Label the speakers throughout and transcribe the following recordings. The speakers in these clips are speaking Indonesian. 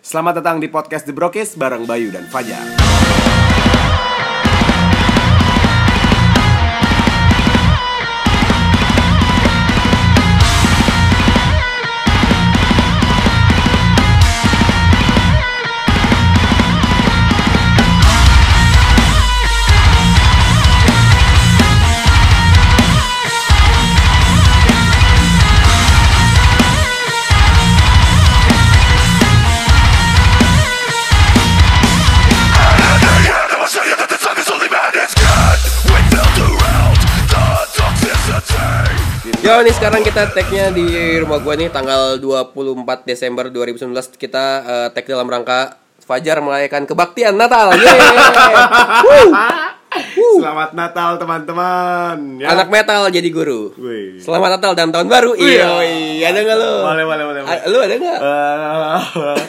Speaker 1: Selamat datang di podcast The Brokis bareng Bayu dan Fajar.
Speaker 2: Yo nih sekarang kita tag-nya di rumah gua nih tanggal 24 Desember 2019 kita eh, tag dalam rangka Fajar merayakan kebaktian Natal. Yeay.
Speaker 1: Selamat Natal teman-teman. Ya.
Speaker 2: Anak metal jadi guru.
Speaker 1: Wih.
Speaker 2: Selamat Natal dan tahun baru.
Speaker 1: Iya.
Speaker 2: Iya, iya, ada enggak lu?
Speaker 1: Boleh, boleh, boleh, boleh.
Speaker 2: A- Lu ada enggak?
Speaker 1: Eh,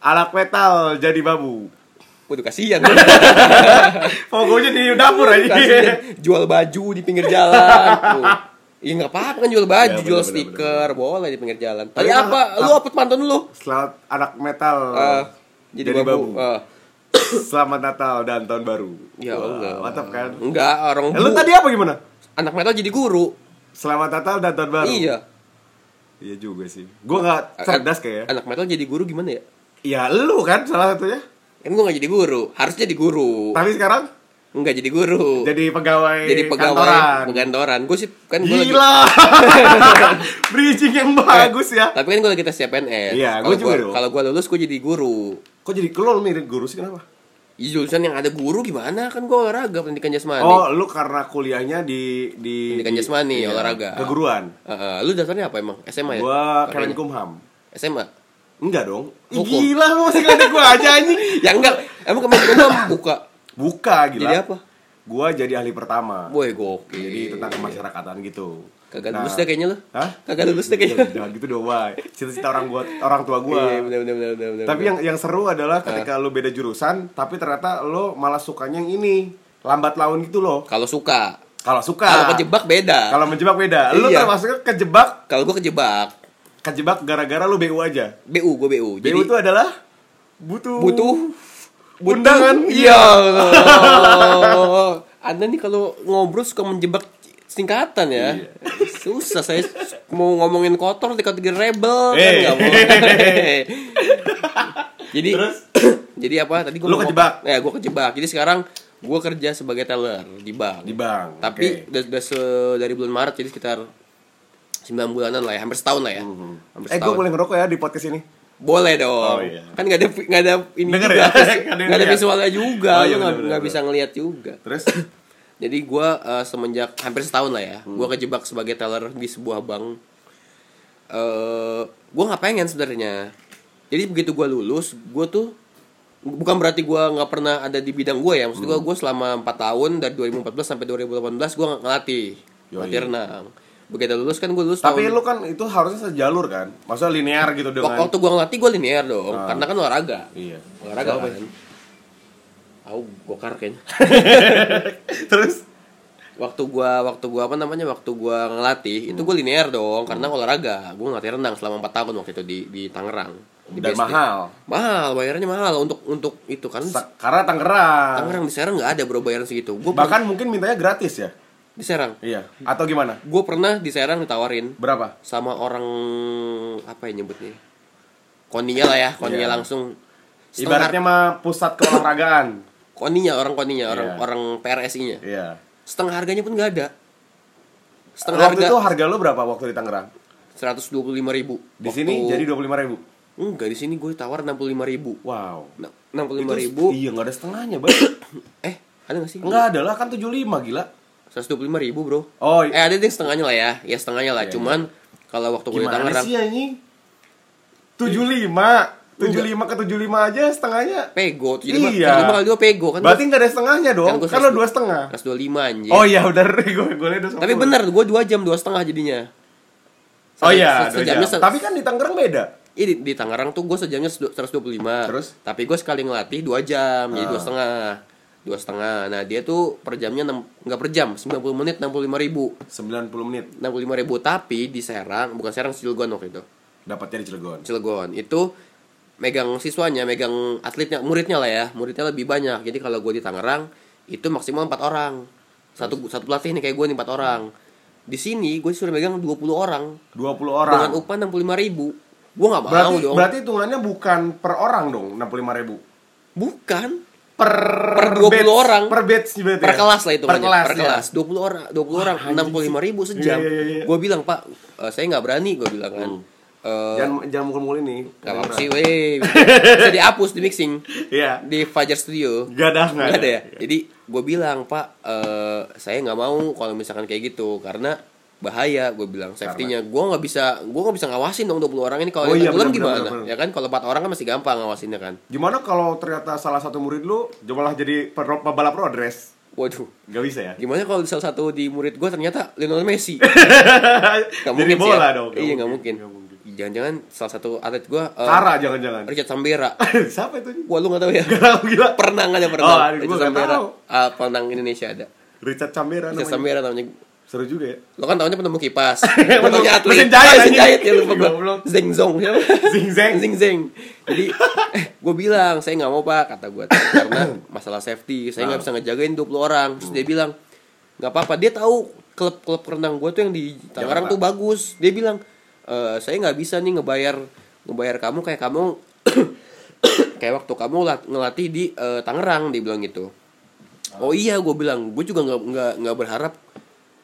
Speaker 1: anak metal jadi babu. Eh.
Speaker 2: Waduh kasihan.
Speaker 1: Iya. Pokoknya di dapur
Speaker 2: kasihan.
Speaker 1: aja.
Speaker 2: Jual baju di pinggir jalan. Tuh. Iya nggak apa-apa kan jual baju,
Speaker 1: Ya, bener,
Speaker 2: jual
Speaker 1: bener,
Speaker 2: stiker, boleh di pinggir jalan. Tadi
Speaker 1: Tapi
Speaker 2: apa?
Speaker 1: ah,
Speaker 2: Lu apa pantun lu?
Speaker 1: Selamat anak metal.
Speaker 2: Eh, jadi,
Speaker 1: jadi
Speaker 2: babu.
Speaker 1: babu.
Speaker 2: Eh,
Speaker 1: Selamat Natal dan tahun baru.
Speaker 2: ya
Speaker 1: Wah,
Speaker 2: enggak.
Speaker 1: Mantap kan?
Speaker 2: Enggak, orang
Speaker 1: Eh, lu
Speaker 2: bu-
Speaker 1: tadi apa gimana?
Speaker 2: anak metal jadi guru.
Speaker 1: Selamat Natal dan tahun baru.
Speaker 2: Iya.
Speaker 1: Iya juga sih. Gua nggak cerdas kayaknya.
Speaker 2: Anak metal jadi guru gimana ya?
Speaker 1: Ya lu kan salah satunya.
Speaker 2: Kan gue gak jadi guru, harus jadi guru.
Speaker 1: Tapi sekarang
Speaker 2: Enggak jadi guru.
Speaker 1: jadi pegawai
Speaker 2: Jadi pegawai
Speaker 1: kantoran.
Speaker 2: penggantoran. Gue sih kan gue lagi
Speaker 1: Gila. Bridging yang bagus ya.
Speaker 2: tapi kan gue lagi tes CPNS.
Speaker 1: Iya,
Speaker 2: Kalau
Speaker 1: gua juga
Speaker 2: gua-
Speaker 1: dong.
Speaker 2: Kalau gue lulus gue jadi guru.
Speaker 1: Kok jadi kelol nih guru sih kenapa?
Speaker 2: Iya, jurusan yang ada guru gimana? Kan gue olahraga pendidikan jasmani.
Speaker 1: Oh, lu karena kuliahnya di di
Speaker 2: Pendidikan
Speaker 1: di-
Speaker 2: jasmani, olahraga.
Speaker 1: Keguruan.
Speaker 2: Heeh, lu dasarnya apa emang? SMA ya?
Speaker 1: Gua
Speaker 2: Makanya.
Speaker 1: Kemenkumham.
Speaker 2: SMA.
Speaker 1: Enggak dong. Ih,
Speaker 2: Hukum.
Speaker 1: Gila lu masih ngeledek gua aja anjing.
Speaker 2: Ya enggak, emang kemarin gue buka.
Speaker 1: Buka gila.
Speaker 2: Jadi apa?
Speaker 1: Gua jadi ahli pertama.
Speaker 2: Boy gokil.
Speaker 1: Jadi tentang kemasyarakatan gitu.
Speaker 2: iya. Kagak
Speaker 1: Nah,
Speaker 2: lulus deh kayaknya lu.
Speaker 1: Hah?
Speaker 2: Kagak lulus deh kayaknya.
Speaker 1: Jangan gitu dong, Wai. Cita-cita orang buat orang tua gua.
Speaker 2: Iya, bener bener bener bener, bener.
Speaker 1: Tapi yang yang seru adalah
Speaker 2: Eh.
Speaker 1: ketika lu beda jurusan, tapi ternyata lu malah sukanya yang ini. Lambat laun gitu loh.
Speaker 2: kalau suka,
Speaker 1: Kalau suka.
Speaker 2: kalau kejebak beda.
Speaker 1: Nah. Kalau menjebak beda. Lu
Speaker 2: Iya.
Speaker 1: termasuknya kejebak,
Speaker 2: Kalau gue kejebak,
Speaker 1: kejebak gara-gara lu BU aja.
Speaker 2: BU gue BU. Jadi
Speaker 1: BU itu adalah butuh
Speaker 2: butuh butuh-
Speaker 1: Undangan.
Speaker 2: Iya. Anda nih kalau ngobrol suka menjebak singkatan ya.
Speaker 1: Iya.
Speaker 2: Susah saya mau ngomongin kotor dikategori rebel kan
Speaker 1: Eh.
Speaker 2: nggak boleh. jadi
Speaker 1: Terus?
Speaker 2: jadi apa tadi gue
Speaker 1: Lu kejebak?
Speaker 2: Ya gue kejebak. Jadi sekarang gue kerja sebagai teller di bank.
Speaker 1: di bank.
Speaker 2: Tapi
Speaker 1: Oke.
Speaker 2: udah, udah se- dari bulan Maret jadi sekitar 9 bulanan lah ya, hampir setahun lah ya. Hampir
Speaker 1: Eh, gue
Speaker 2: setahun.
Speaker 1: boleh ngerokok ya di podcast ini?
Speaker 2: Boleh dong.
Speaker 1: Oh, iya.
Speaker 2: Kan gak ada gak ada ini
Speaker 1: Denger
Speaker 2: juga.
Speaker 1: ya? Nggak ada yang
Speaker 2: Gak ada
Speaker 1: lihat.
Speaker 2: visualnya juga.
Speaker 1: Oh, iya,
Speaker 2: Lu nggak
Speaker 1: bener-bener.
Speaker 2: nggak bisa ngelihat juga.
Speaker 1: Terus
Speaker 2: Jadi gua eh, semenjak hampir setahun lah ya,
Speaker 1: Hmm.
Speaker 2: gua kejebak sebagai teller di sebuah bank. Eh gua nggak pengen sebenarnya. Jadi begitu gua lulus, gua tuh bukan berarti gua nggak pernah ada di bidang gua ya. Maksud gua
Speaker 1: Hmm.
Speaker 2: gua selama 4 tahun dari 2014 sampai 2018 gua nggak ngelatih.
Speaker 1: Yoi.
Speaker 2: Ngelatih renang. Begitu lulus kan gua lulus
Speaker 1: Tapi
Speaker 2: tahun
Speaker 1: lu kan itu harusnya sejalur kan? Maksudnya linear gitu dengan Ah.
Speaker 2: waktu gua ngelatih gua linear dong, karena kan olahraga.
Speaker 1: Iya.
Speaker 2: Olahraga
Speaker 1: Siapa
Speaker 2: kan. Aku gokar kayaknya.
Speaker 1: Terus
Speaker 2: Waktu gua waktu gua apa namanya? Waktu gua ngelatih itu gua linear dong karena
Speaker 1: Hmm.
Speaker 2: olahraga. Gua ngelatih renang selama 4 tahun waktu itu di di Tangerang. Di
Speaker 1: dan
Speaker 2: BSD.
Speaker 1: mahal.
Speaker 2: Mahal, bayarnya mahal untuk untuk itu kan
Speaker 1: Sa- Karena Tangerang.
Speaker 2: Tangerang di Serang nggak ada bro bayaran segitu. Gua pernah
Speaker 1: Bahkan mungkin mintanya gratis ya.
Speaker 2: di Serang.
Speaker 1: Iya. Atau gimana?
Speaker 2: Gua pernah di Serang ditawarin
Speaker 1: Berapa?
Speaker 2: sama orang apa ya nyebutnya? Konia lah ya, Konia
Speaker 1: Iya.
Speaker 2: langsung Setengah-
Speaker 1: Ibaratnya mah pusat keolahragaan.
Speaker 2: koninya orang koninya orang
Speaker 1: Iya.
Speaker 2: orang PRSI-nya
Speaker 1: Iya.
Speaker 2: setengah harganya pun nggak ada setengah
Speaker 1: Waktu itu
Speaker 2: harga
Speaker 1: harga lu berapa waktu di Tangerang?
Speaker 2: seratus dua puluh ribu
Speaker 1: Di sini jadi 25.000 ribu.
Speaker 2: enggak di sini gue tawar enam puluh lima ribu
Speaker 1: Wow.
Speaker 2: Nah, enam puluh lima
Speaker 1: Itu-
Speaker 2: ribu
Speaker 1: Iya, nggak ada setengahnya, Bang.
Speaker 2: eh ada nggak sih
Speaker 1: Enggak ada lah kan 75 gila.
Speaker 2: seratus dua puluh lima ribu bro
Speaker 1: Oh, i-
Speaker 2: eh ada deh setengahnya lah ya ya setengahnya lah cuman kalau waktu gue di
Speaker 1: gimana
Speaker 2: Tangerang
Speaker 1: sih anjing? 75. 75 ke 75 aja setengahnya.
Speaker 2: pego jadi lima
Speaker 1: Iya.
Speaker 2: kali dua pego kan
Speaker 1: Berarti nggak ada setengahnya dong.
Speaker 2: gua
Speaker 1: Kan lo
Speaker 2: seratus-
Speaker 1: dua setengah.
Speaker 2: seratus dua lima anjir
Speaker 1: Oh iya udah gue gue liat udah
Speaker 2: tapi
Speaker 1: 10.
Speaker 2: bener gue dua jam dua setengah jadinya
Speaker 1: Oh iya,
Speaker 2: Se-
Speaker 1: dua
Speaker 2: sejamnya
Speaker 1: jam.
Speaker 2: se-
Speaker 1: Tapi kan di Tangerang beda.
Speaker 2: Ih, di, di Tangerang tuh gue sejamnya 125
Speaker 1: Terus?
Speaker 2: Tapi gue sekali ngelatih 2 jam Jadi
Speaker 1: Ah.
Speaker 2: dua setengah Dua setengah Nah dia tuh per jamnya enam- nggak per jam 90 menit 65 ribu
Speaker 1: 90 menit
Speaker 2: 65 ribu Tapi di Serang Bukan Serang Cilegon waktu itu
Speaker 1: dapatnya di Cilegon.
Speaker 2: Cilegon Itu megang siswanya, megang atletnya, muridnya lah ya, muridnya lebih banyak. Jadi kalau gue di Tangerang itu maksimal empat orang, satu satu pelatih nih kayak gue nih empat orang. Di sini gue suruh megang 20 orang
Speaker 1: 20 orang.
Speaker 2: dengan upah enam puluh lima ribu. Gue nggak mau
Speaker 1: berarti
Speaker 2: dong.
Speaker 1: berarti hitungannya bukan per orang dong, 65 ribu.
Speaker 2: Bukan
Speaker 1: Per
Speaker 2: per 20 orang.
Speaker 1: Per batch berarti.
Speaker 2: per
Speaker 1: ya?
Speaker 2: kelas lah itu
Speaker 1: Per
Speaker 2: makanya,
Speaker 1: kelas.
Speaker 2: per
Speaker 1: ya?
Speaker 2: kelas 20 orang 20 orang enam puluh lima ribu sejam.
Speaker 1: Iya, iya, iya, Hmm. iya.
Speaker 2: Gue bilang pak, eh, saya nggak berani gue bilang kan. Eh,
Speaker 1: Jangan jangan mukul-mukul ini.
Speaker 2: Gak apa sih, weh. Bisa dihapus di mixing
Speaker 1: Iya.
Speaker 2: di Fajar Studio.
Speaker 1: Gak ada, Iya.
Speaker 2: Gak ada ya. Jadi gue bilang Pak, eh, saya nggak mau kalau misalkan kayak gitu karena bahaya gue bilang safety-nya gue nggak bisa gue nggak bisa ngawasin dong 20 orang ini
Speaker 1: Oh
Speaker 2: kalau
Speaker 1: iya,
Speaker 2: yang tenggelam
Speaker 1: benar,
Speaker 2: gimana
Speaker 1: benar, benar.
Speaker 2: ya kan kalau 4 orang kan masih gampang ngawasinnya kan
Speaker 1: Gimana kalau ternyata salah satu murid lu malah jadi per- pebalap road race?
Speaker 2: waduh
Speaker 1: Gak bisa ya?
Speaker 2: gimana kalau salah satu di murid gue ternyata Lionel Messi
Speaker 1: jadi
Speaker 2: Gak mungkin sih
Speaker 1: bola
Speaker 2: ya.
Speaker 1: dong.
Speaker 2: iya nggak mungkin
Speaker 1: Nggak mungkin.
Speaker 2: jangan-jangan salah satu atlet gue
Speaker 1: Kara jangan-jangan.
Speaker 2: Richard Sambera
Speaker 1: Siapa itu?
Speaker 2: Wah lu gak tahu ya
Speaker 1: Gak tahu gila.
Speaker 2: Pernah ada
Speaker 1: Oh,
Speaker 2: pernah
Speaker 1: aduh,
Speaker 2: Richard
Speaker 1: gua nggak
Speaker 2: Sambera
Speaker 1: tahu. iya.
Speaker 2: Ah, Penang Indonesia ada
Speaker 1: Richard Cambera
Speaker 2: Richard
Speaker 1: namanya.
Speaker 2: Sambera namanya
Speaker 1: Seru juga ya.
Speaker 2: Lo kan taunya penemu kipas
Speaker 1: Penemu-
Speaker 2: Penemu atlet
Speaker 1: mesin jahit,
Speaker 2: Ah, Mesin
Speaker 1: anjing.
Speaker 2: jahit ya lupa gue
Speaker 1: Goblok.
Speaker 2: Zeng zong siapa?
Speaker 1: Zing Zeng.
Speaker 2: Zing zeng Jadi gue bilang Saya gak mau pak Kata gue Karena masalah safety Saya
Speaker 1: Ah.
Speaker 2: gak bisa ngejagain 20 orang Terus dia bilang Gak apa-apa Dia tahu Klub-klub renang gue tuh yang di Tangerang
Speaker 1: Jakarta.
Speaker 2: tuh bagus Dia bilang "Eh, Saya gak bisa nih ngebayar Ngebayar kamu kayak kamu Kayak waktu kamu lat- ngelatih di eh, Tangerang Dia bilang gitu Oh iya, gue bilang, gue juga nggak nggak nggak berharap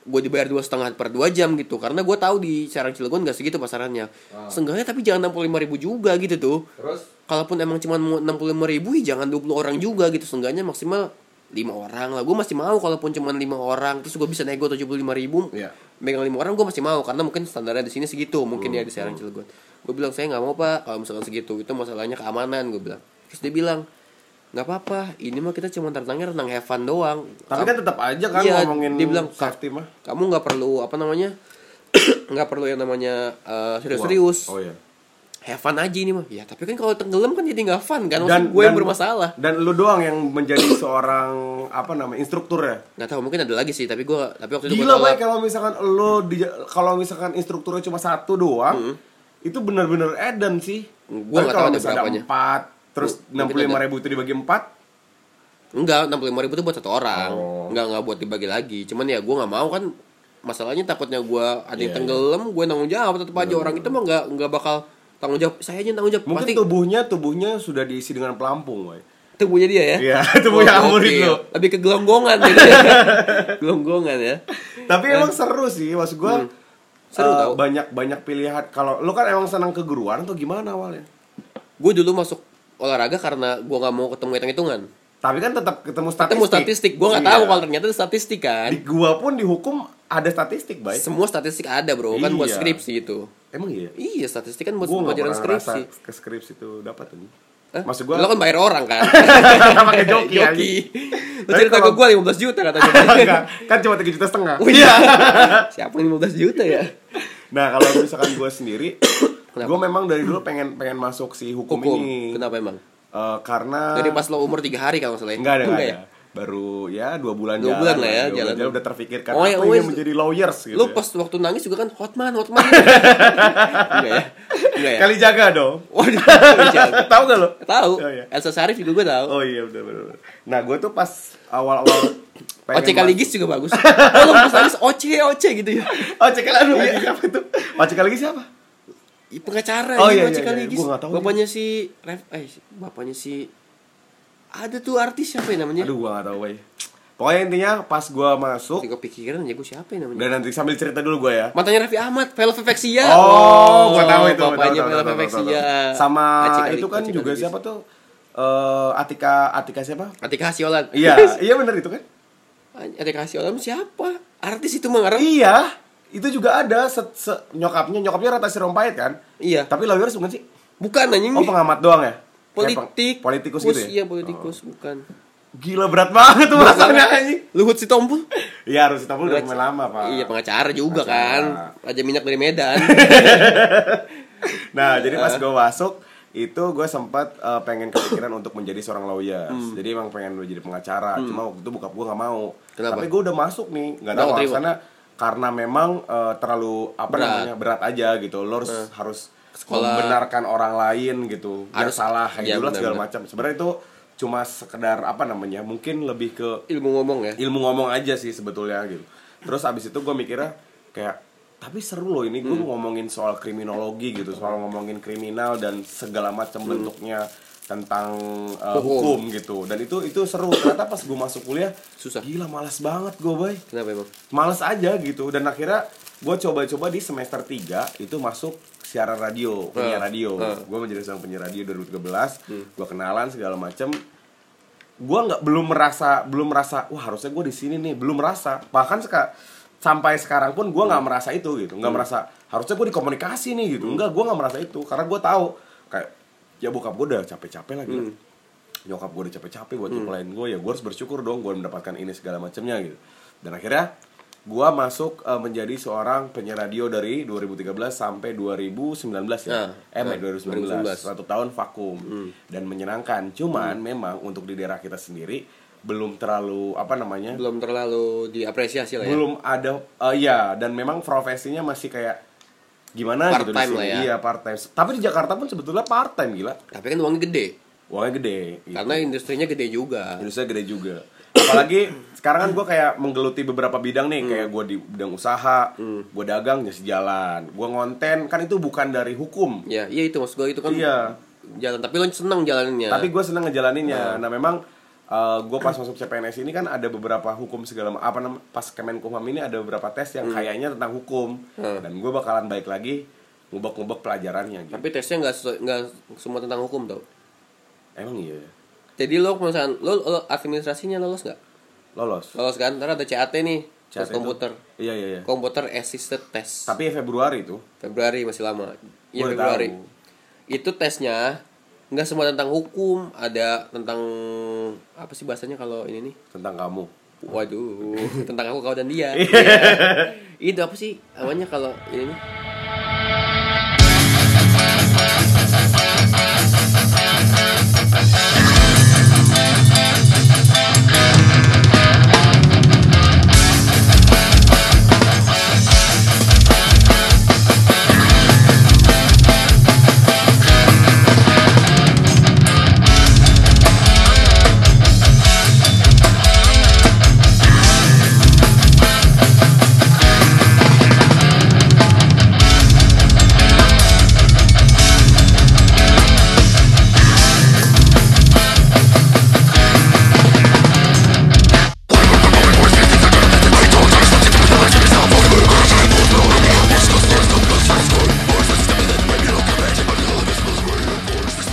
Speaker 2: gue dibayar dua setengah per dua jam gitu, karena gue tahu di Serang Cilegon nggak segitu pasarannya. Seenggaknya tapi jangan enam ribu juga gitu tuh.
Speaker 3: Terus?
Speaker 2: Kalaupun emang cuma enam puluh ribu, ya jangan 20 orang juga gitu. Seenggaknya maksimal lima orang lah. Gue masih mau kalaupun cuma lima orang, terus gue bisa nego tujuh puluh ribu.
Speaker 1: Iya.
Speaker 2: Megang lima orang gue masih mau karena mungkin standarnya di sini segitu, mungkin ya di
Speaker 1: Hmm.
Speaker 2: Serang Cilegon. Gue bilang saya nggak mau pak, kalau misalkan segitu itu masalahnya keamanan gue bilang. Terus dia bilang nggak apa-apa, ini mah kita cuma tentangnya renang have fun doang.
Speaker 1: Tapi kan tetap aja kan
Speaker 2: Iya,
Speaker 1: ngomongin
Speaker 2: dia bilang,
Speaker 1: safety mah.
Speaker 2: kamu nggak perlu apa namanya nggak perlu yang namanya eh, serius-serius
Speaker 1: Oh iya.
Speaker 2: have fun aja ini mah ya tapi kan kalau tenggelam kan jadi nggak fun
Speaker 1: Dan
Speaker 2: kan maksud gue yang bermasalah
Speaker 1: Dan lu doang yang menjadi seorang apa namanya instruktur ya.
Speaker 2: nggak tahu mungkin ada lagi sih tapi gue tapi waktu itu gue
Speaker 1: Gila
Speaker 2: tolak
Speaker 1: baik kalau misalkan lo di kalau misalkan instrukturnya cuma satu doang, itu benar-benar Eden sih.
Speaker 2: Hmm. Gua
Speaker 1: Tapi
Speaker 2: nggak
Speaker 1: kalau
Speaker 2: tahu ada
Speaker 1: misalnya
Speaker 2: berapanya.
Speaker 1: empat, terus enam
Speaker 2: mungkin
Speaker 1: puluh lima ribu itu dibagi empat,
Speaker 2: enggak enam ribu itu buat satu orang
Speaker 1: Oh.
Speaker 2: nggak nggak buat dibagi lagi cuman ya gue nggak mau kan masalahnya takutnya gue ada
Speaker 1: Iya,
Speaker 2: yang tenggelam gue tanggung jawab tetap aja orang itu mah nggak nggak bakal tanggung jawab saya aja yang tanggung jawab
Speaker 1: mungkin
Speaker 2: pasti
Speaker 1: tubuhnya tubuhnya sudah diisi dengan pelampung, woy.
Speaker 2: tubuhnya dia ya
Speaker 1: Iya, tubuhnya
Speaker 2: Oh,
Speaker 1: murid
Speaker 2: gokil.
Speaker 1: lo.
Speaker 2: lebih ke gelonggongan ya. gelonggongan ya
Speaker 1: Tapi emang seru sih, maksud gue.
Speaker 2: Hmm. Seru tau.
Speaker 1: banyak banyak pilihan kalau lo kan emang senang keguruan atau gimana awalnya
Speaker 2: gue dulu masuk olahraga karena gue nggak mau ketemu hitung hitungan
Speaker 1: tapi kan tetap ketemu statistik
Speaker 2: ketemu statistik gue nggak
Speaker 1: Iya.
Speaker 2: tahu kalau ternyata itu statistik kan
Speaker 1: di gua pun dihukum ada statistik baik
Speaker 2: semua statistik ada bro kan buat
Speaker 1: Iya.
Speaker 2: skripsi itu
Speaker 1: emang iya
Speaker 2: iya statistik kan buat
Speaker 1: gue nggak
Speaker 2: pelajaran
Speaker 1: pernah ngerasa
Speaker 2: skripsi
Speaker 1: ke skripsi itu dapat tuh
Speaker 2: Hah?
Speaker 1: maksud gue
Speaker 2: lo kan bayar orang kan
Speaker 1: pakai joki iya,
Speaker 2: joki lo
Speaker 1: Tapi
Speaker 2: cerita
Speaker 1: kalau-
Speaker 2: ke gue 15 juta katanya
Speaker 1: Enggak, kan cuma tiga juta setengah
Speaker 2: Oh iya siapa yang 15 juta ya
Speaker 1: nah kalau misalkan gue sendiri gue memang dari dulu pengen pengen masuk si hukum,
Speaker 2: hukum
Speaker 1: ini
Speaker 2: kenapa emang
Speaker 1: Eh, karena
Speaker 2: dari pas lo umur 3 hari kalau nggak salah ya?
Speaker 1: nggak ada nggak
Speaker 2: ya?
Speaker 1: ada baru ya dua bulan
Speaker 2: Dua
Speaker 1: jalan
Speaker 2: bulan lah ya,
Speaker 1: dua
Speaker 2: jalan.
Speaker 1: bulan udah terpikirkan
Speaker 2: Oh,
Speaker 1: oh,
Speaker 2: iya,
Speaker 1: aku
Speaker 2: oh,
Speaker 1: ingin
Speaker 2: iya.
Speaker 1: menjadi lawyers gitu
Speaker 2: Lu
Speaker 1: ya.
Speaker 2: pas waktu nangis juga kan Hotman, Hotman. Enggak ya? Enggak ya?
Speaker 1: kali jaga dong
Speaker 2: Waduh,
Speaker 1: tahu gak lo
Speaker 2: tahu.
Speaker 1: Oh, iya.
Speaker 2: Elsa Syarif juga gue tahu.
Speaker 1: oh iya benar benar nah gue tuh pas awal awal
Speaker 2: Oh, Oce Kaligis juga bagus. Oh, lu pas nangis Oce, Oce gitu ya.
Speaker 1: Ojek lagi siapa itu? Ojek lagi siapa?
Speaker 2: Ih, Pengacara
Speaker 1: Oh,
Speaker 2: ya,
Speaker 1: iya,
Speaker 2: Oce
Speaker 1: iya, iya.
Speaker 2: Kaligis.
Speaker 1: Gua nggak tahu
Speaker 2: Bapaknya si Ref, eh bapaknya si ada tuh artis siapa ya namanya?
Speaker 1: Aduh gua gak tau wey Pokoknya intinya pas gua masuk
Speaker 2: Gue kepikiran ya gue siapa ya namanya?
Speaker 1: Dan nanti sambil cerita dulu gua ya
Speaker 2: Matanya Raffi Ahmad, Velvet Vexia.
Speaker 1: Oh, gua tahu itu. tahu,
Speaker 2: Ya. Bapaknya ya.
Speaker 1: tahu, tahu,
Speaker 2: Velvet
Speaker 1: tahu, tahu,
Speaker 2: Vexia.
Speaker 1: tahu. Sama
Speaker 2: Aci Kaligis,
Speaker 1: itu kan
Speaker 2: Aci
Speaker 1: juga
Speaker 2: Kaligis.
Speaker 1: siapa tuh? Eh Atika Atika siapa?
Speaker 2: Atika Hasiolan.
Speaker 1: Iya, iya bener itu kan?
Speaker 2: Atika Hasiolan siapa? Artis itu mah ngarang.
Speaker 1: Iya, itu juga ada se- se- nyokapnya, nyokapnya Rata Sirompayet kan?
Speaker 2: Iya.
Speaker 1: Tapi lawyers bukan sih?
Speaker 2: Bukan anjing.
Speaker 1: Oh, pengamat doang ya? Kayak
Speaker 2: politik.
Speaker 1: peng- politikus
Speaker 2: Kus,
Speaker 1: gitu
Speaker 2: Iya,
Speaker 1: ya?
Speaker 2: politikus bukan.
Speaker 1: Gila berat banget tuh masalahnya anjing.
Speaker 2: Luhut Sitompul.
Speaker 1: Iya, harus kita udah main lama, Pak.
Speaker 2: Iya, pengacara juga
Speaker 1: Pengacara.
Speaker 2: kan. Raja minyak dari Medan.
Speaker 1: Nah, jadi pas gue masuk itu gue sempat eh, pengen kepikiran untuk menjadi seorang lawyer.
Speaker 2: Hmm.
Speaker 1: Jadi emang pengen menjadi pengacara. Cuma waktu itu bokap gue nggak mau.
Speaker 2: Kenapa?
Speaker 1: Tapi gue udah masuk nih, nggak
Speaker 2: Nggak
Speaker 1: tahu
Speaker 2: keterima.
Speaker 1: alasannya karena memang eh, terlalu apa
Speaker 2: Berat.
Speaker 1: namanya berat aja gitu. Lo harus harus
Speaker 2: sekolah
Speaker 1: membenarkan orang lain gitu harus
Speaker 2: Harus-
Speaker 1: salah kayak
Speaker 2: iya,
Speaker 1: gitu lah segala
Speaker 2: benar-benar.
Speaker 1: macam sebenarnya itu cuma sekedar apa namanya mungkin lebih ke
Speaker 2: ilmu ngomong ya
Speaker 1: ilmu ngomong aja sih sebetulnya gitu terus abis itu gue mikirnya kayak tapi seru loh ini gue ngomongin soal kriminologi gitu soal ngomongin kriminal dan segala macam bentuknya tentang uh,
Speaker 2: Hukum.
Speaker 1: hukum. gitu dan itu itu seru ternyata pas gue masuk kuliah
Speaker 2: Susah.
Speaker 1: gila malas banget gue boy
Speaker 2: kenapa emang
Speaker 1: males aja gitu dan akhirnya gue coba-coba di semester 3 itu masuk siaran radio penyiar
Speaker 2: Heeh.
Speaker 1: radio
Speaker 2: Heeh.
Speaker 1: gue menjadi seorang penyiar radio 2013 gue kenalan segala macem gue nggak belum merasa belum merasa wah harusnya gue di sini nih belum merasa bahkan seka- sampai sekarang pun gue nggak merasa itu gitu nggak merasa harusnya gue di komunikasi nih gitu nggak gue nggak merasa itu karena gue tahu kayak ya bokap gue udah capek-capek lagi nyokap gue udah capek-capek
Speaker 2: Hmm.
Speaker 1: buat nyepelain gue ya gue harus bersyukur dong gue mendapatkan ini segala macamnya gitu dan akhirnya gue masuk eh, menjadi seorang penyiar radio dari 2013 sampai 2019 ya
Speaker 2: Nah,
Speaker 1: eh Mei 2019
Speaker 2: nah,
Speaker 1: satu tahun vakum
Speaker 2: Hmm.
Speaker 1: dan menyenangkan cuman memang untuk di daerah kita sendiri belum terlalu apa namanya
Speaker 2: belum terlalu diapresiasi lah ya
Speaker 1: belum ada eh, ya dan memang profesinya masih kayak gimana gitu di
Speaker 2: Part-time
Speaker 1: sini
Speaker 2: lah ya.
Speaker 1: iya part time tapi di Jakarta pun sebetulnya part time gila
Speaker 2: tapi kan uangnya gede
Speaker 1: uangnya gede gitu.
Speaker 2: karena industrinya gede juga
Speaker 1: Indonesia gede juga apalagi sekarang kan gue kayak menggeluti beberapa bidang nih kayak gue di bidang usaha gue dagang ya sejalan gue ngonten kan itu bukan dari hukum
Speaker 2: ya iya itu maksud gue itu kan
Speaker 1: Iya.
Speaker 2: jalan tapi lo seneng jalaninnya
Speaker 1: tapi gue seneng
Speaker 2: Iya.
Speaker 1: ngejalaninnya nah memang gue pas masuk CPNS ini kan ada beberapa hukum segala ma- apa namanya pas Kemenkumham ini ada beberapa tes
Speaker 2: Hmm.
Speaker 1: yang kayaknya tentang hukum dan gue bakalan baik lagi ngubek-ngubek pelajarannya gitu
Speaker 2: tapi tesnya nggak sesu- nggak semua tentang hukum tau
Speaker 1: emang iya ya?
Speaker 2: jadi lo misalkan lo, lo administrasinya lolos nggak
Speaker 1: lolos
Speaker 2: lolos kan ntar ada CAT nih
Speaker 1: Cat itu-
Speaker 2: tes komputer
Speaker 1: iya iya iya
Speaker 2: komputer assisted test
Speaker 1: tapi ya Februari itu
Speaker 2: Februari masih lama. Iya
Speaker 1: Boleh
Speaker 2: Februari.
Speaker 1: tahu.
Speaker 2: Itu tesnya nggak semua tentang hukum, ada tentang apa sih bahasanya kalau ini nih?
Speaker 1: tentang kamu
Speaker 2: Waduh, tentang aku kau dan dia. Iya. Itu apa sih namanya kalau ini nih?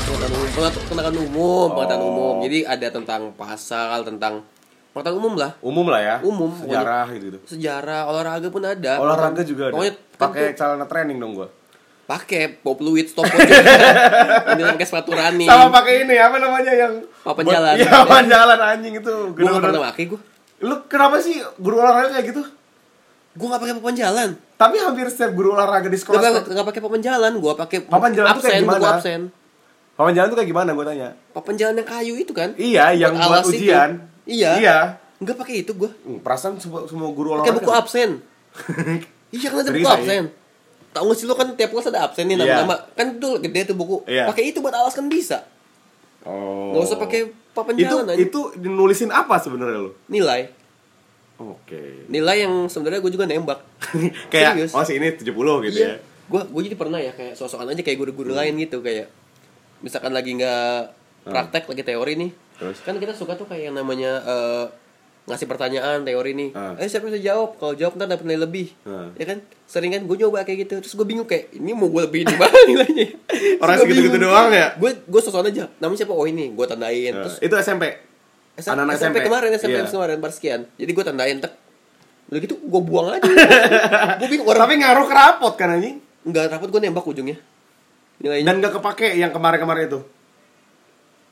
Speaker 2: Pengetahuan pengetahuan umum, pengetahuan
Speaker 1: Oh.
Speaker 2: umum. Jadi ada tentang pasal, tentang pengetahuan umum lah.
Speaker 1: umum lah ya
Speaker 2: Umum,
Speaker 1: sejarah gitu gitu
Speaker 2: Sejarah, olahraga pun ada.
Speaker 1: olahraga juga ada
Speaker 2: Pokoknya kan
Speaker 1: pakai calana training dong gue
Speaker 2: pakai pop fluid, stop watch juga. Ini pakai sepatu running.
Speaker 1: sama pakai ini apa namanya yang
Speaker 2: Papan
Speaker 1: buat-
Speaker 2: jalan.
Speaker 1: iya papan jalan anjing itu
Speaker 2: Gue nggak
Speaker 1: Bener-bener.
Speaker 2: pernah pakai gue.
Speaker 1: lu kenapa sih guru olahraga kayak gitu
Speaker 2: Gue nggak pakai papan jalan.
Speaker 1: tapi hampir setiap guru olahraga di
Speaker 2: Gak,
Speaker 1: sekolah
Speaker 2: pakai papan jalan, gua pakai
Speaker 1: Papan jalan tuh
Speaker 2: absen,
Speaker 1: kayak gimana?
Speaker 2: gua absen.
Speaker 1: paman jalan tuh kayak gimana gue tanya
Speaker 2: Papan jalan yang kayu itu kan?
Speaker 1: iya yang buat
Speaker 2: alas itu.
Speaker 1: ujian
Speaker 2: Iya.
Speaker 1: iya
Speaker 2: Enggak pakai itu gua.
Speaker 1: Hmm, perasaan semua, semua guru
Speaker 2: Pakai
Speaker 1: olahraga
Speaker 2: buku absen. iya kan ada
Speaker 1: Serius,
Speaker 2: buku
Speaker 1: Ayi?
Speaker 2: absen. Tahu nggak sih lo kan tiap kelas ada absen nih
Speaker 1: Iya.
Speaker 2: nama-nama. Kan itu gede tuh buku.
Speaker 1: Iya.
Speaker 2: Pakai itu buat alas kan bisa.
Speaker 1: oh
Speaker 2: Nggak usah pakai papan
Speaker 1: itu
Speaker 2: jalan aja.
Speaker 1: itu nulisin apa sebenarnya lu
Speaker 2: Nilai.
Speaker 1: oke
Speaker 2: Nilai yang sebenarnya gua juga nembak.
Speaker 1: kayak
Speaker 2: Serius.
Speaker 1: oh sih ini 70 gitu
Speaker 2: iya.
Speaker 1: ya Hmm.
Speaker 2: Gue gue jadi pernah ya kayak sosokan aja kayak guru-guru lain gitu kayak misalkan lagi nggak praktek lagi teori nih.
Speaker 1: Terus?
Speaker 2: Kan kita suka tuh kayak yang namanya eh, ngasih pertanyaan teori nih.
Speaker 1: Ah.
Speaker 2: Eh siapa yang bisa jawab? Kalau jawab ntar dapat nilai lebih.
Speaker 1: Ah.
Speaker 2: Ya kan? Sering kan gue coba kayak gitu. Terus gue bingung kayak ini mau gue lebih di mana nilainya?
Speaker 1: Orang segitu-gitu doang ya?
Speaker 2: Gue gue sosokan aja. Namanya siapa? Oh ini. Gue tandain.
Speaker 1: Nah,
Speaker 2: Terus
Speaker 1: itu SMP
Speaker 2: S-
Speaker 1: anak-anak
Speaker 2: SMP,
Speaker 1: SMP.
Speaker 2: kemarin SMP
Speaker 1: Iya.
Speaker 2: kemarin pas sekian. Jadi gue tandain tek. Udah gitu gue buang aja. gue bingung orang
Speaker 1: tapi ngaruh ke rapot kan anjing
Speaker 2: Enggak rapot gue nembak ujungnya Nilainya
Speaker 1: dan gak kepake yang kemarin-kemarin itu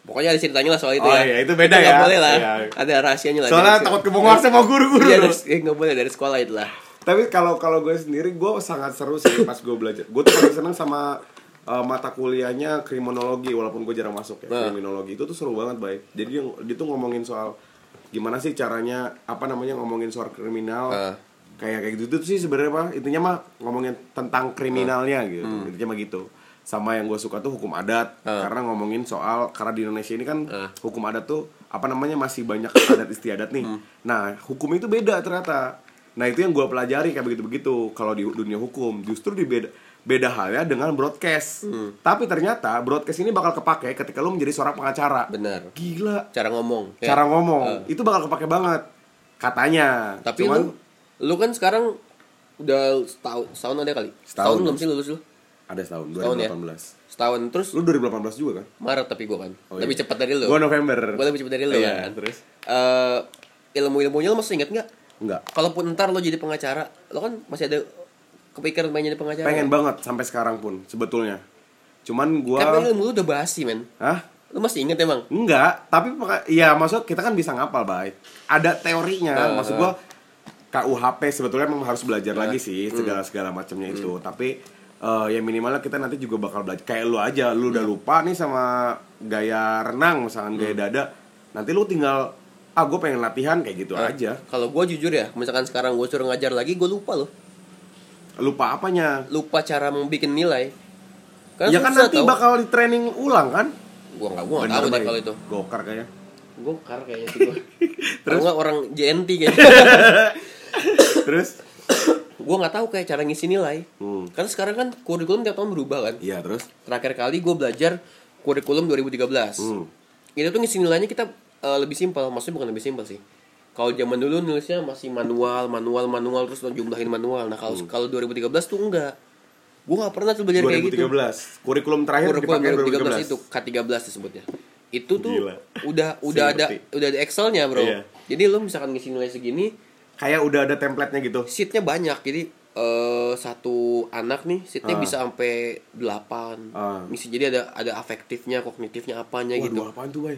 Speaker 2: Pokoknya ada ceritanya lah soal itu
Speaker 1: Oh,
Speaker 2: ya
Speaker 1: iya, itu beda
Speaker 2: nggak
Speaker 1: ya.
Speaker 2: boleh lah
Speaker 1: Iya.
Speaker 2: Ada rahasianya lah
Speaker 1: soalnya
Speaker 2: dari-
Speaker 1: takut kebongkar sama guru-guru
Speaker 2: Iya
Speaker 1: lu.
Speaker 2: dari- iya, nggak boleh dari sekolah itu lah
Speaker 1: tapi kalau kalau gue sendiri gue sangat seru sih pas gue belajar gue tuh paling seneng sama eh, mata kuliahnya kriminologi walaupun gue jarang masuk ya
Speaker 2: Nah.
Speaker 1: kriminologi itu tuh seru banget baik jadi dia, dia tuh ngomongin soal gimana sih caranya apa namanya ngomongin soal kriminal
Speaker 2: Nah. Nah. Hmm.
Speaker 1: kayak kayak gitu tuh sih sebenarnya mah intinya mah ngomongin tentang kriminalnya gitu intinya mah gitu sama yang gue suka tuh hukum adat
Speaker 2: Nah.
Speaker 1: karena ngomongin soal karena di Indonesia ini kan hukum adat tuh apa namanya masih banyak adat istiadat nih
Speaker 2: Hmm.
Speaker 1: nah hukum itu beda ternyata nah itu yang gue pelajari kayak begitu begitu kalau di dunia hukum justru di beda beda halnya dengan broadcast
Speaker 2: Hmm.
Speaker 1: tapi ternyata broadcast ini bakal kepake ketika lo menjadi seorang pengacara
Speaker 2: Benar.
Speaker 1: gila
Speaker 2: Cara ngomong. ya.
Speaker 1: cara ngomong itu bakal kepake banget katanya
Speaker 2: Tapi
Speaker 1: Cuman,
Speaker 2: lu, lu kan sekarang udah setahun, setahun ada kali. Setahun,
Speaker 1: Setahun.
Speaker 2: belum sih lulus lu?
Speaker 1: ada setahun
Speaker 2: Setahun ya?
Speaker 1: 2018
Speaker 2: Setahun terus
Speaker 1: lu 2018 juga kan
Speaker 2: Maret tapi gua kan.
Speaker 1: Oh,
Speaker 2: lebih
Speaker 1: iya.
Speaker 2: cepat dari lu.
Speaker 1: gua November
Speaker 2: Gua lebih cepat dari lu
Speaker 1: Iya,
Speaker 2: kan.
Speaker 1: terus?
Speaker 2: Eh, ilmu-ilmunya lu masih ingat nggak?
Speaker 1: enggak
Speaker 2: Kalaupun ntar lo jadi pengacara, lo kan masih ada kepikiran pengen jadi pengacara.
Speaker 1: pengen banget sampai sekarang pun sebetulnya cuman
Speaker 2: Karena
Speaker 1: gua
Speaker 2: ilmu Kan lu udah basi men.
Speaker 1: Hah?
Speaker 2: Lu masih inget emang?
Speaker 1: enggak tapi peka- ya maksud kita kan bisa ngapal baik ada teorinya
Speaker 2: Ah,
Speaker 1: maksud gua
Speaker 2: nah.
Speaker 1: KUHP sebetulnya memang harus belajar lagi sih
Speaker 2: hmm.
Speaker 1: segala segala macamnya itu tapi eh, ya minimalnya kita nanti juga bakal belajar kayak lu aja lu
Speaker 2: Hmm.
Speaker 1: udah lupa nih sama gaya renang misalkan gaya dada nanti lu tinggal ah gue pengen latihan kayak gitu
Speaker 2: Ah.
Speaker 1: aja
Speaker 2: Kalau gua jujur ya, misalkan sekarang gua suruh ngajar lagi, gua lupa loh.
Speaker 1: lupa apanya
Speaker 2: Lupa cara membuat nilai.
Speaker 1: ya kan
Speaker 2: susah
Speaker 1: nanti
Speaker 2: tau.
Speaker 1: bakal di training ulang kan
Speaker 2: Gua nggak gua nggak tahu deh
Speaker 1: Baik.
Speaker 2: kalau itu.
Speaker 1: gokar kayaknya
Speaker 2: Gua kar kayaknya sih gua. Terus
Speaker 1: Terus?
Speaker 2: nggak orang JNT kayaknya.
Speaker 1: terus
Speaker 2: gua nggak tahu kayak cara ngisi nilai.
Speaker 1: Hmm.
Speaker 2: Karena sekarang kan kurikulum tiap tahun berubah kan.
Speaker 1: iya terus
Speaker 2: Terakhir kali gua belajar kurikulum 2013.
Speaker 1: Hmm.
Speaker 2: Itu tuh ngisi nilainya kita eh, lebih simpel, maksudnya bukan lebih simpel sih. Kalau zaman dulu nulisnya masih manual, manual, manual terus lo jumlahin manual. Nah,
Speaker 1: Hmm.
Speaker 2: kalau kalau 2013 tuh enggak. Gua nggak pernah tuh belajar kayak gitu.
Speaker 1: 2013 kurikulum terakhir ya,
Speaker 2: Kurikulum
Speaker 1: dipakai
Speaker 2: 2013
Speaker 1: 2013,
Speaker 2: itu K13 disebutnya. Itu tuh
Speaker 1: Gila.
Speaker 2: udah udah ada
Speaker 1: ngerti.
Speaker 2: udah ada Excel-nya, Bro.
Speaker 1: Iya.
Speaker 2: Jadi lo misalkan ngisi nilai segini,
Speaker 1: kayak udah ada template-nya gitu
Speaker 2: sheetnya banyak. Jadi eh, satu anak nih sheetnya
Speaker 1: Ah.
Speaker 2: bisa sampai 8.
Speaker 1: Ah.
Speaker 2: Ngisi jadi ada ada afektifnya, kognitifnya, apanya gitu.
Speaker 1: waduh apaan tuh bay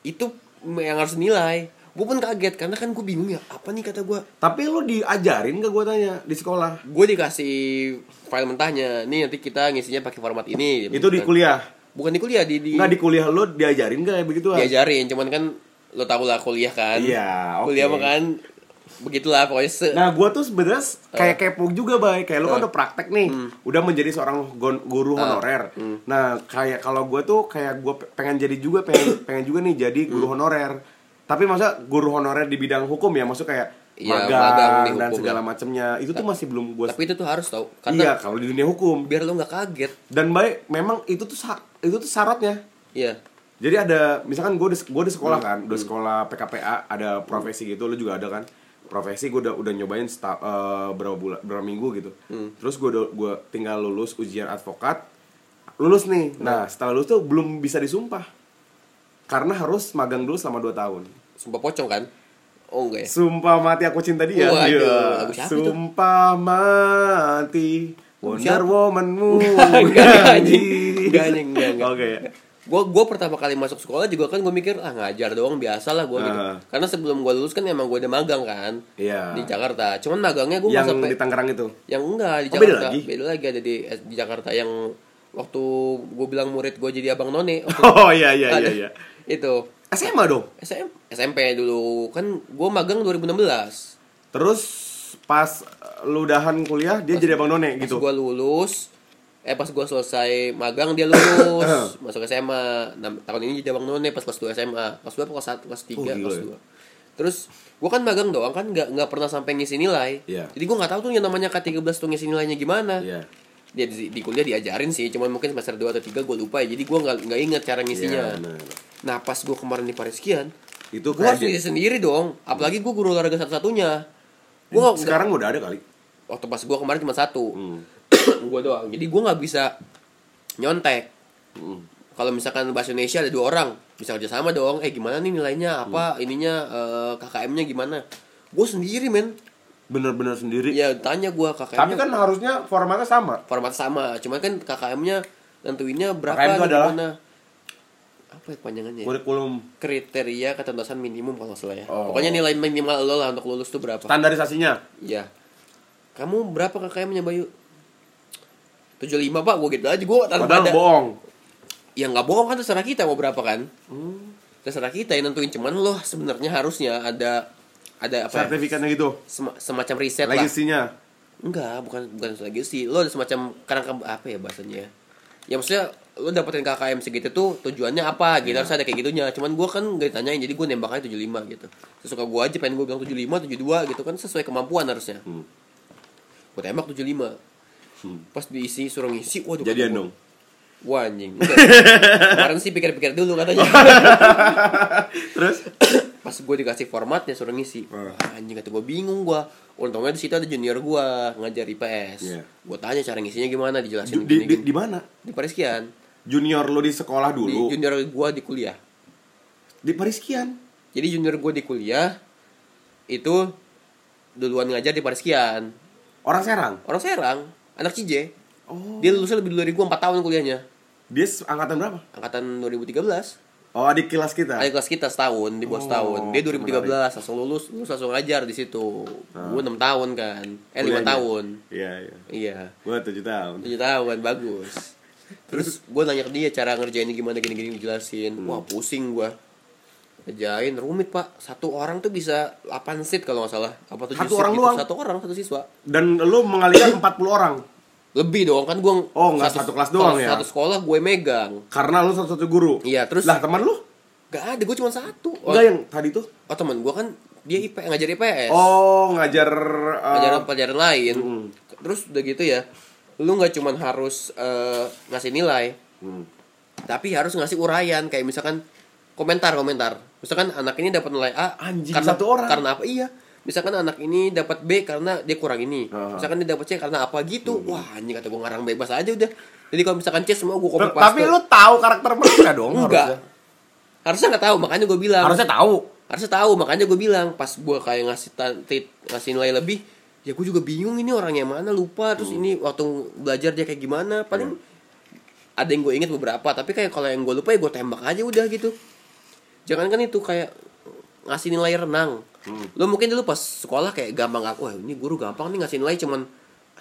Speaker 2: itu yang harus nilai gue pun kaget karena kan gue bingung ya apa nih kata gue
Speaker 1: tapi lu diajarin gak gue tanya di sekolah
Speaker 2: gue dikasih file mentahnya nih nanti kita ngisinya pakai format ini Gitu.
Speaker 1: itu di kuliah
Speaker 2: bukan di kuliah di, di
Speaker 1: nggak di kuliah lu diajarin gak kayak begitu
Speaker 2: diajarin cuman kan lo tau lah kuliah kan
Speaker 1: Iya, oke.
Speaker 2: kuliah mah kan begitulah pokoknya se
Speaker 1: Nah, gua tuh sebenarnya s- kayak kepo juga, Bay. Kayak lu kan udah praktek nih, udah menjadi seorang gon- guru honorer. Nah, kayak kalau gua tuh kayak gua pe- pengen jadi juga pengen pengen juga nih jadi guru honorer. Tapi masa guru honorer di bidang hukum ya, maksud kayak
Speaker 2: Iya,
Speaker 1: magang,
Speaker 2: magang di
Speaker 1: dan
Speaker 2: hukum
Speaker 1: segala macamnya. Itu tuh masih belum gua
Speaker 2: tapi itu tuh harus tau
Speaker 1: Iya,
Speaker 2: karena
Speaker 1: kalau di dunia hukum.
Speaker 2: biar lo nggak kaget
Speaker 1: Dan baik, memang itu tuh sa- itu tuh syaratnya.
Speaker 2: iya
Speaker 1: Jadi ada misalkan gue di, gua di sekolah kan, udah sekolah PKPA ada profesi gitu, lu juga ada kan? Profesi gue udah udah nyobain seta- eh, berapa bulan, berapa minggu gitu. Terus gue gue tinggal lulus ujian advokat, lulus nih. Nah setelah lulus tuh belum bisa disumpah karena harus magang dulu selama 2 tahun.
Speaker 2: sumpah pocong kan oh enggak ya
Speaker 1: Eh. Sumpah mati aku cinta dia.
Speaker 2: Waduh,
Speaker 1: Iya.
Speaker 2: lagu siapa tuh?
Speaker 1: Sumpah mati Wonder
Speaker 2: siapa?
Speaker 1: Womanmu.
Speaker 2: Enggak, enggak, anjing.
Speaker 1: ganti.
Speaker 2: Enggak, anjing, enggak, enggak.
Speaker 1: Oke. ya.
Speaker 2: gue gua pertama kali masuk sekolah juga kan gue mikir ah ngajar doang biasa lah gue gitu
Speaker 1: Ah.
Speaker 2: karena sebelum gue lulus kan emang gue ada magang kan
Speaker 1: Iya.
Speaker 2: di Jakarta cuman magangnya gue nggak
Speaker 1: Yang
Speaker 2: sampai
Speaker 1: di Tangerang itu.
Speaker 2: yang enggak di
Speaker 1: Oh, beda
Speaker 2: Jakarta
Speaker 1: lagi?
Speaker 2: ada di di Jakarta yang waktu gue bilang murid gue jadi abang none waktu
Speaker 1: Oh iya iya
Speaker 2: ada.
Speaker 1: iya iya.
Speaker 2: itu
Speaker 1: SMA dong.
Speaker 2: SM, SMP dulu kan gue magang 2016
Speaker 1: Terus pas eh, lu udahan kuliah dia jadi abang none
Speaker 2: Pas
Speaker 1: gitu.
Speaker 2: gua lulus Eh pas gua selesai magang dia lulus Masuk SMA Nah, Tahun ini jadi abang none pas kelas 2 SMA Kelas 2 apa kelas 1, kelas 3,
Speaker 1: Oh, gila
Speaker 2: kelas
Speaker 1: ya.
Speaker 2: 2 Terus gua kan magang doang kan nggak nggak pernah sampai ngisi nilai
Speaker 1: Iya.
Speaker 2: Jadi gua nggak tahu tuh yang namanya K13 tuh ngisi nilainya gimana
Speaker 1: Iya.
Speaker 2: Dia di, di kuliah diajarin sih Cuman mungkin semester 2 atau 3 gua lupa ya Jadi gua nggak nggak ingat cara ngisinya
Speaker 1: Iya, Nah, benar.
Speaker 2: Nah pas gua kemarin di Pariskian
Speaker 1: Itu
Speaker 2: Gua
Speaker 1: kayak
Speaker 2: harus ngisi sendiri dong Apalagi gua guru olahraga satu-satunya Gua nggak-
Speaker 1: sekarang udah ada kali.
Speaker 2: waktu pas gua kemarin cuma satu gua doang jadi gua nggak bisa nyontek
Speaker 1: Hmm.
Speaker 2: kalau misalkan bahasa Indonesia ada dua orang bisa kerja sama dong eh gimana nih nilainya apa
Speaker 1: Hmm.
Speaker 2: ininya eh, KKM-nya gimana gue sendiri men
Speaker 1: Bener-bener sendiri.
Speaker 2: ya tanya gua
Speaker 1: Tapi
Speaker 2: KKM-nya
Speaker 1: kan harusnya formatnya sama.
Speaker 2: format sama cuman kan KKM-nya nentuinnya berapa
Speaker 1: KKM itu
Speaker 2: nih,
Speaker 1: adalah?
Speaker 2: gimana apa ya kepanjangannya ya?
Speaker 1: Kurikulum
Speaker 2: kriteria ketuntasan minimum kalau nggak salah ya
Speaker 1: Oh.
Speaker 2: pokoknya nilai minimal lo lah untuk lulus tuh berapa
Speaker 1: standarisasinya.
Speaker 2: Iya. Kamu berapa KKM-nya Bayu? 75 pak, gue gitu aja gue tanpa
Speaker 1: Padahal
Speaker 2: ada.
Speaker 1: bohong.
Speaker 2: Ya nggak bohong kan terserah kita mau berapa kan? Terserah kita yang nentuin cuman loh sebenarnya harusnya ada ada apa? Ya?
Speaker 1: Sertifikatnya gitu.
Speaker 2: Sem- semacam riset lah.
Speaker 1: Legasinya.
Speaker 2: Enggak, bukan bukan legacy. Lo ada semacam kerangka apa ya bahasanya? ya? ya maksudnya lu dapetin KKM segitu tuh tujuannya apa
Speaker 1: Iya.
Speaker 2: gitu harus ada kayak gitunya cuman gua kan gak ditanyain jadi gue nembaknya 75 gitu sesuka gua aja pengen gue bilang 75 72 gitu kan sesuai kemampuan harusnya
Speaker 1: Hmm.
Speaker 2: gue tembak 75 pas diisi suruh ngisi waduh
Speaker 1: Jadian
Speaker 2: kata gua,
Speaker 1: dong.
Speaker 2: wah anjing Udah. kemarin sih pikir-pikir dulu katanya
Speaker 1: Terus
Speaker 2: pas gue dikasih formatnya suruh ngisi
Speaker 1: Hmm.
Speaker 2: Wah, anjing kata gue bingung gue untungnya di situ ada junior gue ngajar IPS
Speaker 1: Iya.
Speaker 2: gue tanya cara ngisinya gimana dijelasin
Speaker 1: ju- di, di,
Speaker 2: gini-gini.
Speaker 1: di mana?
Speaker 2: di Pariskian
Speaker 1: Junior lo di sekolah
Speaker 2: di
Speaker 1: dulu.
Speaker 2: junior gue di kuliah
Speaker 1: Di Pariskian.
Speaker 2: jadi junior gue di kuliah itu duluan ngajar di Pariskian
Speaker 1: Orang Serang.
Speaker 2: orang Serang anak Cije
Speaker 1: Oh.
Speaker 2: dia lulusnya lebih dulu dari gue 4 tahun kuliahnya
Speaker 1: Dia se- angkatan berapa?
Speaker 2: angkatan 2013
Speaker 1: Oh, adik kelas kita.
Speaker 2: Adik kelas kita setahun, di bawah
Speaker 1: Oh,
Speaker 2: setahun. Dia
Speaker 1: menarik.
Speaker 2: 2013 langsung lulus, lulus langsung ngajar di situ.
Speaker 1: Ah.
Speaker 2: Gue 6 tahun kan. Eh 5
Speaker 1: Kuliahnya.
Speaker 2: tahun.
Speaker 1: Iya, iya.
Speaker 2: Iya.
Speaker 1: Gua 7 tahun.
Speaker 2: 7 tahun bagus. Terus gue nanya ke dia cara ngerjainnya gimana gini-gini dijelasin.
Speaker 1: Hmm.
Speaker 2: Wah, pusing gua. Kerjain rumit, Pak. Satu orang tuh bisa 8 seat kalau nggak salah. Apa 7
Speaker 1: Satu
Speaker 2: seat
Speaker 1: orang
Speaker 2: gitu.
Speaker 1: doang?
Speaker 2: Satu orang, satu siswa.
Speaker 1: Dan lu mengalihkan 40 orang
Speaker 2: Lebih dong kan gua
Speaker 1: Oh, nggak satu kelas doang ya?
Speaker 2: Satu sekolah gue megang.
Speaker 1: karena lu satu-satu guru.
Speaker 2: Iya, terus
Speaker 1: Lah, teman lu?
Speaker 2: nggak ada, gue cuma satu. Oh,
Speaker 1: Enggak yang tadi tuh.
Speaker 2: oh, teman gue kan dia IP ngajar IPS.
Speaker 1: Oh, ngajar eh,
Speaker 2: pelajaran-pelajaran lain.
Speaker 1: Hmm.
Speaker 2: Terus udah gitu ya, lu nggak cuman harus eh, ngasih nilai,
Speaker 1: hmm.
Speaker 2: tapi harus ngasih uraian kayak misalkan komentar-komentar. Misalkan anak ini dapat nilai A
Speaker 1: Anjing,
Speaker 2: karena
Speaker 1: satu orang.
Speaker 2: Karena apa? Iya. Misalkan anak ini dapat B karena dia kurang ini.
Speaker 1: Ah.
Speaker 2: Misalkan dia dapat C karena apa gitu.
Speaker 1: Hmm.
Speaker 2: Wah, anjing kata gua ngarang bebas aja udah. Jadi kalau misalkan C semua gua copy
Speaker 1: Ter-
Speaker 2: paste.
Speaker 1: Tapi lu tahu karakter mereka dong
Speaker 2: enggak.
Speaker 1: harusnya.
Speaker 2: Harusnya nggak tahu, makanya gua bilang.
Speaker 1: Harusnya tahu.
Speaker 2: harusnya tahu makanya gue bilang pas gue kayak ngasih tan- tit- ngasih nilai lebih ya gue juga bingung ini orangnya mana lupa terus
Speaker 1: Hmm.
Speaker 2: ini waktu belajar dia kayak gimana paling ada yang gue inget beberapa tapi kayak kalau yang gue lupa ya gue tembak aja udah gitu jangan kan itu kayak ngasih nilai renang
Speaker 1: Hmm.
Speaker 2: lo mungkin dulu pas sekolah kayak gampang aku wah ini guru gampang nih ngasih nilai cuman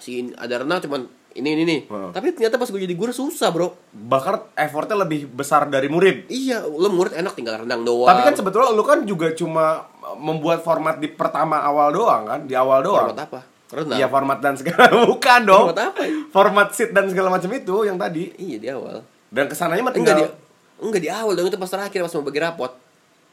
Speaker 2: si ada renang cuman ini ini nih
Speaker 1: Hmm.
Speaker 2: tapi ternyata pas gue jadi guru susah bro
Speaker 1: Bahkan effortnya lebih besar dari murid.
Speaker 2: iya lo murid enak tinggal renang doang
Speaker 1: Tapi kan sebetulnya lu kan juga cuma membuat format di pertama awal doang kan, di awal doang.
Speaker 2: Format apa renang
Speaker 1: Iya format dan segala bukan dong.
Speaker 2: Format apa ya?
Speaker 1: Format seat dan segala macam itu yang tadi.
Speaker 2: iya di awal
Speaker 1: Dan kesananya mah tinggal
Speaker 2: Enggak di enggak di awal dong itu pas terakhir pas mau bagi rapot.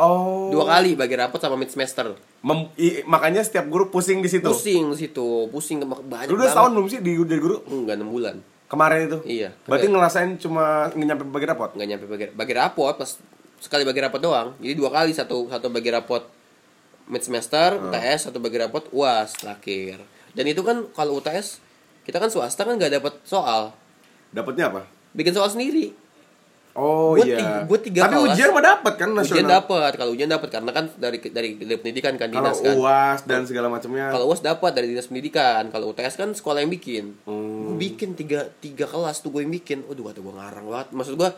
Speaker 1: oh
Speaker 2: Dua kali bagi rapot sama mid semester.
Speaker 1: Mem- i- makanya setiap guru pusing di situ.
Speaker 2: Pusing di situ, pusing kemak- banyak.
Speaker 1: Lu udah
Speaker 2: banget.
Speaker 1: setahun belum sih di dari guru
Speaker 2: Enggak 6 bulan.
Speaker 1: kemarin itu?
Speaker 2: Iya.
Speaker 1: Berarti
Speaker 2: Enggak.
Speaker 1: ngerasain cuma nggak nyampe bagi rapot.
Speaker 2: Enggak nyampe bagi bagi rapot pas sekali bagi rapot doang. Jadi dua kali satu satu bagi rapot mid semester
Speaker 1: Hmm.
Speaker 2: UTS satu bagi rapot UAS terakhir. Dan itu kan kalau UTS kita kan swasta kan nggak dapat soal.
Speaker 1: Dapatnya apa?
Speaker 2: Bikin soal sendiri.
Speaker 1: Oh
Speaker 2: Gua
Speaker 1: iya.
Speaker 2: tiga- gua tiga
Speaker 1: Tapi
Speaker 2: kelas.
Speaker 1: ujian mah dapat kan nasional.
Speaker 2: Ujian dapat, kalau ujian dapat karena kan dari dari, dari pendidikan kan
Speaker 1: Kalau
Speaker 2: dinas kan.
Speaker 1: UAS dan segala macamnya.
Speaker 2: Kalau UAS dapat dari dinas pendidikan, kalau UTS kan sekolah yang bikin.
Speaker 1: Hmm.
Speaker 2: Gue bikin tiga, tiga kelas tuh gue yang bikin. Waduh, kata gue ngarang banget. Maksud gue,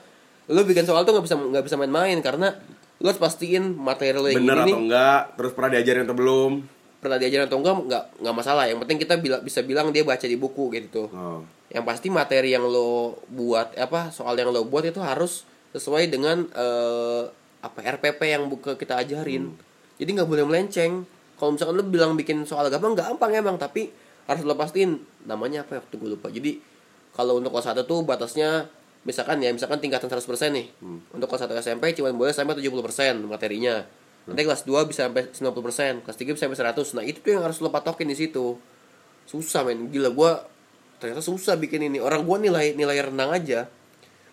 Speaker 2: lo bikin soal tuh nggak bisa nggak bisa main-main karena lo harus pastiin materi lo yang
Speaker 1: Bener atau
Speaker 2: ini nih
Speaker 1: enggak, terus pernah diajarin atau belum?
Speaker 2: pernah diajarin atau enggak nggak nggak masalah. Yang penting kita bila, bisa bilang dia baca di buku gitu.
Speaker 1: Oh.
Speaker 2: Yang pasti materi yang lo buat apa soal yang lo buat itu harus sesuai dengan eh, apa RPP yang bu- ke- kita ajarin. Jadi nggak boleh melenceng. Kalau misalkan lo bilang bikin soal gampang, gampang emang tapi harus lo pastiin namanya apa ya, waktu gue lupa. Jadi kalau untuk kelas 1 tuh batasnya misalkan ya misalkan tingkatan 100% nih. Untuk kelas 1 SMP cuma boleh sampai 70% materinya. Nanti kelas 2 bisa sampai 90%, kelas 3 bisa sampai 100. Nah, itu tuh yang harus lo patokin di situ susah men gila gua ternyata susah bikin ini orang gua nilai nilai renang aja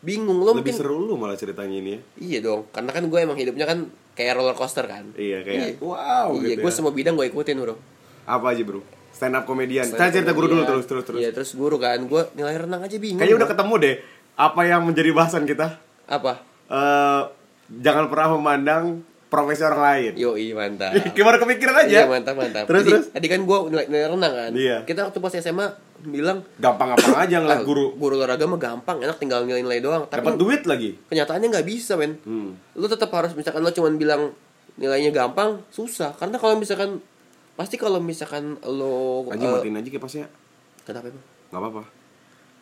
Speaker 2: bingung lo
Speaker 1: Lebih
Speaker 2: mungkin
Speaker 1: seru lu malah ceritanya ini ya.
Speaker 2: iya dong karena kan gue emang hidupnya kan kayak roller coaster kan
Speaker 1: Iya kayak wow
Speaker 2: iya
Speaker 1: gitu.
Speaker 2: gue
Speaker 1: ya.
Speaker 2: semua bidang gue ikutin bro
Speaker 1: Apa aja, Bro? Stand up komedian. Saya cerita guru dulu terus terus terus.
Speaker 2: iya terus guru kan gue nilai renang aja bingung
Speaker 1: Kayaknya udah ketemu deh apa yang menjadi bahasan kita.
Speaker 2: apa
Speaker 1: Eh jangan pernah memandang profesi orang lain.
Speaker 2: yoi mantap
Speaker 1: Gimana kepikiran aja?
Speaker 2: Iya mantap mantap.
Speaker 1: Terus
Speaker 2: Jadi,
Speaker 1: terus
Speaker 2: tadi kan gue nilai, nilai renang kan.
Speaker 1: Iya.
Speaker 2: Kita waktu pas SMA bilang
Speaker 1: gampang-gampang aja
Speaker 2: ah,
Speaker 1: ngeliat guru
Speaker 2: guru olahraga mah gampang, enak tinggal nilai-nilai doang. Tapi
Speaker 1: dapat duit lagi. Hmm.
Speaker 2: kenyataannya nggak bisa men lu tetap harus misalkan lo cuman bilang nilainya gampang susah karena kalau misalkan pasti kalau misalkan lo
Speaker 1: Anjing
Speaker 2: eh,
Speaker 1: matiin aja kipasnya.
Speaker 2: kenapa emang
Speaker 1: Gak apa-apa.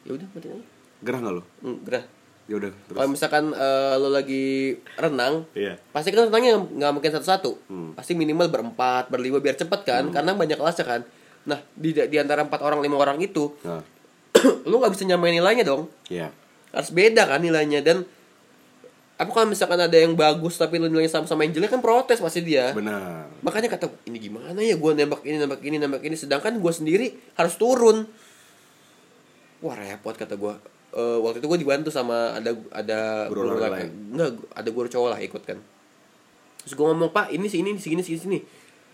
Speaker 2: ya udah matiin aja
Speaker 1: Gerah gak lo?
Speaker 2: Hmm, gerah
Speaker 1: Ya udah terus.
Speaker 2: kalau misalkan eh, lo lagi renang
Speaker 1: Iya.
Speaker 2: pasti kan renangnya nggak mungkin satu-satu
Speaker 1: Hmm.
Speaker 2: pasti minimal berempat berlima biar cepet kan karena banyak kelasnya kan nah di di antara empat orang lima orang itu
Speaker 1: Nah,
Speaker 2: lo nggak bisa nyamain nilainya dong
Speaker 1: iya.
Speaker 2: harus beda kan nilainya dan apa kalau misalkan ada yang bagus tapi nilainya sama-sama yang jelek kan protes pasti dia
Speaker 1: benar
Speaker 2: makanya kata ini gimana ya gue nembak ini nembak ini nembak ini sedangkan gue sendiri harus turun wah repot kata gue Eh, waktu itu gue dibantu sama ada ada
Speaker 1: Guru
Speaker 2: guru
Speaker 1: olahraga
Speaker 2: laki-
Speaker 1: lain.
Speaker 2: enggak gu- ada guru cowok lah ikut kan terus gue ngomong pak ini sini sini sini sini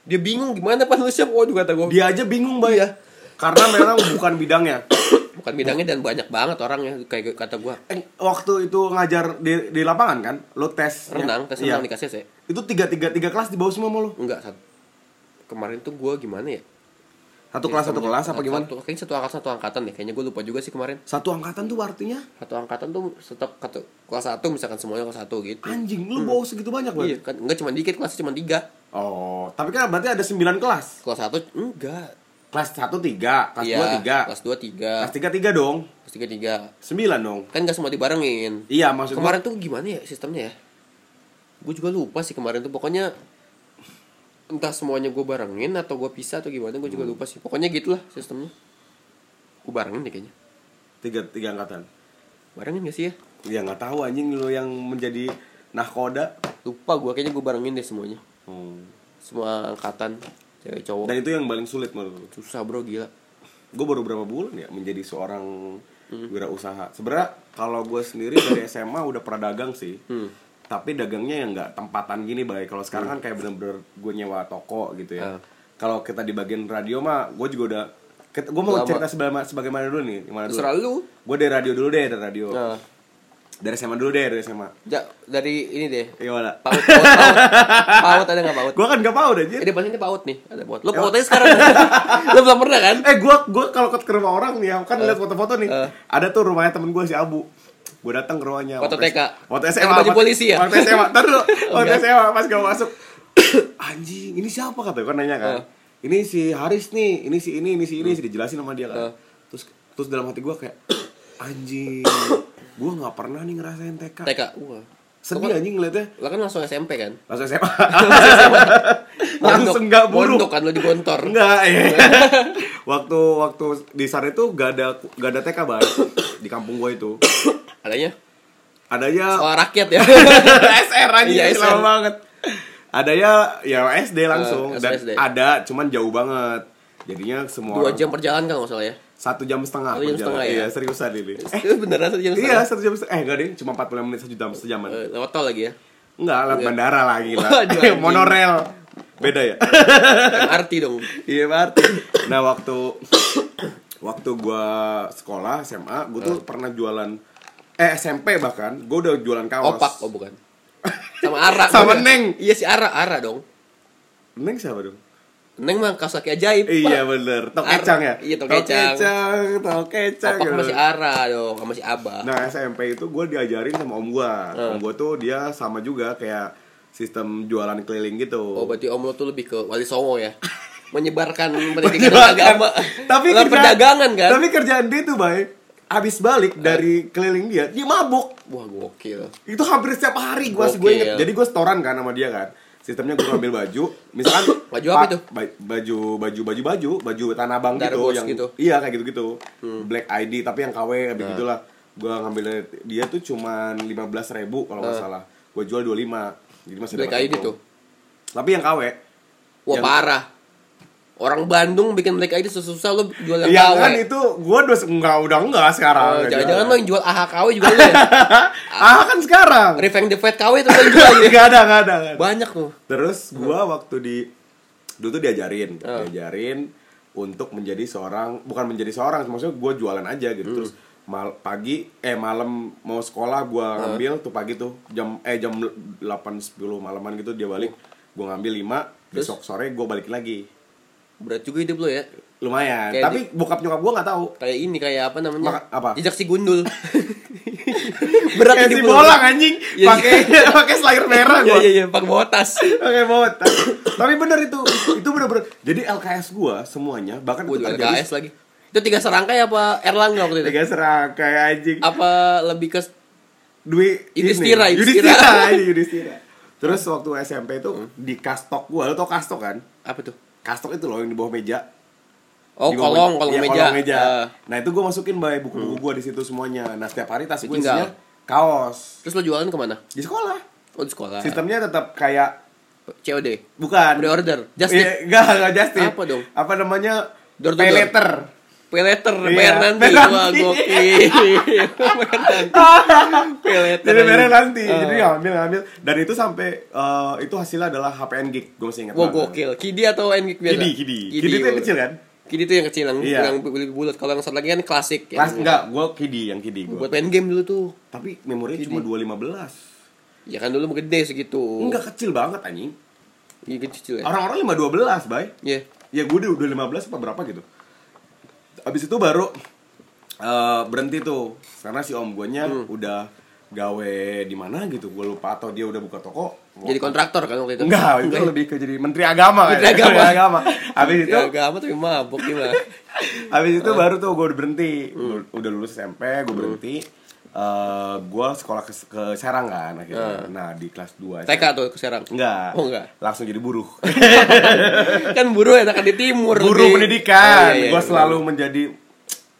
Speaker 2: dia bingung gimana pak nulisnya waduh kata gue
Speaker 1: dia aja bingung bay
Speaker 2: Iya.
Speaker 1: karena memang bukan bidangnya
Speaker 2: bukan bidangnya dan banyak banget orangnya kayak kata gue
Speaker 1: Eh, waktu itu ngajar di, di lapangan kan Iya. lo tes
Speaker 2: renang tes renang di KCC
Speaker 1: itu tiga tiga tiga kelas di bawah semua mau lo
Speaker 2: enggak sat- kemarin tuh gue gimana ya
Speaker 1: satu kelas satu kelas apa gimana
Speaker 2: Iya, satu, kayaknya satu angkatan satu angkatan deh kayaknya gue lupa juga sih kemarin
Speaker 1: satu angkatan tuh artinya
Speaker 2: satu angkatan tuh tetap satu kelas satu misalkan semuanya kelas satu gitu
Speaker 1: anjing lu bawa segitu banyak
Speaker 2: iya
Speaker 1: banget
Speaker 2: kan enggak cuma dikit kelas cuma tiga
Speaker 1: oh tapi kan berarti ada sembilan kelas
Speaker 2: kelas satu enggak
Speaker 1: kelas satu tiga kelas
Speaker 2: Iya,
Speaker 1: dua tiga
Speaker 2: kelas dua tiga
Speaker 1: kelas tiga tiga dong
Speaker 2: kelas tiga tiga
Speaker 1: sembilan dong
Speaker 2: kan enggak semua dibarengin
Speaker 1: iya maksud gua-
Speaker 2: kemarin tuh gimana ya sistemnya ya gue juga lupa sih kemarin tuh pokoknya entah semuanya gue barengin atau gue pisah atau gimana gue juga
Speaker 1: Hmm.
Speaker 2: lupa sih pokoknya gitulah sistemnya gue barengin deh kayaknya
Speaker 1: tiga tiga angkatan
Speaker 2: barengin gak sih ya
Speaker 1: ya nggak tahu anjing lu yang menjadi nahkoda Hmm.
Speaker 2: lupa gue kayaknya gue barengin deh semuanya semua angkatan cewek cowok
Speaker 1: dan itu yang paling sulit menurut lu
Speaker 2: susah bro gila
Speaker 1: gue baru berapa bulan ya menjadi seorang
Speaker 2: Hmm.
Speaker 1: wirausaha sebenarnya kalau gue sendiri dari SMA udah pernah dagang sih
Speaker 2: Hmm.
Speaker 1: tapi dagangnya yang nggak tempatan gini baik kalau sekarang kan kayak bener-bener gue nyewa toko gitu ya
Speaker 2: Ah.
Speaker 1: kalau kita di bagian radio mah gue juga udah gue mau
Speaker 2: Lama.
Speaker 1: cerita sebagaimana, sebagaimana dulu nih gimana dulu
Speaker 2: terserah lu
Speaker 1: gue dari radio dulu deh dari radio
Speaker 2: Nah,
Speaker 1: dari SMA dulu deh dari SMA
Speaker 2: ja, dari ini deh
Speaker 1: gimana
Speaker 2: paut paut paut, paut ada nggak paut
Speaker 1: gue Iya, kan gak mau aja
Speaker 2: ini paling ini paut nih ada paut lo paut aja sekarang lo belum pernah kan
Speaker 1: Eh gua gua kalau ke rumah orang nih, ya, kan lihat foto-foto nih.
Speaker 2: eh.
Speaker 1: Ada tuh rumahnya temen gua si Abu. Gua datang ke rumahnya.
Speaker 2: Foto
Speaker 1: waktu-
Speaker 2: TK.
Speaker 1: Waktu
Speaker 2: Yang
Speaker 1: SMA.
Speaker 2: baju
Speaker 1: waktu-
Speaker 2: polisi ya?
Speaker 1: Waktu SMA. Ntar dulu. Waktu
Speaker 2: Enggak.
Speaker 1: SMA pas gua masuk. Anjing, ini siapa kata gua nanya kan.
Speaker 2: Eh.
Speaker 1: Ini si Haris nih, ini si ini, ini si ini, si dijelasin sama dia
Speaker 2: Eh.
Speaker 1: kan. Terus terus dalam hati gua kayak anjing. gua nggak pernah nih ngerasain TK.
Speaker 2: TK wah
Speaker 1: Sedih anjing ngeliatnya.
Speaker 2: lo kan langsung SMP kan
Speaker 1: Langsung SMA. Langsung nggak buruk.
Speaker 2: mondok kan lo di gontor
Speaker 1: Enggak, ya. waktu waktu di sana itu gak ada gak ada TK banget di kampung gua itu.
Speaker 2: adanya
Speaker 1: Adanya
Speaker 2: sekolah rakyat ya
Speaker 1: SR aja
Speaker 2: Iya, SR.
Speaker 1: lama banget. Adanya ya SD langsung
Speaker 2: Eh,
Speaker 1: dan
Speaker 2: SD.
Speaker 1: ada cuman jauh banget. Jadinya semua
Speaker 2: dua
Speaker 1: orang-
Speaker 2: jam perjalanan kan nggak salah ya
Speaker 1: satu jam setengah.
Speaker 2: Satu jam
Speaker 1: perjalanan.
Speaker 2: setengah, ya?
Speaker 1: Iya, seriusan ini. Eh,
Speaker 2: itu beneran satu jam
Speaker 1: iya,
Speaker 2: setengah
Speaker 1: satu jam setengah. Eh, enggak deh, cuma 45 menit satu jam sejaman.
Speaker 2: Eh, lewat tol lagi ya
Speaker 1: Enggak, lewat bandara lagi lah.
Speaker 2: Waduh, anjing.
Speaker 1: Monorel. Beda ya?
Speaker 2: MRT dong
Speaker 1: Iya Mart. Nah waktu waktu gua sekolah SMA, gua tuh
Speaker 2: Hmm.
Speaker 1: pernah jualan eh SMP bahkan, gua udah jualan kaos.
Speaker 2: opak oh bukan sama Ara
Speaker 1: Sama
Speaker 2: Gua-
Speaker 1: Neng.
Speaker 2: iya si Ara Ara dong
Speaker 1: Neng siapa dong?
Speaker 2: Neng mah kaki ajaib
Speaker 1: Iya bener, tok
Speaker 2: Ar-
Speaker 1: kecang ya?
Speaker 2: iya, tok kecang.
Speaker 1: kecang, tok kecang.
Speaker 2: Opak
Speaker 1: gitu.
Speaker 2: masih Ara dong, sama si Aba.
Speaker 1: Nah SMP itu gua diajarin sama om gua Om
Speaker 2: Hmm.
Speaker 1: gua tuh dia sama juga kayak sistem jualan keliling gitu
Speaker 2: Oh, berarti Om lo tuh lebih ke Wali Songo ya. Menyebarkan pendidikan dan agama.
Speaker 1: Tapi
Speaker 2: Lah,
Speaker 1: kerjaan-
Speaker 2: perdagangan kan. Hmm.
Speaker 1: Tapi kerjaan dia tuh baik Habis balik dari keliling dia, dia mabuk
Speaker 2: Wah, gokil.
Speaker 1: itu hampir setiap hari gue
Speaker 2: Gokil.
Speaker 1: gue inget jadi gue setoran kan sama dia kan sistemnya gue ngambil baju misalkan
Speaker 2: Baju apa
Speaker 1: pa-
Speaker 2: tuh?
Speaker 1: ba- baju baju baju baju baju tanah abang gitu
Speaker 2: Darbos
Speaker 1: yang
Speaker 2: gitu. Hmm. Nah.
Speaker 1: iya kayak gitu gitu black ID tapi yang KW kayak gitulah gue ngambil dia tuh cuman lima belas ribu kalau nggak salah gue jual 25 jadi masih
Speaker 2: Nah. Black
Speaker 1: dapat
Speaker 2: ID
Speaker 1: untung.
Speaker 2: tuh.
Speaker 1: tapi yang KW
Speaker 2: Wah,
Speaker 1: Yang-
Speaker 2: parah. Orang Bandung bikin Black ID susah-susah lo jual yang
Speaker 1: Iya
Speaker 2: KW.
Speaker 1: kan itu gue udah enggak udah enggak sekarang.
Speaker 2: Oh,
Speaker 1: Nggak
Speaker 2: Jangan-jangan lo
Speaker 1: jualan.
Speaker 2: yang jual AHKW juga lo ya.
Speaker 1: ah kan sekarang.
Speaker 2: Revenge the Fat KW itu lo yang jual ya.
Speaker 1: Enggak ada enggak ada. nggak ada.
Speaker 2: Banyak tuh.
Speaker 1: Terus gua
Speaker 2: Hmm.
Speaker 1: waktu di dulu tuh diajarin,
Speaker 2: Ah.
Speaker 1: diajarin untuk menjadi seorang bukan menjadi seorang, maksudnya gua jualan aja gitu.
Speaker 2: Hmm.
Speaker 1: Terus mal, pagi eh malam mau sekolah
Speaker 2: Ah.
Speaker 1: gua ngambil tuh pagi tuh jam eh jam 8 10 malaman gitu dia balik. Gua ngambil 5,
Speaker 2: Terus?
Speaker 1: besok sore gua balik lagi.
Speaker 2: Berat juga hidup lo ya.
Speaker 1: Lumayan.
Speaker 2: Kayak
Speaker 1: Tapi bokap nyokap gua nggak tahu.
Speaker 2: Kayak ini kayak apa namanya?
Speaker 1: Maka- apa?
Speaker 2: Jejak si gundul. Berat
Speaker 1: Kayak si
Speaker 2: hidup lo.
Speaker 1: bolang anjing,
Speaker 2: Iya,
Speaker 1: pakai pakai slayer merah
Speaker 2: Iya
Speaker 1: gua.
Speaker 2: iya iya, pakai bawa tas.
Speaker 1: Oke banget. Tapi bener itu, itu bener-bener. Jadi LKS gua semuanya bahkan itu
Speaker 2: Waduh,
Speaker 1: terjadi
Speaker 2: LKS lagi. Itu tiga serangkai apa Erlangga waktu itu?
Speaker 1: tiga serangkai anjing.
Speaker 2: Apa lebih ke
Speaker 1: Dwi ini,
Speaker 2: Yudhistira, Yudhistira. Hmm.
Speaker 1: Yudhistira, anjing, Yudhistira. Terus waktu SMP itu di kastok gua, lo tau kastok kan?
Speaker 2: apa tuh?
Speaker 1: Kastok itu loh yang di bawah meja. Di
Speaker 2: Oh, kolong, kolong
Speaker 1: iya,
Speaker 2: meja. Eh. Hmm.
Speaker 1: Nah, itu gue masukin bay buku-buku gue di situ semuanya. Nah, setiap hari tas gue isinya
Speaker 2: Ditinggal.
Speaker 1: kaos.
Speaker 2: Terus lo jualan kemana?
Speaker 1: Di sekolah.
Speaker 2: Oh di sekolah.
Speaker 1: Sistemnya tetap kayak
Speaker 2: COD.
Speaker 1: bukan
Speaker 2: Pre-order. Just
Speaker 1: Iya, enggak, enggak just tip.
Speaker 2: Apa dong?
Speaker 1: Apa namanya?
Speaker 2: Door to
Speaker 1: pay
Speaker 2: door.
Speaker 1: letter.
Speaker 2: Pay later,
Speaker 1: Iya,
Speaker 2: bayar nanti.
Speaker 1: bayar
Speaker 2: Wah,
Speaker 1: nanti.
Speaker 2: gokil. bayar nanti. Pay later.
Speaker 1: Jadi
Speaker 2: aja.
Speaker 1: bayarnya nanti.
Speaker 2: Eh,
Speaker 1: Jadi ambil ambil dan itu sampai eh, itu hasilnya adalah HPN gig. Gue masih ingat.
Speaker 2: Wah,
Speaker 1: banget.
Speaker 2: gokil. Kidi atau NGK biasa?
Speaker 1: Kidi, kidi. Kidi itu yang
Speaker 2: oh.
Speaker 1: kecil kan?
Speaker 2: Kidi itu yang kecil yang
Speaker 1: Iya.
Speaker 2: yang bulat. Kalau yang satu lagi kan klasik. yang-
Speaker 1: Kelas enggak, gue kidi yang kidi gue.
Speaker 2: Buat main game dulu tuh.
Speaker 1: Tapi memori cuma 215.
Speaker 2: Ya kan dulu gede segitu.
Speaker 1: Enggak kecil banget anjing.
Speaker 2: Oh. Iya kan kecil ya.
Speaker 1: Orang-orang 512, bay.
Speaker 2: Iya.
Speaker 1: Ya gue udah 15 apa berapa gitu. Abis itu baru eh, berhenti tuh. Karena si om guanya
Speaker 2: Hmm.
Speaker 1: udah gawe di mana gitu, gue lupa atau dia udah buka toko.
Speaker 2: Jadi kontraktor kan waktu itu.
Speaker 1: Enggak, itu lebih ke jadi menteri agama.
Speaker 2: Menteri
Speaker 1: kayaknya.
Speaker 2: agama.
Speaker 1: Habis itu
Speaker 2: Ya, agama tapi mabok gimana?
Speaker 1: habis itu baru tuh gue udah berhenti. Hmm. Gua Eh. udah lulus SMP, gue berhenti. Eh, gue sekolah ke, ke Serang kan akhirnya. Nah, di kelas 2
Speaker 2: TK tuh ke Serang.
Speaker 1: Enggak.
Speaker 2: Eh. Oh, enggak.
Speaker 1: Langsung jadi buruh.
Speaker 2: kan buruh enakan di timur.
Speaker 1: buruh
Speaker 2: di-
Speaker 1: pendidikan.
Speaker 2: Oh, iya, iya,
Speaker 1: gue
Speaker 2: iya.
Speaker 1: selalu menjadi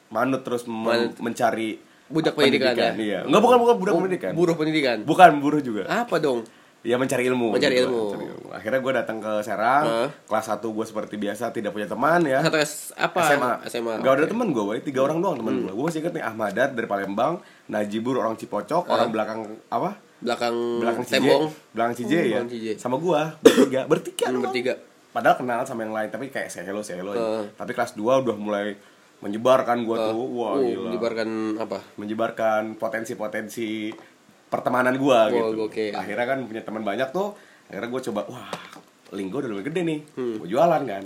Speaker 1: manut terus mem-
Speaker 2: Manut.
Speaker 1: mencari
Speaker 2: Budak pendidikan, ya?
Speaker 1: Iya. Enggak bukan bukan budak pendidikan.
Speaker 2: buruh pendidikan.
Speaker 1: Bukan buruh juga.
Speaker 2: Apa dong?
Speaker 1: Ya mencari ilmu. Gitu,
Speaker 2: Mencari ilmu.
Speaker 1: Akhirnya gue datang ke Serang.
Speaker 2: Heeh.
Speaker 1: Kelas 1 gue seperti biasa tidak punya teman ya.
Speaker 2: Satu S- apa?
Speaker 1: SMA.
Speaker 2: SMA.
Speaker 1: Gak ada teman gue, boy. tiga orang doang teman gue. Gue masih inget nih Ahmad Dar dari Palembang, Najibur orang Cipocok,
Speaker 2: Ah.
Speaker 1: orang belakang apa?
Speaker 2: Belakang,
Speaker 1: Belakang Cije.
Speaker 2: tembok.
Speaker 1: Belakang Cije
Speaker 2: Hmm,
Speaker 1: ya.
Speaker 2: belakang Cije.
Speaker 1: Sama gue bertiga, bertiga
Speaker 2: Hmm,
Speaker 1: doang.
Speaker 2: bertiga. Ah.
Speaker 1: Padahal kenal sama yang lain, tapi kayak say hello, say hello. aja.
Speaker 2: Heeh.
Speaker 1: Tapi kelas 2 udah mulai menyebarkan gue tuh. Wah,
Speaker 2: Uh,
Speaker 1: gila.
Speaker 2: menyebarkan apa?
Speaker 1: Menyebarkan potensi-potensi pertemanan gue gitu.
Speaker 2: gokil.
Speaker 1: Akhirnya kan punya teman banyak tuh. Akhirnya gue coba, wah, link gue udah lumayan gede nih.
Speaker 2: Hmm.
Speaker 1: Gue jualan kan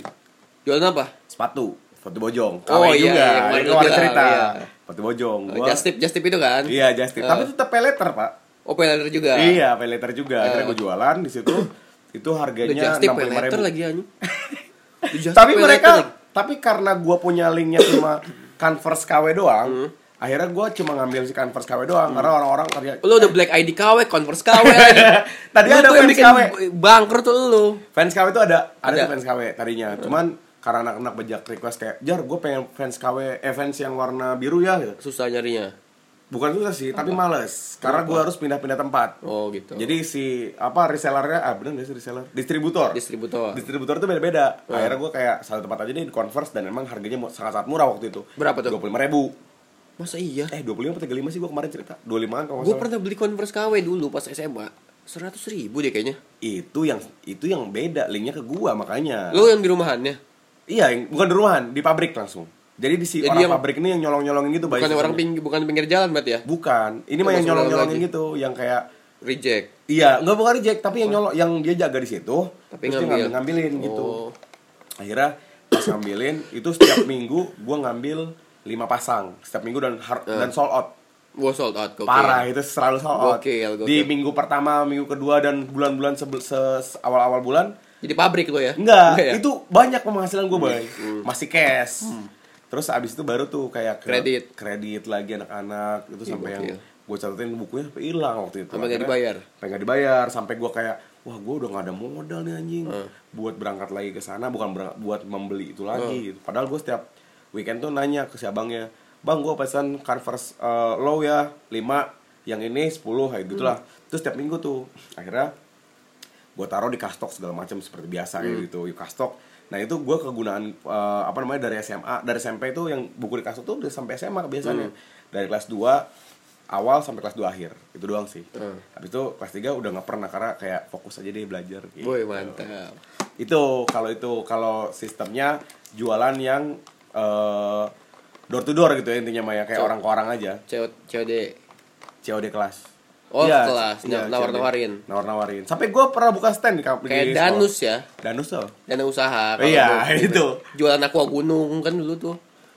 Speaker 2: Jualan apa?
Speaker 1: sepatu sepatu bojong KW
Speaker 2: Oh, iya,
Speaker 1: juga
Speaker 2: iya, kemarin
Speaker 1: itu
Speaker 2: lu
Speaker 1: ada
Speaker 2: bilang,
Speaker 1: cerita
Speaker 2: iya.
Speaker 1: sepatu bojong
Speaker 2: Uh,
Speaker 1: gua
Speaker 2: Just tip, just tip itu kan?
Speaker 1: iya just tip tapi tetap pay letter pak
Speaker 2: Oh, pay letter juga.
Speaker 1: iya pay letter juga akhirnya gua jualan di situ itu
Speaker 2: Eh. Udah
Speaker 1: harganya
Speaker 2: just tip
Speaker 1: enam
Speaker 2: pay
Speaker 1: puluh
Speaker 2: letter lagi anjing. Udah just
Speaker 1: tapi
Speaker 2: tip, pay
Speaker 1: mereka
Speaker 2: letter lagi.
Speaker 1: tapi karena gua punya linknya cuma converse KW
Speaker 2: Hmm.
Speaker 1: doang akhirnya gua cuma ngambil si converse KW doang karena orang-orang kerja
Speaker 2: Lu udah black ID KW, Converse KW lagi.
Speaker 1: Iya. Tadi
Speaker 2: Lu
Speaker 1: ada
Speaker 2: tuh yang
Speaker 1: fans
Speaker 2: bikin
Speaker 1: KW.
Speaker 2: Bangkrut tuh lu.
Speaker 1: fans KW itu ada ada,
Speaker 2: Ada. Hmm.
Speaker 1: tuh fans KW tadinya cuman karena anak-anak banyak request kayak jar gue pengen fans KW eh, fans yang warna biru ya gitu.
Speaker 2: Susah nyarinya.
Speaker 1: bukan susah sih tapi males karena gue harus pindah-pindah tempat
Speaker 2: Oh, gitu.
Speaker 1: jadi si apa resellernya ah bener nggak sih reseller distributor
Speaker 2: distributor. Hmm.
Speaker 1: distributor itu beda-beda akhirnya gue kayak satu tempat aja deh di converse dan emang harganya mu- sangat-sangat murah waktu itu
Speaker 2: Berapa tuh?
Speaker 1: dua puluh ribu
Speaker 2: Masa iya?
Speaker 1: eh dua puluh lima atau tiga sih gue kemarin cerita dua lima kalau nggak
Speaker 2: Gue
Speaker 1: salah.
Speaker 2: pernah beli Converse KW dulu pas SMA. Seratus ribu deh kayaknya.
Speaker 1: itu yang itu yang beda linknya ke gue makanya
Speaker 2: Lu yang di rumahannya?
Speaker 1: iya yang, bukan di rumahan di pabrik langsung jadi di si
Speaker 2: Jadi
Speaker 1: orang
Speaker 2: yang-
Speaker 1: pabrik ini yang nyolong-nyolongin gitu
Speaker 2: Bukan
Speaker 1: bayi
Speaker 2: orang
Speaker 1: sistemnya.
Speaker 2: ping, bukan pinggir jalan berarti ya?
Speaker 1: bukan ini mah yang
Speaker 2: Masuk dalam
Speaker 1: nyolong-nyolongin
Speaker 2: lagi.
Speaker 1: gitu yang kayak
Speaker 2: Reject.
Speaker 1: Iya, nggak bukan reject, tapi yang nyolok, yang dia jaga di situ,
Speaker 2: Tapi
Speaker 1: terus dia
Speaker 2: ngambil.
Speaker 1: ngambilin gitu.
Speaker 2: Oh.
Speaker 1: Akhirnya pas ngambilin, itu setiap minggu gua ngambil lima pasang setiap minggu dan har-
Speaker 2: Eh,
Speaker 1: dan sold out.
Speaker 2: Gua sold out gokil.
Speaker 1: Parah itu selalu sold out.
Speaker 2: Gokil, gokil.
Speaker 1: Di minggu pertama, minggu kedua dan bulan-bulan sebel- se- se- awal-awal bulan
Speaker 2: Jadi pabrik lu ya?
Speaker 1: enggak,
Speaker 2: ya? Hmm.
Speaker 1: itu banyak penghasilan gua, Bay. Masih cash. Terus abis itu baru tuh kayak ke-
Speaker 2: Kredit.
Speaker 1: kredit lagi anak-anak itu sampai yang
Speaker 2: gokil.
Speaker 1: gue catetin bukunya sampai hilang waktu itu.
Speaker 2: Sampai nggak
Speaker 1: Akhirnya-
Speaker 2: dibayar?
Speaker 1: Sampai nggak dibayar, sampai gue kayak wah gue udah nggak ada modal nih anjing
Speaker 2: Hmm.
Speaker 1: buat berangkat lagi ke sana bukan berang- buat membeli itu lagi. gitu. Padahal gue setiap weekend tuh nanya ke si abangnya, bang gue pesan converse eh, low ya 5 yang ini 10 kayak gitulah.
Speaker 2: Hmm.
Speaker 1: Terus setiap minggu tuh akhirnya gue taruh di kastok segala macam seperti biasa kayak
Speaker 2: Hmm.
Speaker 1: gitu di kastok nah itu gue kegunaan eh, apa namanya dari SMA dari SMP itu yang buku di kastok tuh udah sampai SMA biasanya
Speaker 2: Hmm.
Speaker 1: dari kelas 2 awal sampai kelas 2 akhir itu doang sih
Speaker 2: Hmm.
Speaker 1: habis itu kelas 3 udah nggak pernah karena kayak fokus aja deh belajar gitu.
Speaker 2: Boy mantap.
Speaker 1: itu kalau itu kalau sistemnya jualan yang eh, door to door gitu ya intinya Maya kayak orang ke orang aja
Speaker 2: COD. COD.
Speaker 1: COD kelas
Speaker 2: Oh,
Speaker 1: Iya,
Speaker 2: kelas.
Speaker 1: iya,
Speaker 2: Nah, nawar-nawarin.
Speaker 1: COD. nawar-nawarin sampai gue pernah buka stand di kampus
Speaker 2: Kayak danus ya?
Speaker 1: danus tuh
Speaker 2: Dana usaha. kalau
Speaker 1: Iya,
Speaker 2: gua-
Speaker 1: itu.
Speaker 2: Jualan aqua gunung kan dulu tuh.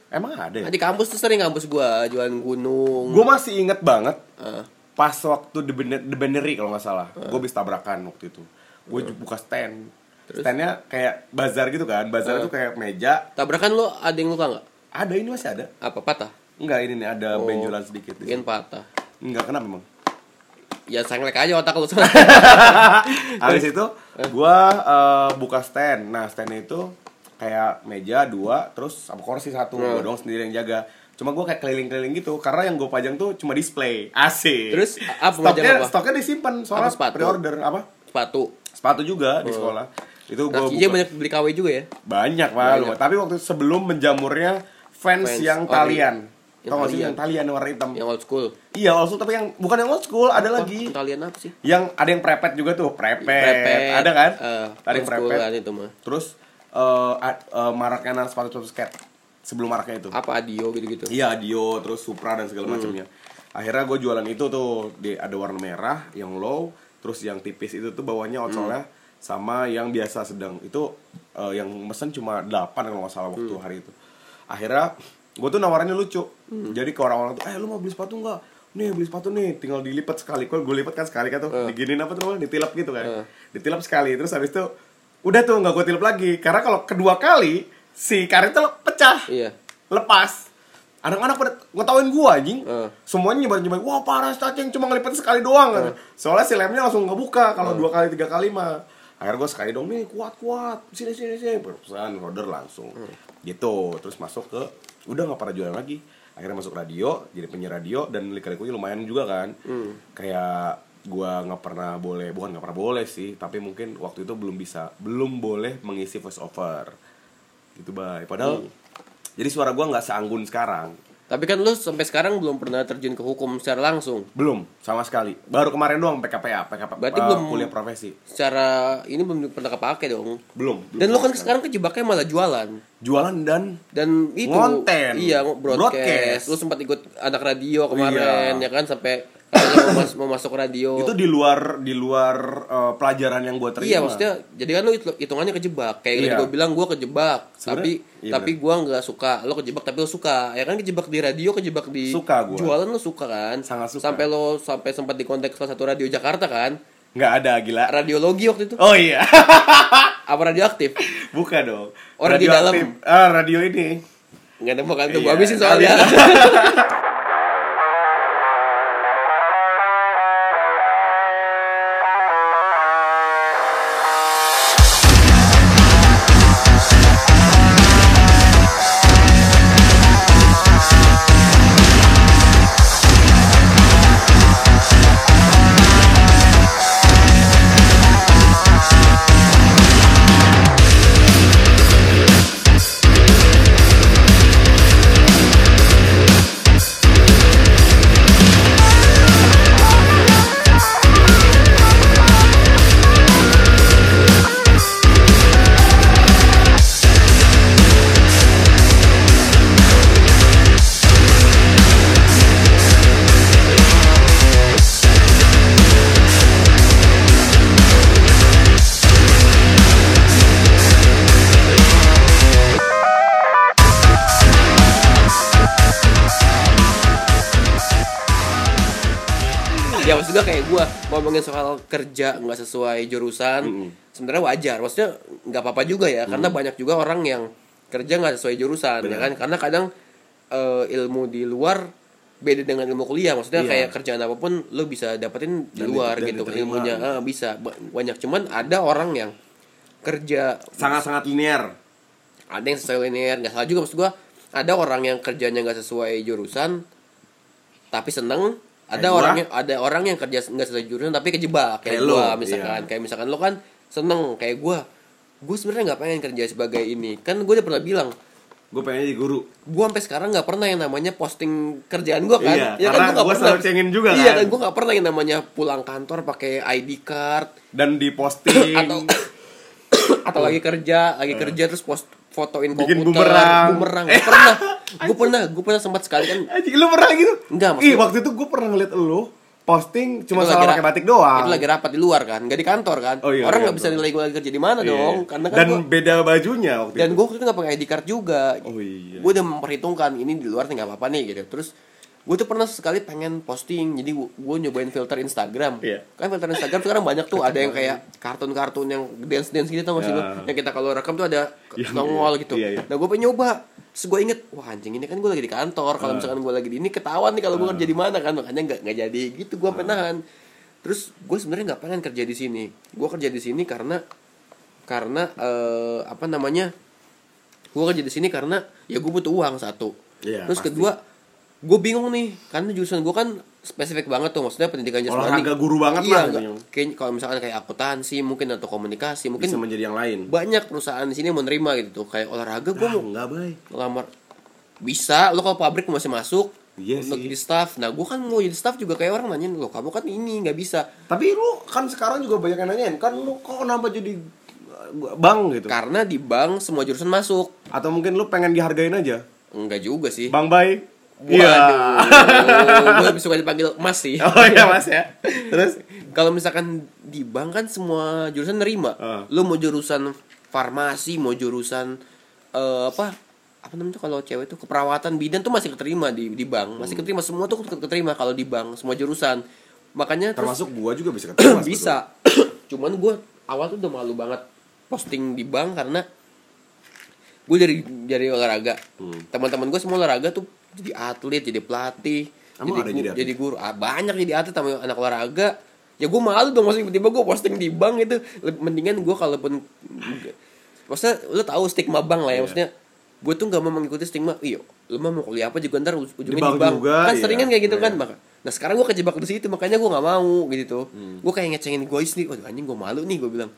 Speaker 1: Emang ada ya?
Speaker 2: Nah, di kampus tuh sering kampus gua jualan gunung.
Speaker 1: Gue masih inget banget
Speaker 2: Eh.
Speaker 1: pas waktu The, Bener, The Benery kalau nggak salah. Gue bisa tabrakan waktu itu. Gue buka stand. Standnya kayak bazar gitu kan. Bazar itu kayak meja.
Speaker 2: Tabrakan lu ada yang luka nggak?
Speaker 1: Ada ini masih ada.
Speaker 2: Apa patah?
Speaker 1: Enggak ini nih ada benjolan sedikit. di sini.
Speaker 2: Mungkin patah.
Speaker 1: Enggak kenapa emang.
Speaker 2: Ya sanglek aja otak lu. Eh,
Speaker 1: eh, Habis itu gue buka stand. Nah standnya itu kayak meja dua terus sama kursi satu
Speaker 2: Hmm.
Speaker 1: gue doang sendiri yang jaga cuma gue kayak keliling-keliling gitu karena yang gue pajang tuh cuma display AC
Speaker 2: Terus, apa
Speaker 1: stoknya
Speaker 2: pajang apa?
Speaker 1: stoknya disimpan
Speaker 2: Apa
Speaker 1: soalnya
Speaker 2: sepatu?
Speaker 1: pre-order apa
Speaker 2: sepatu
Speaker 1: sepatu juga di sekolah itu gue
Speaker 2: Rakinya banyak beli KW juga ya
Speaker 1: banyak pak lu.
Speaker 2: Banyak.
Speaker 1: tapi waktu sebelum menjamurnya fans,
Speaker 2: Fans.
Speaker 1: yang
Speaker 2: Oh,
Speaker 1: talian
Speaker 2: yang
Speaker 1: tau gak sih
Speaker 2: talian.
Speaker 1: yang talian yang warna hitam
Speaker 2: yang old school
Speaker 1: iya old school tapi yang bukan yang old school ada lagi
Speaker 2: kalian apa sih
Speaker 1: yang ada yang prepet juga tuh prepet, ada kan
Speaker 2: Eh,
Speaker 1: ada yang
Speaker 2: old school
Speaker 1: prepet
Speaker 2: kan itu mah
Speaker 1: terus eh, ad- eh, maraknya anak sepatu sepatu skate sebelum maraknya itu
Speaker 2: apa adio gitu-gitu
Speaker 1: iya Dio terus Supra dan segala macamnya akhirnya gue jualan itu tuh di ada warna merah yang low terus yang tipis itu tuh bawahnya outsole sama yang biasa sedang itu eh, yang mesen cuma 8 kalau nggak salah waktu hari itu akhirnya gue tuh nawarannya lucu jadi ke orang-orang tuh eh lu mau beli sepatu nggak nih beli sepatu nih tinggal dilipat sekali gue gue lipat kan sekali kan tuh diginiin apa tuh namanya? ditilap gitu kan ditilap sekali terus habis itu udah tuh nggak gue tilap lagi karena kalau kedua kali si karetnya lo- pecah
Speaker 2: Iya.
Speaker 1: lepas anak-anak pada ngetawain gua anjing
Speaker 2: Heeh.
Speaker 1: semuanya nyebar nyebar wah parah si cacing cuma ngelipet sekali doang kan soalnya si lemnya langsung ngebuka kalau dua kali tiga kali mah akhirnya gua sekali dong nih kuat kuat sini sini sini perusahaan order langsung gitu terus masuk ke udah nggak pernah jualan lagi akhirnya masuk radio jadi penyiar radio dan lika-likunya lumayan juga kan kayak gua nggak pernah boleh bukan nggak pernah boleh sih tapi mungkin waktu itu belum bisa belum boleh mengisi voice over gitu bay padahal
Speaker 2: Iya.
Speaker 1: jadi suara gua nggak seanggun sekarang
Speaker 2: tapi kan lu sampai sekarang belum pernah terjun ke hukum secara langsung
Speaker 1: belum sama sekali baru kemarin doang PKPA PKP
Speaker 2: Berarti
Speaker 1: eh,
Speaker 2: belum-
Speaker 1: kuliah profesi
Speaker 2: secara ini belum pernah kepake dong
Speaker 1: belum, belum
Speaker 2: dan lu
Speaker 1: sama
Speaker 2: kan
Speaker 1: sekali.
Speaker 2: sekarang kejebaknya malah jualan
Speaker 1: jualan dan
Speaker 2: dan itu
Speaker 1: Ngonten.
Speaker 2: iya broadcast,
Speaker 1: Broadcast.
Speaker 2: lu sempat ikut anak radio kemarin
Speaker 1: Iya.
Speaker 2: ya kan sampai katanya mau, mas- mau masuk radio
Speaker 1: itu di luar di luar eh, pelajaran yang gua terima
Speaker 2: Oh. iya maksudnya jadi kan lu hitung- hitungannya kejebak kayak
Speaker 1: Iya.
Speaker 2: tadi gua bilang gua kejebak
Speaker 1: Sebenarnya-
Speaker 2: tapi
Speaker 1: iya
Speaker 2: tapi gua nggak suka lo kejebak tapi lo suka ya kan kejebak di radio kejebak di
Speaker 1: Suka gua.
Speaker 2: jualan lo suka kan
Speaker 1: Sangat suka.
Speaker 2: sampai lo sampai sempat dikontak salah satu radio Jakarta kan
Speaker 1: nggak ada gila
Speaker 2: radiologi waktu itu
Speaker 1: oh iya
Speaker 2: apa radioaktif
Speaker 1: bukan dong
Speaker 2: Oh, radio dalam.
Speaker 1: Radioaktif. ah radio ini
Speaker 2: nggak nemu kan tuh
Speaker 1: Iya,
Speaker 2: gua habisin soalnya ya maksud gua kayak gua ngomongin soal kerja nggak sesuai jurusan sebenarnya wajar maksudnya nggak apa-apa juga ya karena banyak juga orang yang kerja nggak sesuai jurusan ya kan karena kadang eh, ilmu di luar beda dengan ilmu kuliah maksudnya
Speaker 1: Iya.
Speaker 2: kayak kerjaan apapun lo bisa dapetin di
Speaker 1: Dan di-
Speaker 2: luar
Speaker 1: dan
Speaker 2: gitu
Speaker 1: diterima.
Speaker 2: ilmunya eh, bisa Ba- banyak cuman ada orang yang kerja
Speaker 1: sangat sangat linear
Speaker 2: ada yang sesuai linear nggak salah juga maksud gua ada orang yang kerjanya nggak sesuai jurusan tapi seneng ada
Speaker 1: Kayak gua.
Speaker 2: orang yang ada orang yang kerja nggak sesuai jurusan tapi kejebak kayak,
Speaker 1: Kayak lu,
Speaker 2: gua misalkan
Speaker 1: iya.
Speaker 2: kayak misalkan lo kan seneng kayak gua gue sebenarnya nggak pengen kerja sebagai ini kan gue udah pernah bilang
Speaker 1: gue pengen jadi guru
Speaker 2: gue sampai sekarang nggak pernah yang namanya posting kerjaan gue kan
Speaker 1: Iya,
Speaker 2: ya
Speaker 1: karena
Speaker 2: kan gua nggak
Speaker 1: gua
Speaker 2: pernah
Speaker 1: selalu cengin juga
Speaker 2: iya
Speaker 1: kan.
Speaker 2: kan gue nggak pernah yang namanya pulang kantor pakai ID card
Speaker 1: dan diposting
Speaker 2: atau atau lagi kerja lagi kerja terus post fotoin
Speaker 1: Hmm. Bikin
Speaker 2: komputer
Speaker 1: bumerang.
Speaker 2: Gua pernah gue pernah gue pernah sempat sekali kan
Speaker 1: Anjing, lu pernah gitu?
Speaker 2: Enggak,
Speaker 1: Ih,
Speaker 2: maksudnya-
Speaker 1: waktu itu gue pernah ngeliat lu posting cuma
Speaker 2: itu lagi
Speaker 1: salah
Speaker 2: ra-
Speaker 1: pakai batik doang.
Speaker 2: itu lagi rapat di luar kan nggak di kantor kan
Speaker 1: Oh, iya,
Speaker 2: orang
Speaker 1: di
Speaker 2: nggak bisa
Speaker 1: kantor.
Speaker 2: nilai gue lagi kerja di mana
Speaker 1: Iya.
Speaker 2: dong karena kan
Speaker 1: dan
Speaker 2: gua-
Speaker 1: beda bajunya waktu
Speaker 2: dan
Speaker 1: itu.
Speaker 2: gue waktu itu nggak pakai ID card juga
Speaker 1: Oh, iya.
Speaker 2: gue udah memperhitungkan ini di luar nih nggak apa-apa nih gitu terus gue tuh pernah sekali pengen posting jadi gue nyobain filter Instagram
Speaker 1: Iya.
Speaker 2: kan filter Instagram sekarang banyak tuh ada yang kayak kartun-kartun yang dance dance gitu tau gak sih lu?
Speaker 1: Ya.
Speaker 2: yang kita kalau rekam tuh ada
Speaker 1: Iya, iya.
Speaker 2: nongol gitu
Speaker 1: Iya, iya.
Speaker 2: nah gue pengen nyoba terus gue inget wah anjing ini kan gue lagi di
Speaker 1: Ah.
Speaker 2: kantor kalau misalkan gue lagi di ini ketahuan nih kalau gue kerja di mana kan makanya nggak nggak jadi gitu
Speaker 1: Ah.
Speaker 2: gue penahan terus gue sebenarnya nggak pengen kerja di sini gue kerja di sini karena karena eh, apa namanya gue kerja di sini karena ya gue butuh uang satu
Speaker 1: Iya,
Speaker 2: terus
Speaker 1: pasti.
Speaker 2: kedua gue bingung nih karena jurusan gue kan spesifik banget tuh maksudnya pendidikan jasmani
Speaker 1: Olahraga guru banget
Speaker 2: iya,
Speaker 1: lah
Speaker 2: nggak-
Speaker 1: jadinya.
Speaker 2: kayak kalau misalkan kayak akuntansi mungkin atau komunikasi mungkin
Speaker 1: bisa menjadi yang lain
Speaker 2: banyak perusahaan di sini yang menerima gitu tuh kayak olahraga gue
Speaker 1: gue
Speaker 2: mau
Speaker 1: nggak baik
Speaker 2: ngelamar bisa lo kalau pabrik masih masuk
Speaker 1: Iya
Speaker 2: untuk
Speaker 1: sih.
Speaker 2: jadi staff nah gue kan mau jadi staff juga kayak orang nanyain lo kamu kan ini nggak bisa
Speaker 1: Tapi lu kan sekarang juga banyak yang nanyain kan lu kok kenapa jadi uh, bang gitu?
Speaker 2: karena di bank semua jurusan masuk
Speaker 1: Atau mungkin lu pengen dihargain aja?
Speaker 2: enggak juga sih
Speaker 1: Bang Bay. Iya.
Speaker 2: Waduh, gue lebih suka dipanggil Mas sih.
Speaker 1: Oh iya Mas ya. Terus
Speaker 2: Kalau misalkan di bank kan semua jurusan nerima.
Speaker 1: Ah.
Speaker 2: Lu mau jurusan farmasi, mau jurusan eh, apa? Apa namanya tuh kalau cewek tuh keperawatan bidan tuh masih keterima di di bank,
Speaker 1: Hmm.
Speaker 2: masih keterima semua tuh ket- keterima kalau di bank semua jurusan. Makanya terus
Speaker 1: termasuk gua juga bisa ketemu Mas,
Speaker 2: Iya, bisa. Cuman gue awal tuh udah malu banget posting di bank karena gue dari dari olahraga.
Speaker 1: Hmm.
Speaker 2: Teman-teman gue semua olahraga tuh jadi atlet, jadi pelatih,
Speaker 1: Emang ada yang jadi
Speaker 2: jadi, guru,
Speaker 1: atlet?
Speaker 2: jadi guru. Ah, banyak jadi atlet sama anak olahraga. Ya gue malu dong maksudnya tiba-tiba gue posting di bank itu Leb- mendingan gue kalaupun maksudnya lu tahu stigma
Speaker 1: Iya.
Speaker 2: bank lah ya maksudnya gue tuh gak mau mengikuti stigma iyo lu mah mau kuliah apa juga ntar uj- ujungnya di
Speaker 1: bank
Speaker 2: bank,
Speaker 1: juga,
Speaker 2: kan
Speaker 1: iya.
Speaker 2: seringan kayak gitu
Speaker 1: Iya.
Speaker 2: kan maka nah sekarang gue kejebak di situ makanya gue nggak mau gitu
Speaker 1: Hmm.
Speaker 2: gue kayak ngecengin egois nih waduh anjing gue malu nih gue bilang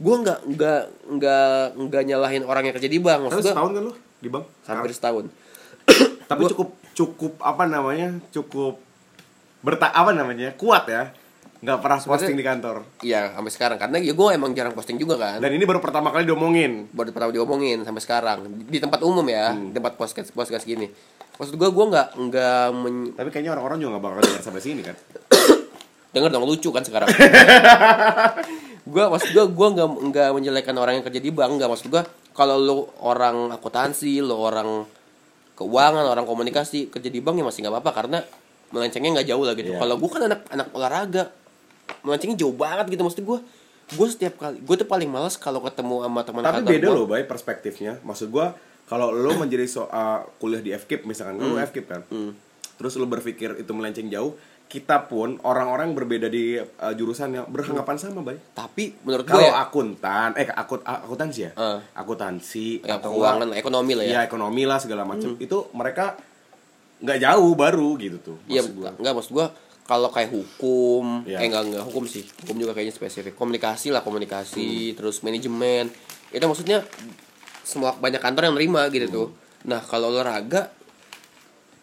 Speaker 2: gue nggak nggak nggak nggak nyalahin orang yang kerja di
Speaker 1: Terus
Speaker 2: bank maksud gue
Speaker 1: setahun kan lu di bank?
Speaker 2: hampir setahun
Speaker 1: Tapi cukup cukup apa namanya? Cukup berta apa namanya? Kuat ya. Nggak pernah posting di kantor.
Speaker 2: ya sampai sekarang karena ya gue emang jarang posting juga kan
Speaker 1: Dan ini baru pertama kali diomongin.
Speaker 2: baru pertama diomongin sampai sekarang di tempat umum ya
Speaker 1: Hmm.
Speaker 2: di tempat podcast podcast gini maksud gue gue nggak nggak men-
Speaker 1: Tapi kayaknya orang-orang juga nggak bakal dengar sampai sini kan.
Speaker 2: Dengar dong lucu kan sekarang. gua maksud gua gua nggak nggak menjelekan orang yang kerja di bank nggak maksud gua kalau lu orang akuntansi, lu orang keuangan, orang komunikasi kerja di bank ya masih nggak apa-apa karena melencengnya nggak jauh lah gitu.
Speaker 1: Iya.
Speaker 2: Kalau gua kan anak anak olahraga melencengnya jauh banget gitu maksud gua. Gua setiap kali gua tuh paling males kalau ketemu sama teman
Speaker 1: Tapi
Speaker 2: kantor
Speaker 1: beda
Speaker 2: gua.
Speaker 1: loh bay perspektifnya. Maksud gua kalau lo menjadi so, uh, kuliah di FKIP misalkan, kan lo
Speaker 2: Hmm.
Speaker 1: FKIP kan. Terus lo berpikir itu melenceng jauh, kita pun orang-orang yang berbeda di uh, jurusannya berhanggapan sama bay.
Speaker 2: Tapi menurut gua
Speaker 1: Kalau
Speaker 2: ya,
Speaker 1: akuntan, eh akut akuntansi ya?
Speaker 2: Eh.
Speaker 1: Akuntansi
Speaker 2: ya
Speaker 1: atau
Speaker 2: keuangan, ekonomi lah ya. Hmm.
Speaker 1: ya ekonomi lah segala macam. Itu mereka nggak jauh baru gitu tuh.
Speaker 2: Iya,
Speaker 1: maksud gua.
Speaker 2: enggak maksud gua kalau kayak hukum,
Speaker 1: Iya.
Speaker 2: eh enggak enggak hukum sih. Hukum juga kayaknya spesifik. Komunikasi lah, komunikasi,
Speaker 1: Hmm.
Speaker 2: terus manajemen. Itu maksudnya semua banyak kantor yang nerima gitu
Speaker 1: Hmm.
Speaker 2: tuh. Nah, kalau olahraga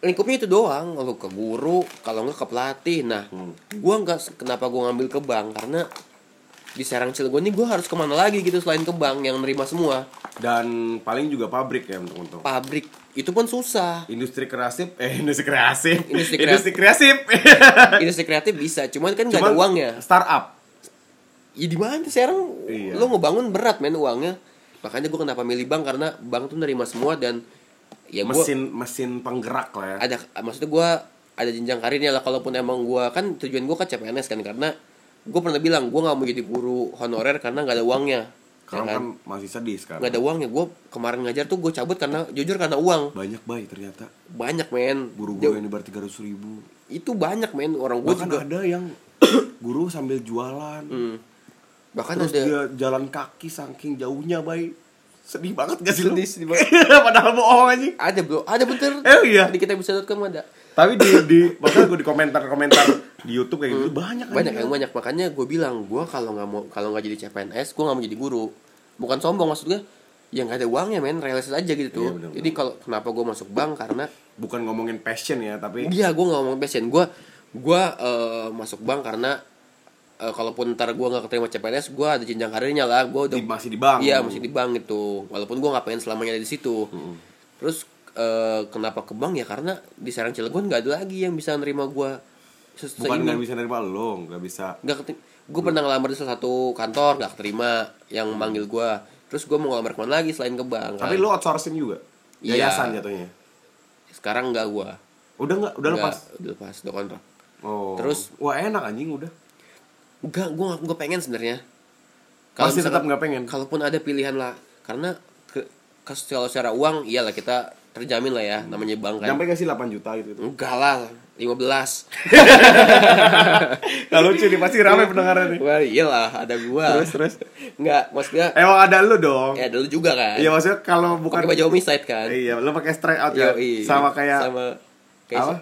Speaker 2: lingkupnya itu doang kalau ke guru kalau nggak ke pelatih nah
Speaker 1: Hmm.
Speaker 2: gua nggak kenapa gua ngambil ke bank karena di Serang Cilegon ini gua harus kemana lagi gitu selain ke bank yang nerima semua
Speaker 1: Dan paling juga pabrik ya untuk-untuk.
Speaker 2: pabrik itu pun susah
Speaker 1: Industri kreatif, eh industri kreatif,
Speaker 2: Industri kreatif.
Speaker 1: industri kreatif.
Speaker 2: industri kreatif bisa cuman kan nggak
Speaker 1: Cuman
Speaker 2: ada uangnya
Speaker 1: Startup.
Speaker 2: ya di mana sekarang
Speaker 1: Iya.
Speaker 2: lo ngebangun berat men uangnya makanya gue kenapa milih bank karena bank tuh nerima semua dan ya gue
Speaker 1: mesin mesin penggerak lah ya.
Speaker 2: ada maksudnya gue ada jenjang karirnya lah kalaupun emang gue kan tujuan gue ke CPNS kan karena gue pernah bilang gue nggak mau jadi guru honorer karena nggak ada uangnya
Speaker 1: Sekarang kan
Speaker 2: Ya kan?
Speaker 1: masih sedih sekarang.
Speaker 2: nggak ada uangnya gue kemarin ngajar tuh gue cabut karena jujur karena uang
Speaker 1: Banyak bayi ternyata
Speaker 2: banyak men
Speaker 1: guru-guru yang dibayar tiga ratus ribu.
Speaker 2: itu banyak men orang gue
Speaker 1: Bahkan
Speaker 2: juga
Speaker 1: ada yang guru sambil jualan.
Speaker 2: bahkan
Speaker 1: Terus
Speaker 2: Kan ada
Speaker 1: dia jalan kaki saking jauhnya bayi. Sedih banget gak sih
Speaker 2: Sedih,
Speaker 1: lu?
Speaker 2: sedih banget.
Speaker 1: Padahal bohong aja.
Speaker 2: ada bro ada bener
Speaker 1: Eh, iya.
Speaker 2: di kita bisa ada
Speaker 1: Tapi di di maksudnya gue di komentar-komentar di YouTube kayak gitu banyak
Speaker 2: banyak
Speaker 1: anjing.
Speaker 2: yang banyak makanya gue bilang gue kalau nggak mau kalau nggak jadi CPNS gue nggak mau jadi guru bukan sombong maksud gue ya nggak ada uangnya men realistis aja gitu tuh
Speaker 1: Iya, benar-benar.
Speaker 2: jadi kalau kenapa gue masuk bank karena
Speaker 1: Bukan ngomongin passion ya, tapi
Speaker 2: iya gue nggak ngomong passion gue gue eh, masuk bank karena eh, kalaupun ntar gue nggak keterima CPNS gue ada jenjang karirnya lah gue udah
Speaker 1: di- masih di bank.
Speaker 2: Iya masih di bank gitu. Walaupun gue nggak pengen selamanya ada di situ. Terus eh, kenapa ke bank ya karena di Serang Cilegon nggak ada lagi yang bisa nerima gue.
Speaker 1: Bukan nggak bisa nerima lo, nggak bisa
Speaker 2: nggak gue pernah ngelamar di salah satu kantor nggak terima yang manggil gue terus gue mau ngelamar kemana lagi selain ke bank kan?
Speaker 1: Tapi lu outsourcing juga.
Speaker 2: Iya.
Speaker 1: Yayasan jatuhnya.
Speaker 2: sekarang nggak gue
Speaker 1: Udah nggak, udah lepas.
Speaker 2: udah lepas udah kontrak
Speaker 1: Oh.
Speaker 2: Terus-
Speaker 1: wah enak anjing udah.
Speaker 2: nggak gue gue pengen sebenarnya
Speaker 1: Masih tetap
Speaker 2: misalkan-
Speaker 1: nggak pengen?
Speaker 2: kalaupun ada pilihan lah karena ke, ke- kalau secara uang iyalah kita terjamin lah ya namanya bank kan
Speaker 1: Nyampe gak sih 8 juta gitu? -gitu.
Speaker 2: enggak lah 15
Speaker 1: Gak lucu nih, pasti rame pendengarnya nih
Speaker 2: Wah, iyalah Iya ada gua.
Speaker 1: Terus, terus.
Speaker 2: Enggak, maksudnya
Speaker 1: Emang ada lu dong
Speaker 2: ya dulu juga kan.
Speaker 1: Iya maksudnya kalau bukan
Speaker 2: Pakai baju homicide kan.
Speaker 1: Iya, lu pakai straight out ya.
Speaker 2: Yoi.
Speaker 1: Sama kayak
Speaker 2: sama kayak
Speaker 1: apa?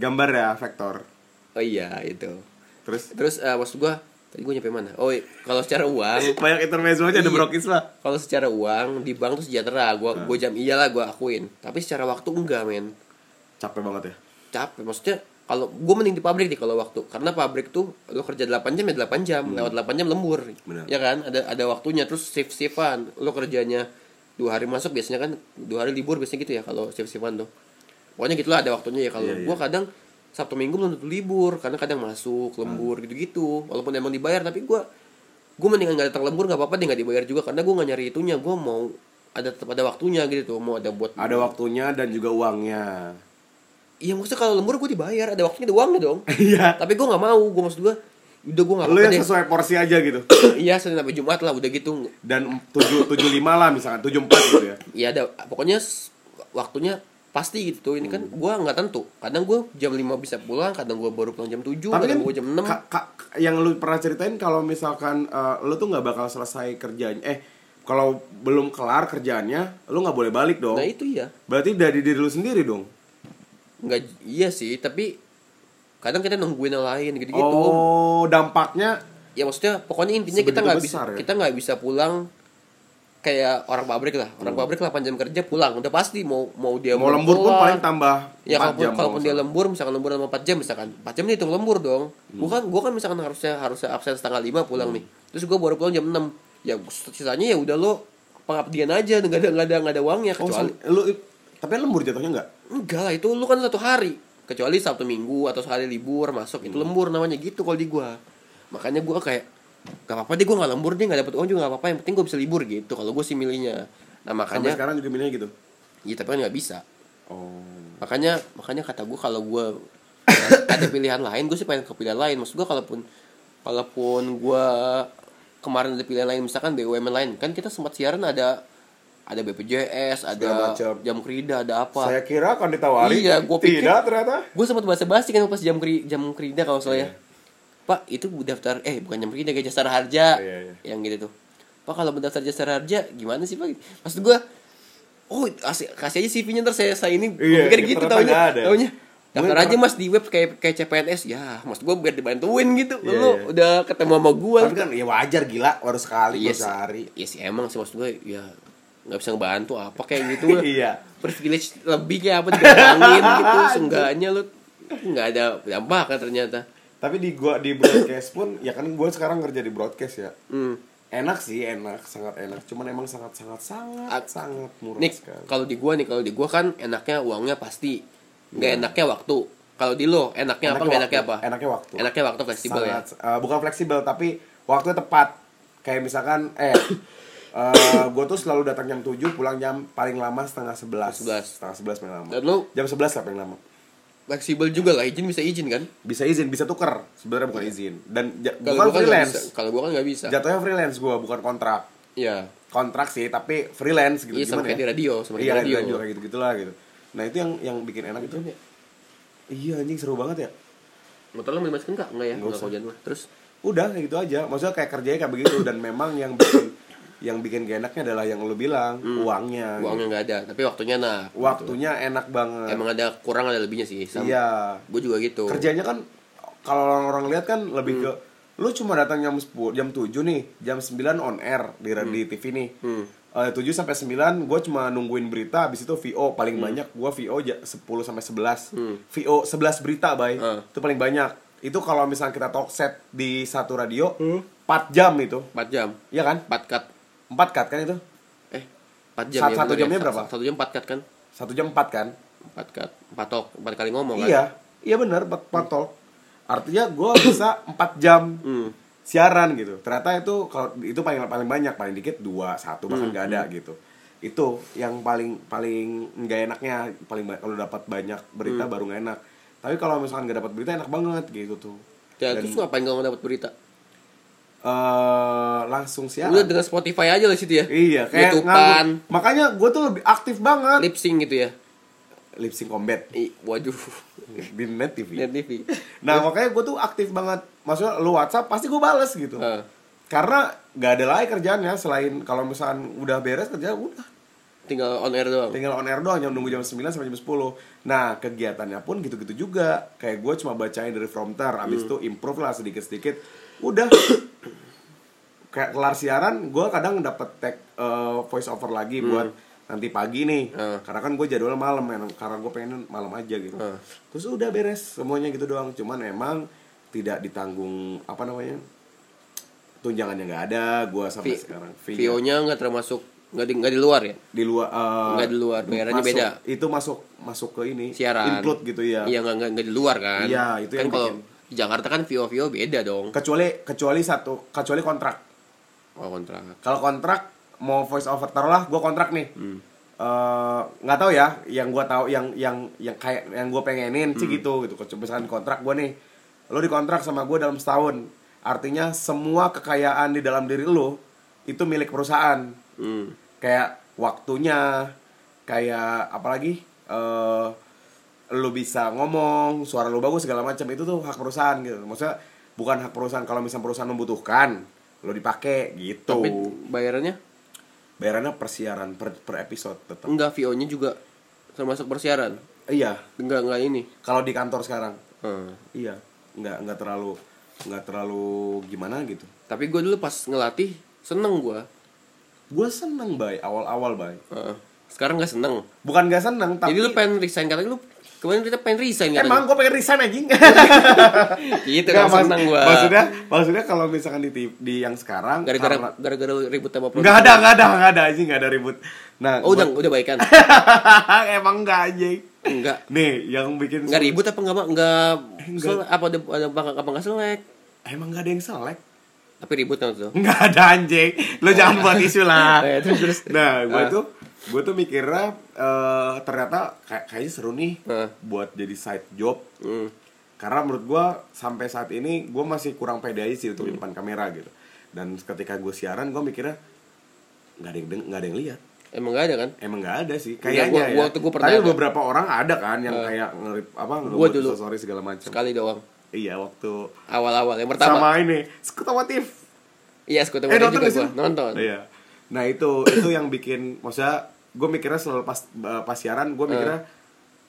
Speaker 1: Gambar ya, vektor.
Speaker 2: Oh iya, itu.
Speaker 1: Terus
Speaker 2: Terus eh, maksud gua tadi gua nyampe mana? Oh, iya, kalau secara uang,
Speaker 1: banyak intermezzo aja ada
Speaker 2: Iya.
Speaker 1: brokis lah.
Speaker 2: kalau secara uang di bank tuh sejahtera. Gua gua jam iyalah gua akuin. Tapi secara waktu enggak, men.
Speaker 1: Capek banget ya.
Speaker 2: capek maksudnya kalau gue mending di pabrik deh kalau waktu karena pabrik tuh lo kerja 8 jam ya 8 jam lewat 8 jam lembur
Speaker 1: Hmm. Benar.
Speaker 2: ya kan ada ada waktunya terus shift shiftan lo kerjanya dua hari masuk biasanya kan dua hari libur biasanya gitu ya kalau shift shiftan tuh pokoknya gitulah ada waktunya ya kalau
Speaker 1: Iya, iya.
Speaker 2: gue kadang sabtu minggu belum tentu libur karena kadang masuk
Speaker 1: Ah.
Speaker 2: lembur gitu gitu walaupun emang dibayar tapi gue gue mendingan nggak datang lembur nggak apa-apa deh nggak dibayar juga karena gue nggak nyari itunya gue mau ada tetap ada waktunya gitu mau ada buat
Speaker 1: Ada waktunya dan juga uangnya.
Speaker 2: Iya maksudnya kalau lembur gue dibayar ada waktunya ada uangnya dong.
Speaker 1: Iya.
Speaker 2: Tapi gue nggak mau, gue maksud gue udah gue nggak
Speaker 1: Lu yang
Speaker 2: deh.
Speaker 1: sesuai porsi aja gitu.
Speaker 2: Iya senin sampai jumat lah udah gitu.
Speaker 1: Dan 7 75 lah misalkan, 74 gitu ya.
Speaker 2: Ya ada pokoknya s- waktunya pasti gitu ini kan
Speaker 1: Hmm.
Speaker 2: gue nggak tentu kadang gue jam 5 bisa pulang kadang gue baru pulang jam
Speaker 1: Tapi
Speaker 2: 7
Speaker 1: kan
Speaker 2: kadang gue jam 6
Speaker 1: ka- ka- yang lu pernah ceritain kalau misalkan eh, lu tuh nggak bakal selesai kerjaan eh kalau belum kelar kerjaannya lu nggak boleh balik dong.
Speaker 2: nah itu iya
Speaker 1: Berarti dari diri lu sendiri dong.
Speaker 2: nggak iya sih tapi kadang kita nungguin yang lain gitu gitu
Speaker 1: Oh, dampaknya
Speaker 2: ya maksudnya pokoknya intinya
Speaker 1: Sebegitu
Speaker 2: kita nggak bisa
Speaker 1: besar ya?
Speaker 2: kita nggak bisa pulang kayak orang pabrik lah orang pabrik 8 jam kerja pulang udah pasti mau mau dia
Speaker 1: Hmm. mau lembur pun
Speaker 2: pulang,
Speaker 1: paling tambah
Speaker 2: Ya
Speaker 1: 4
Speaker 2: kalaupun,
Speaker 1: jam.
Speaker 2: kalaupun
Speaker 1: kalau
Speaker 2: dia
Speaker 1: nggak
Speaker 2: lembur misalkan lembur sama 4 jam misalkan 4 jam dihitung lembur dong
Speaker 1: Hmm.
Speaker 2: gua kan gua kan misalkan harusnya harusnya absen setengah 5 pulang nih terus gua baru pulang jam 6 ya sisanya ya udah lo pengabdian aja nggak ada nggak ada nggak ada uangnya
Speaker 1: salah.
Speaker 2: kecuali
Speaker 1: oh, lu tapi lembur jatuhnya nggak?
Speaker 2: enggak lah itu lu kan satu hari kecuali sabtu minggu atau sehari libur masuk
Speaker 1: Hmm.
Speaker 2: itu lembur namanya gitu kalau di gua makanya gua kayak gak apa-apa deh gua nggak lembur deh nggak dapet uang juga nggak apa-apa yang penting gua bisa libur gitu kalau gua sih milihnya nah
Speaker 1: Sampai
Speaker 2: makanya
Speaker 1: sekarang juga milihnya gitu.
Speaker 2: ya tapi kan nggak bisa
Speaker 1: Oh.
Speaker 2: makanya makanya kata gue kalau gue ada pilihan lain gue sih pengen ke pilihan lain maksud gue kalaupun kalaupun gue kemarin ada pilihan lain misalkan BUMN lain kan kita sempat siaran ada ada BPJS ada
Speaker 1: Segala macam.
Speaker 2: jam kerida ada apa
Speaker 1: Saya kira akan ditawari.
Speaker 2: Iya, gua pikir-
Speaker 1: Tidak ternyata.
Speaker 2: gue sempat bahasa basi kan pas jam keri jam kerida kalau
Speaker 1: Iya.
Speaker 2: saya pak itu daftar eh bukan jam kerida kayak jasa harja
Speaker 1: Iya, iya.
Speaker 2: yang gitu tuh pak kalau mendaftar jasa harja gimana sih pak maksud gue oh kasih kasih aja CV-nya ntar saya saya ini gua
Speaker 1: Iya,
Speaker 2: pikir
Speaker 1: iya,
Speaker 2: gitu
Speaker 1: ternyata
Speaker 2: taunya
Speaker 1: nggak ada.
Speaker 2: taunya daftar
Speaker 1: Mungkin
Speaker 2: aja mas di web kayak kayak CPNS ya mas gue biar dibantuin gitu
Speaker 1: Iya,
Speaker 2: lo
Speaker 1: iya.
Speaker 2: udah ketemu sama gue
Speaker 1: Tapi kan ya wajar gila baru sekali
Speaker 2: iya
Speaker 1: baru
Speaker 2: sih
Speaker 1: sehari.
Speaker 2: iya sih emang sih maksud gue ya nggak bisa ngebantu apa kayak gitu lah
Speaker 1: Iya.
Speaker 2: privilege lebih kayak apa didatangin gitu seenggaknya lu nggak ada dampak kan ternyata
Speaker 1: Tapi di gua di broadcast pun ya kan gua sekarang kerja di broadcast ya.
Speaker 2: hmm.
Speaker 1: Enak sih, enak, sangat enak. Cuman emang sangat sangat sangat
Speaker 2: Ak-
Speaker 1: sangat murah
Speaker 2: Nih,
Speaker 1: sekali.
Speaker 2: kalau di gua nih, kalau di gua kan enaknya uangnya pasti, nggak enaknya waktu. Kalau di lo, enaknya, apa nggak enaknya
Speaker 1: waktu.
Speaker 2: apa?
Speaker 1: Iya. Enaknya waktu.
Speaker 2: Enaknya waktu fleksibel ya.
Speaker 1: Sangat, eh, bukan fleksibel tapi waktunya tepat. Kayak misalkan eh eh gue tuh selalu datang jam 7, pulang jam paling lama setengah 11.
Speaker 2: 11.
Speaker 1: Setengah 11 paling lama.
Speaker 2: Dan lu-
Speaker 1: Jam 11 lah paling lama.
Speaker 2: Fleksibel juga lah, izin bisa izin kan?
Speaker 1: Bisa izin, bisa tuker. Sebenarnya bukan izin. Dan ja-
Speaker 2: Iya.
Speaker 1: bukan
Speaker 2: Kalau gua kan nggak
Speaker 1: freelance.
Speaker 2: bisa. Kalau gua kan nggak bisa.
Speaker 1: Jatuhnya freelance gue, bukan kontrak.
Speaker 2: Ya,
Speaker 1: Kontrak sih, tapi freelance gitu
Speaker 2: Iya,
Speaker 1: gimana
Speaker 2: sama kayak
Speaker 1: ya?
Speaker 2: di radio, sama
Speaker 1: iya,
Speaker 2: kayak di
Speaker 1: kayak di
Speaker 2: radio.
Speaker 1: radio kayak gitu-gitulah gitu. Nah, itu yang yang bikin enak itu. Iya, anjing seru banget ya.
Speaker 2: motor lo mau dimasukin nggak? Nggak ya, nggak
Speaker 1: usah.
Speaker 2: kau mah. Terus,
Speaker 1: udah kayak gitu aja maksudnya kayak kerjanya kayak begitu dan memang yang bikin yang bikin gak enaknya adalah yang lu bilang
Speaker 2: Hmm.
Speaker 1: uangnya gitu.
Speaker 2: uangnya nggak ada, tapi waktunya nah.
Speaker 1: waktunya enak banget
Speaker 2: Emang ada kurang ada lebihnya sih. Sama.
Speaker 1: iya
Speaker 2: Gue juga gitu. Hmm.
Speaker 1: kerjanya kan kalau orang-orang lihat kan lebih ke lu cuma datang jam 10 jam 7 nih jam 9 on air di di
Speaker 2: Hmm.
Speaker 1: TV nih Eh, 7 sampai 9 gue cuma nungguin berita habis itu VO paling
Speaker 2: Hmm.
Speaker 1: banyak gue VO ja- 10 sampai 11 VO 11 berita bay
Speaker 2: Ah.
Speaker 1: itu paling banyak itu kalau misalnya kita talk set di satu radio
Speaker 2: Hmm.
Speaker 1: 4 jam itu
Speaker 2: 4 jam,
Speaker 1: Iya kan?
Speaker 2: 4 cut.
Speaker 1: Empat cut kan itu?
Speaker 2: Eh, 4 jam
Speaker 1: Sat-
Speaker 2: ya.
Speaker 1: satu
Speaker 2: bener ya?
Speaker 1: jamnya
Speaker 2: Sat-
Speaker 1: berapa?
Speaker 2: Satu jam 4 cut kan?
Speaker 1: Satu jam empat kan?
Speaker 2: 4 cut. 4 talk, 4 kali ngomong kan?
Speaker 1: Iya, iya benar empat empat tol. Artinya gue bisa empat jam siaran gitu. Ternyata itu kalau itu paling paling banyak, paling dikit dua, satu bahkan nggak ada gitu. Itu yang paling paling nggak enaknya, paling ba- kalau dapat banyak berita baru nggak enak. Tapi kalau misalkan nggak dapat berita enak banget gitu tuh.
Speaker 2: Ya,
Speaker 1: Dan,
Speaker 2: terus ngapain kalau nggak dapat berita?
Speaker 1: eh, langsung siaran.
Speaker 2: Udah dengan Spotify aja lah situ ya.
Speaker 1: iya, kayak
Speaker 2: YouTube-an,
Speaker 1: nganggur. Makanya gue tuh lebih aktif banget.
Speaker 2: lip sync gitu ya.
Speaker 1: lip sync combat
Speaker 2: I, waduh
Speaker 1: di net TV.
Speaker 2: net TV
Speaker 1: Nah makanya gue tuh aktif banget Maksudnya lu whatsapp pasti gue bales gitu
Speaker 2: Heeh.
Speaker 1: Karena gak ada lagi kerjaannya Selain kalau misalkan udah beres kerja udah
Speaker 2: tinggal on air doang
Speaker 1: Tinggal on air doang jam nunggu jam 9 sampai jam 10 Nah kegiatannya pun gitu-gitu juga Kayak gue cuma bacain dari prompter Abis itu improve lah sedikit-sedikit Udah Kayak kelar siaran gue kadang dapet tag eh, voice over lagi buat nanti pagi nih
Speaker 2: Heeh.
Speaker 1: Karena kan gue jadwal malam men Karena gue pengen malam aja gitu
Speaker 2: Heeh.
Speaker 1: Terus udah beres semuanya gitu doang Cuman memang tidak ditanggung apa namanya tunjangannya nggak ada gue sampai
Speaker 2: Vi-
Speaker 1: sekarang fee-nya
Speaker 2: VO nya nggak termasuk nggak di nggak di luar ya
Speaker 1: di luar eh,
Speaker 2: Nggak di luar, bayarannya
Speaker 1: masuk-
Speaker 2: beda.
Speaker 1: itu masuk masuk ke ini
Speaker 2: siaran
Speaker 1: include gitu ya
Speaker 2: iya nggak nggak nggak di luar kan
Speaker 1: Iya, itu
Speaker 2: kan
Speaker 1: yang
Speaker 2: kalau
Speaker 1: bikin.
Speaker 2: di Jakarta kan VO VO beda dong
Speaker 1: kecuali kecuali satu kecuali kontrak
Speaker 2: oh kontrak
Speaker 1: kalau kontrak mau voice over taruhlah gue kontrak nih
Speaker 2: Hmm.
Speaker 1: Eh, nggak tahu ya yang gue tahu yang yang yang kayak yang gue pengenin
Speaker 2: Hmm.
Speaker 1: sih gitu gitu Kecuali misalkan kontrak gue nih lo dikontrak sama gue dalam setahun artinya semua kekayaan di dalam diri lo itu milik perusahaan
Speaker 2: hmm.
Speaker 1: kayak waktunya kayak apalagi eh lu bisa ngomong suara lu bagus segala macam itu tuh hak perusahaan gitu maksudnya bukan hak perusahaan kalau misalnya perusahaan membutuhkan lu dipakai gitu
Speaker 2: tapi bayarannya
Speaker 1: bayarannya persiaran per, per episode tetap
Speaker 2: enggak VO nya juga termasuk persiaran
Speaker 1: iya
Speaker 2: enggak enggak ini
Speaker 1: kalau di kantor sekarang
Speaker 2: Hmm.
Speaker 1: iya nggak nggak terlalu nggak terlalu gimana gitu
Speaker 2: tapi gue dulu pas ngelatih seneng gue
Speaker 1: gue seneng bay awal-awal bay
Speaker 2: Heeh. sekarang nggak seneng
Speaker 1: bukan gak seneng Hmm. tapi
Speaker 2: jadi lu pengen resign katanya lu kemarin kita pengen resign katanya
Speaker 1: emang gue pengen resign anjing
Speaker 2: gitu
Speaker 1: Nggak,
Speaker 2: kan
Speaker 1: maksud-
Speaker 2: seneng gue
Speaker 1: Maksudnya, maksudnya kalau misalkan di, ti- di yang sekarang
Speaker 2: gara-gara
Speaker 1: karena-
Speaker 2: gara-gara lu ribut sama
Speaker 1: nggak ada, nggak ada, nggak ada aja, nggak ada ribut. Nah,
Speaker 2: oh udah
Speaker 1: buat-
Speaker 2: udah baikan
Speaker 1: emang nggak anjing.
Speaker 2: enggak
Speaker 1: Nih, yang bikin
Speaker 2: Enggak ribut apa enggak enggak,
Speaker 1: Enggak.
Speaker 2: sel- apa ada ada apa apa enggak selek.
Speaker 1: emang nggak ada yang selek.
Speaker 2: Tapi ribut kan tuh.
Speaker 1: Nggak ada anjing. Lo jangan buat isu lah.
Speaker 2: Eh, terus, terus.
Speaker 1: Nah, gue
Speaker 2: Ah.
Speaker 1: tuh gue tuh mikirnya eh, ternyata kayak kayaknya seru nih
Speaker 2: Ah.
Speaker 1: buat jadi side job
Speaker 2: Hmm.
Speaker 1: karena menurut gue sampai saat ini gue masih kurang pede aja sih
Speaker 2: Hmm.
Speaker 1: untuk di depan kamera gitu dan ketika gue siaran gue mikirnya nggak ada yang deng- nggak ada yang lihat
Speaker 2: Emang enggak ada kan?
Speaker 1: Emang nggak ada sih,
Speaker 2: Enggak,
Speaker 1: kayaknya
Speaker 2: Iya, gua-
Speaker 1: ya.
Speaker 2: gua tuh gua pernah
Speaker 1: Tapi
Speaker 2: ada. Eh,
Speaker 1: beberapa orang ada kan yang kayak ngerip apa
Speaker 2: Gua dulu.
Speaker 1: sorry segala macam.
Speaker 2: Sekali doang.
Speaker 1: Iya waktu
Speaker 2: Awal-awal yang pertama.
Speaker 1: sama ini skutawatif.
Speaker 2: Iya, skuter
Speaker 1: Eh
Speaker 2: eh,
Speaker 1: nonton
Speaker 2: juga
Speaker 1: nggak sih
Speaker 2: gua
Speaker 1: lu?
Speaker 2: nonton.
Speaker 1: Iya. Nah itu itu yang bikin maksudnya gue mikirnya selalu pas eh, pas siaran gue mikirnya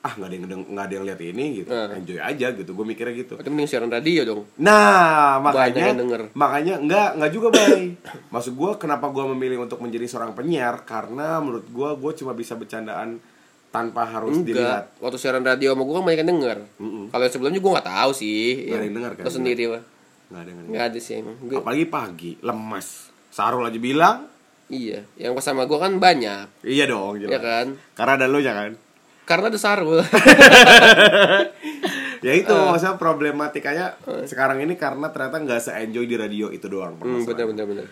Speaker 1: ah nggak ada yang deng- nggak ada yang lihat ini gitu
Speaker 2: Eh.
Speaker 1: enjoy aja gitu gue mikirnya gitu
Speaker 2: Berarti mending siaran radio dong.
Speaker 1: Nah,
Speaker 2: Banyak
Speaker 1: makanya
Speaker 2: yang denger.
Speaker 1: makanya enggak enggak juga, Bay. Maksud gua kenapa gua memilih untuk menjadi seorang penyiar karena menurut gua gua cuma bisa bercandaan tanpa harus dilihat.
Speaker 2: Enggak. Waktu siaran radio sama gua kan banyak yang denger. Kalau yang sebelumnya gua enggak tahu sih.
Speaker 1: Nggak ada yang denger kan?
Speaker 2: Lu sendiri lah.
Speaker 1: Enggak ada yang
Speaker 2: Enggak ada sih emang. Gua-
Speaker 1: Apalagi pagi, lemas. Sarul aja bilang,
Speaker 2: iya, yang pas sama gua kan banyak,
Speaker 1: iya dong,
Speaker 2: ya
Speaker 1: jelas.
Speaker 2: kan?
Speaker 1: Karena ada lo ya kan.
Speaker 2: Karena ada Sarul.
Speaker 1: Ya itu
Speaker 2: Eh.
Speaker 1: maksudnya problematikanya sekarang ini karena ternyata nggak se-enjoy di radio itu doang.
Speaker 2: hmm,
Speaker 1: permasalahan.
Speaker 2: bener bener bener.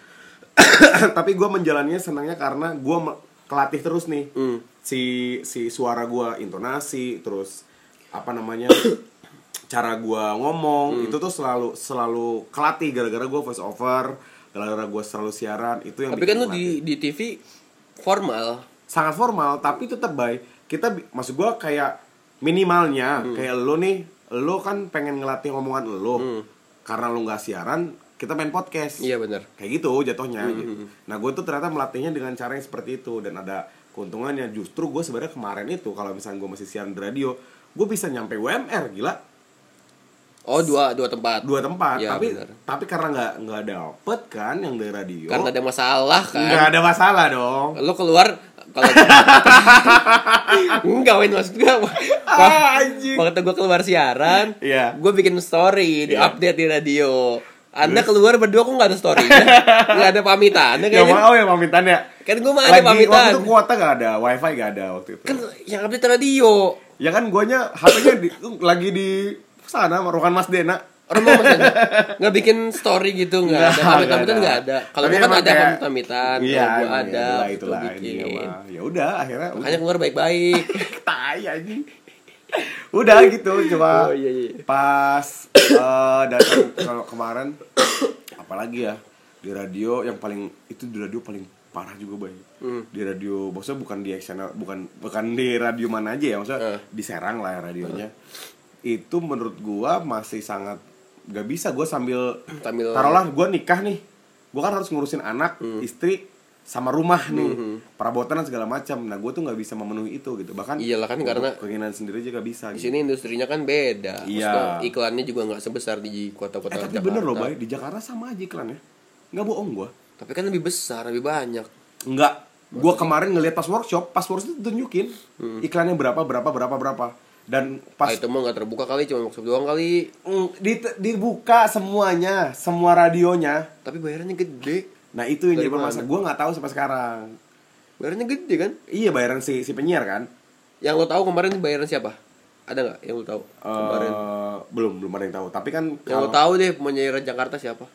Speaker 1: tapi gue menjalannya senangnya karena gue me- kelatih terus nih
Speaker 2: Hmm.
Speaker 1: si si suara gue intonasi terus apa namanya cara gue
Speaker 2: Hmm.
Speaker 1: ngomong itu tuh selalu selalu kelatih gara-gara gue voice over gara-gara gue selalu siaran itu yang
Speaker 2: Tapi
Speaker 1: bikin
Speaker 2: kan lu
Speaker 1: kelatih
Speaker 2: di di TV formal.
Speaker 1: sangat formal tapi tetap baik kita bi- maksud gua kayak minimalnya
Speaker 2: Hmm.
Speaker 1: kayak lo nih lo kan pengen ngelatih omongan lo karena lo nggak siaran kita main podcast
Speaker 2: Hmm. Iya, benar.
Speaker 1: kayak gitu jatuhnya
Speaker 2: Hmm,
Speaker 1: gitu nah gue tuh ternyata melatihnya dengan cara yang seperti itu dan ada keuntungannya justru gue sebenarnya kemarin itu kalau misalnya gue masih siaran di radio gue bisa nyampe WMR gila
Speaker 2: Oh, dua dua tempat.
Speaker 1: dua tempat
Speaker 2: Iya,
Speaker 1: tapi
Speaker 2: benar.
Speaker 1: tapi karena nggak nggak dapet kan yang dari radio
Speaker 2: Karena ada masalah kan.
Speaker 1: nggak ada masalah dong
Speaker 2: Lo keluar kalau enggak main maksud gue
Speaker 1: Ah, anjing.
Speaker 2: waktu gue keluar siaran
Speaker 1: Iya.
Speaker 2: gue bikin story di
Speaker 1: Iya.
Speaker 2: update di radio anda keluar berdua kok nggak ada story nggak ada pamitan
Speaker 1: Gak
Speaker 2: kayaknya
Speaker 1: mau ya pamitannya
Speaker 2: kan gue mah ada pamitan
Speaker 1: waktu itu kuota gak ada, wifi gak ada waktu itu.
Speaker 2: kan yang update radio
Speaker 1: Ya kan guanya HP-nya di, lagi di sana ruangan Mas Dena.
Speaker 2: orang mau pesan nggak bikin story gitu nggak ada pamit pamitan nggak ada kalau
Speaker 1: Tapi
Speaker 2: gue kan
Speaker 1: emang
Speaker 2: ada
Speaker 1: kayak-
Speaker 2: pamit pamitan
Speaker 1: Iya,
Speaker 2: kalau gue
Speaker 1: emang
Speaker 2: ada
Speaker 1: ya,
Speaker 2: waktu itu
Speaker 1: itulah,
Speaker 2: bikin
Speaker 1: itulah intinya mah. Ya udah akhirnya
Speaker 2: makanya keluar baik-baik
Speaker 1: tai anjing. Udah gitu cuma
Speaker 2: Oh, iya, iya.
Speaker 1: pas eh, datang kalau kemarin apalagi ya di radio yang paling itu di radio paling parah juga bay
Speaker 2: Hmm.
Speaker 1: di radio maksudnya bukan di channel bukan bukan di radio mana aja ya maksudnya
Speaker 2: Eh.
Speaker 1: di Serang lah ya radionya itu menurut gua masih sangat gak bisa gua sambil
Speaker 2: Sambil- Hmm.
Speaker 1: taruhlah gua nikah nih gua kan harus ngurusin anak istri sama rumah nih perabotan dan segala macam nah gua tuh nggak bisa memenuhi itu gitu bahkan
Speaker 2: Iyalah kan, karena-
Speaker 1: keinginan sendiri aja gak bisa
Speaker 2: Di
Speaker 1: gitu.
Speaker 2: sini industrinya kan beda.
Speaker 1: Iya.
Speaker 2: Maksudnya iklannya juga nggak sebesar di kota-kota
Speaker 1: eh tapi
Speaker 2: Jakarta.
Speaker 1: bener loh bay di Jakarta sama aja iklannya nggak bohong gua
Speaker 2: Tapi kan lebih besar, lebih banyak.
Speaker 1: Enggak. Gua kemarin ngeliat pas workshop, pas workshop itu tunjukin iklannya berapa berapa berapa berapa dan pas
Speaker 2: Pas. Hmm. Ah, itu mah nggak terbuka kali, cuma workshop doang kali.
Speaker 1: Mm, dit- dibuka semuanya, semua radionya.
Speaker 2: Tapi bayarannya gede.
Speaker 1: Nah, itu yang
Speaker 2: Dari
Speaker 1: jadi permasalahan. Gua nggak tahu sampai sekarang.
Speaker 2: Bayarannya gede kan?
Speaker 1: Iya bayaran si si penyiar kan?
Speaker 2: Yang lo tahu kemarin bayaran siapa? Ada nggak yang lo tahu kemarin?
Speaker 1: Eh, belum belum ada yang tahu. Tapi kan
Speaker 2: Yang
Speaker 1: kalau
Speaker 2: lo tahu deh penyiaran Jakarta siapa?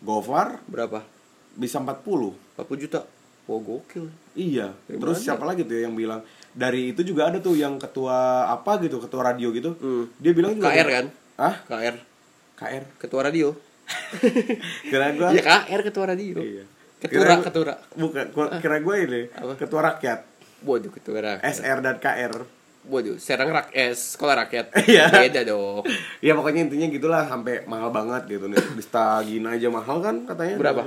Speaker 1: Gofar
Speaker 2: Berapa?
Speaker 1: bisa 40.
Speaker 2: 40 juta. Wah gokil.
Speaker 1: Iya.
Speaker 2: Dari
Speaker 1: Terus
Speaker 2: mana?
Speaker 1: siapa lagi tuh yang bilang dari itu juga ada tuh yang ketua apa gitu, ketua radio gitu.
Speaker 2: Hmm.
Speaker 1: Dia bilang juga gitu.
Speaker 2: KR kan?
Speaker 1: Hah?
Speaker 2: KR.
Speaker 1: KR.
Speaker 2: Ketua radio.
Speaker 1: Kira gua
Speaker 2: Iya KR ketua radio.
Speaker 1: Iya.
Speaker 2: Ketura,
Speaker 1: Kira-
Speaker 2: ketura.
Speaker 1: Bukan, gua- kira gue ini
Speaker 2: Apa?
Speaker 1: ketua rakyat
Speaker 2: Waduh ketua rakyat.
Speaker 1: SR dan KR.
Speaker 2: Waduh, serang rak eh, sekolah rakyat.
Speaker 1: Iya.
Speaker 2: Beda dong.
Speaker 1: ya pokoknya intinya gitulah sampai mahal banget gitu nih. Distagina aja mahal kan katanya.
Speaker 2: Berapa?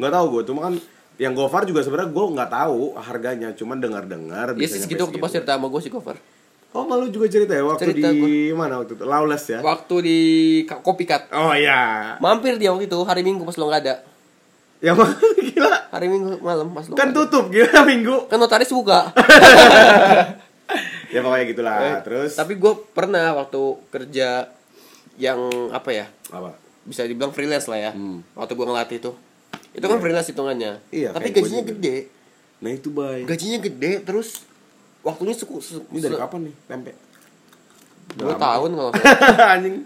Speaker 1: Nggak tahu gue, cuma kan yang Gofar juga sebenarnya gue nggak tahu harganya, cuman dengar-dengar.
Speaker 2: Iya
Speaker 1: bisa
Speaker 2: sih
Speaker 1: nyampe
Speaker 2: segitu waktu pas cerita sama gue sih cover.
Speaker 1: Oh malu juga cerita ya waktu
Speaker 2: Cerita
Speaker 1: di mana waktu itu Lawless ya.
Speaker 2: Waktu di Ka- Kopikat.
Speaker 1: Oh iya.
Speaker 2: Mampir dia waktu itu hari Minggu pas lo nggak ada.
Speaker 1: Ya mahal gila.
Speaker 2: Hari Minggu malam pas lo.
Speaker 1: Kan
Speaker 2: nggak ada.
Speaker 1: tutup gila minggu.
Speaker 2: kan notaris buka.
Speaker 1: Ya pokoknya gitulah. Terus
Speaker 2: Eh, Tapi gue pernah waktu kerja yang apa ya?
Speaker 1: apa?
Speaker 2: Bisa dibilang freelance lah ya. Waktu gue ngelatih tuh. Itu kan freelance hitungannya.
Speaker 1: Hmm. Iya,
Speaker 2: Tapi
Speaker 1: kayak gua
Speaker 2: gajinya
Speaker 1: juga.
Speaker 2: gede.
Speaker 1: Nah itu bay.
Speaker 2: Gajinya gede terus waktunya suku, suku
Speaker 1: Ini dari kapan nih tempe?
Speaker 2: dua tahun kalau nggak salah.
Speaker 1: Anjing.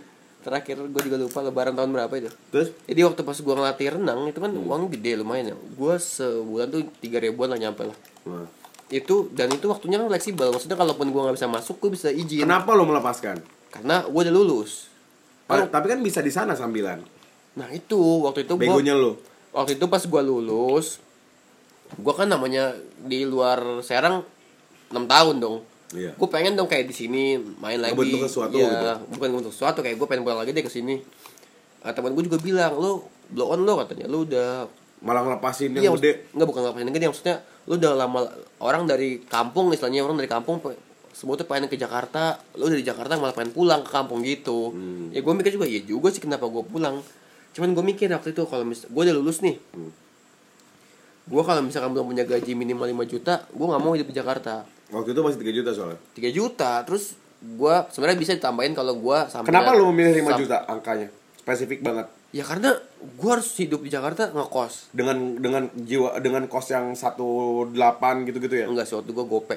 Speaker 2: terakhir gue juga lupa lebaran tahun berapa itu
Speaker 1: Terus
Speaker 2: Jadi waktu pas gua ngelatih renang itu kan
Speaker 1: Hmm.
Speaker 2: uang gede lumayan ya. Gua sebulan tuh tiga ribuan lah nyampe lah.
Speaker 1: Nah.
Speaker 2: Itu dan itu waktunya kan fleksibel. Maksudnya kalaupun gua nggak bisa masuk, gua bisa izin.
Speaker 1: Kenapa lo melepaskan?
Speaker 2: Karena gua udah lulus.
Speaker 1: Pa- tapi kan bisa di sana sambilan.
Speaker 2: Nah itu waktu itu gua
Speaker 1: Begonya lo.
Speaker 2: waktu itu pas gua lulus, gua kan namanya di luar Serang 6 tahun dong.
Speaker 1: Iya.
Speaker 2: Gue pengen dong kayak di sini main lagi.
Speaker 1: Ngebentuk sesuatu
Speaker 2: Iya,
Speaker 1: gitu.
Speaker 2: bukan untuk sesuatu kayak gue pengen pulang lagi deh ke sini. Nah, teman gue juga bilang, "Lu blow on lo katanya. Lu udah
Speaker 1: Malah ngelepasin yang
Speaker 2: Iya,
Speaker 1: gede.
Speaker 2: Enggak bukan ngapain gede maksudnya lu udah lama orang dari kampung istilahnya orang dari kampung pe- semua tuh pengen ke Jakarta, lu dari Jakarta malah pengen pulang ke kampung gitu.
Speaker 1: Hmm.
Speaker 2: Ya gue mikir juga iya juga sih kenapa gue pulang. Cuman gue mikir waktu itu kalau mis gue udah lulus nih.
Speaker 1: Hmm.
Speaker 2: Gue kalau misalkan belum punya gaji minimal 5 juta, gue nggak mau hidup di Jakarta.
Speaker 1: Waktu itu masih 3 juta soalnya.
Speaker 2: 3 juta, terus gue sebenarnya bisa ditambahin kalau gue sampai
Speaker 1: Kenapa lo memilih 5
Speaker 2: sam-
Speaker 1: juta angkanya? Spesifik banget.
Speaker 2: Ya karena gue harus hidup di Jakarta ngekos.
Speaker 1: Dengan dengan jiwa dengan kos yang 18 gitu-gitu ya.
Speaker 2: Enggak sih waktu gue gope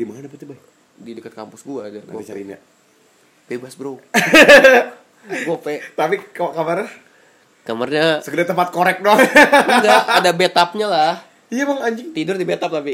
Speaker 1: Di mana dapetnya, Bay?
Speaker 2: di dekat kampus gue ada.
Speaker 1: Nanti cariin ya.
Speaker 2: bebas bro gope
Speaker 1: Tapi kok kabarnya
Speaker 2: kamarnya
Speaker 1: sekedar tempat korek doang.
Speaker 2: enggak ada bathtubnya lah
Speaker 1: iya, Bang anjing.
Speaker 2: tidur di bathtub tapi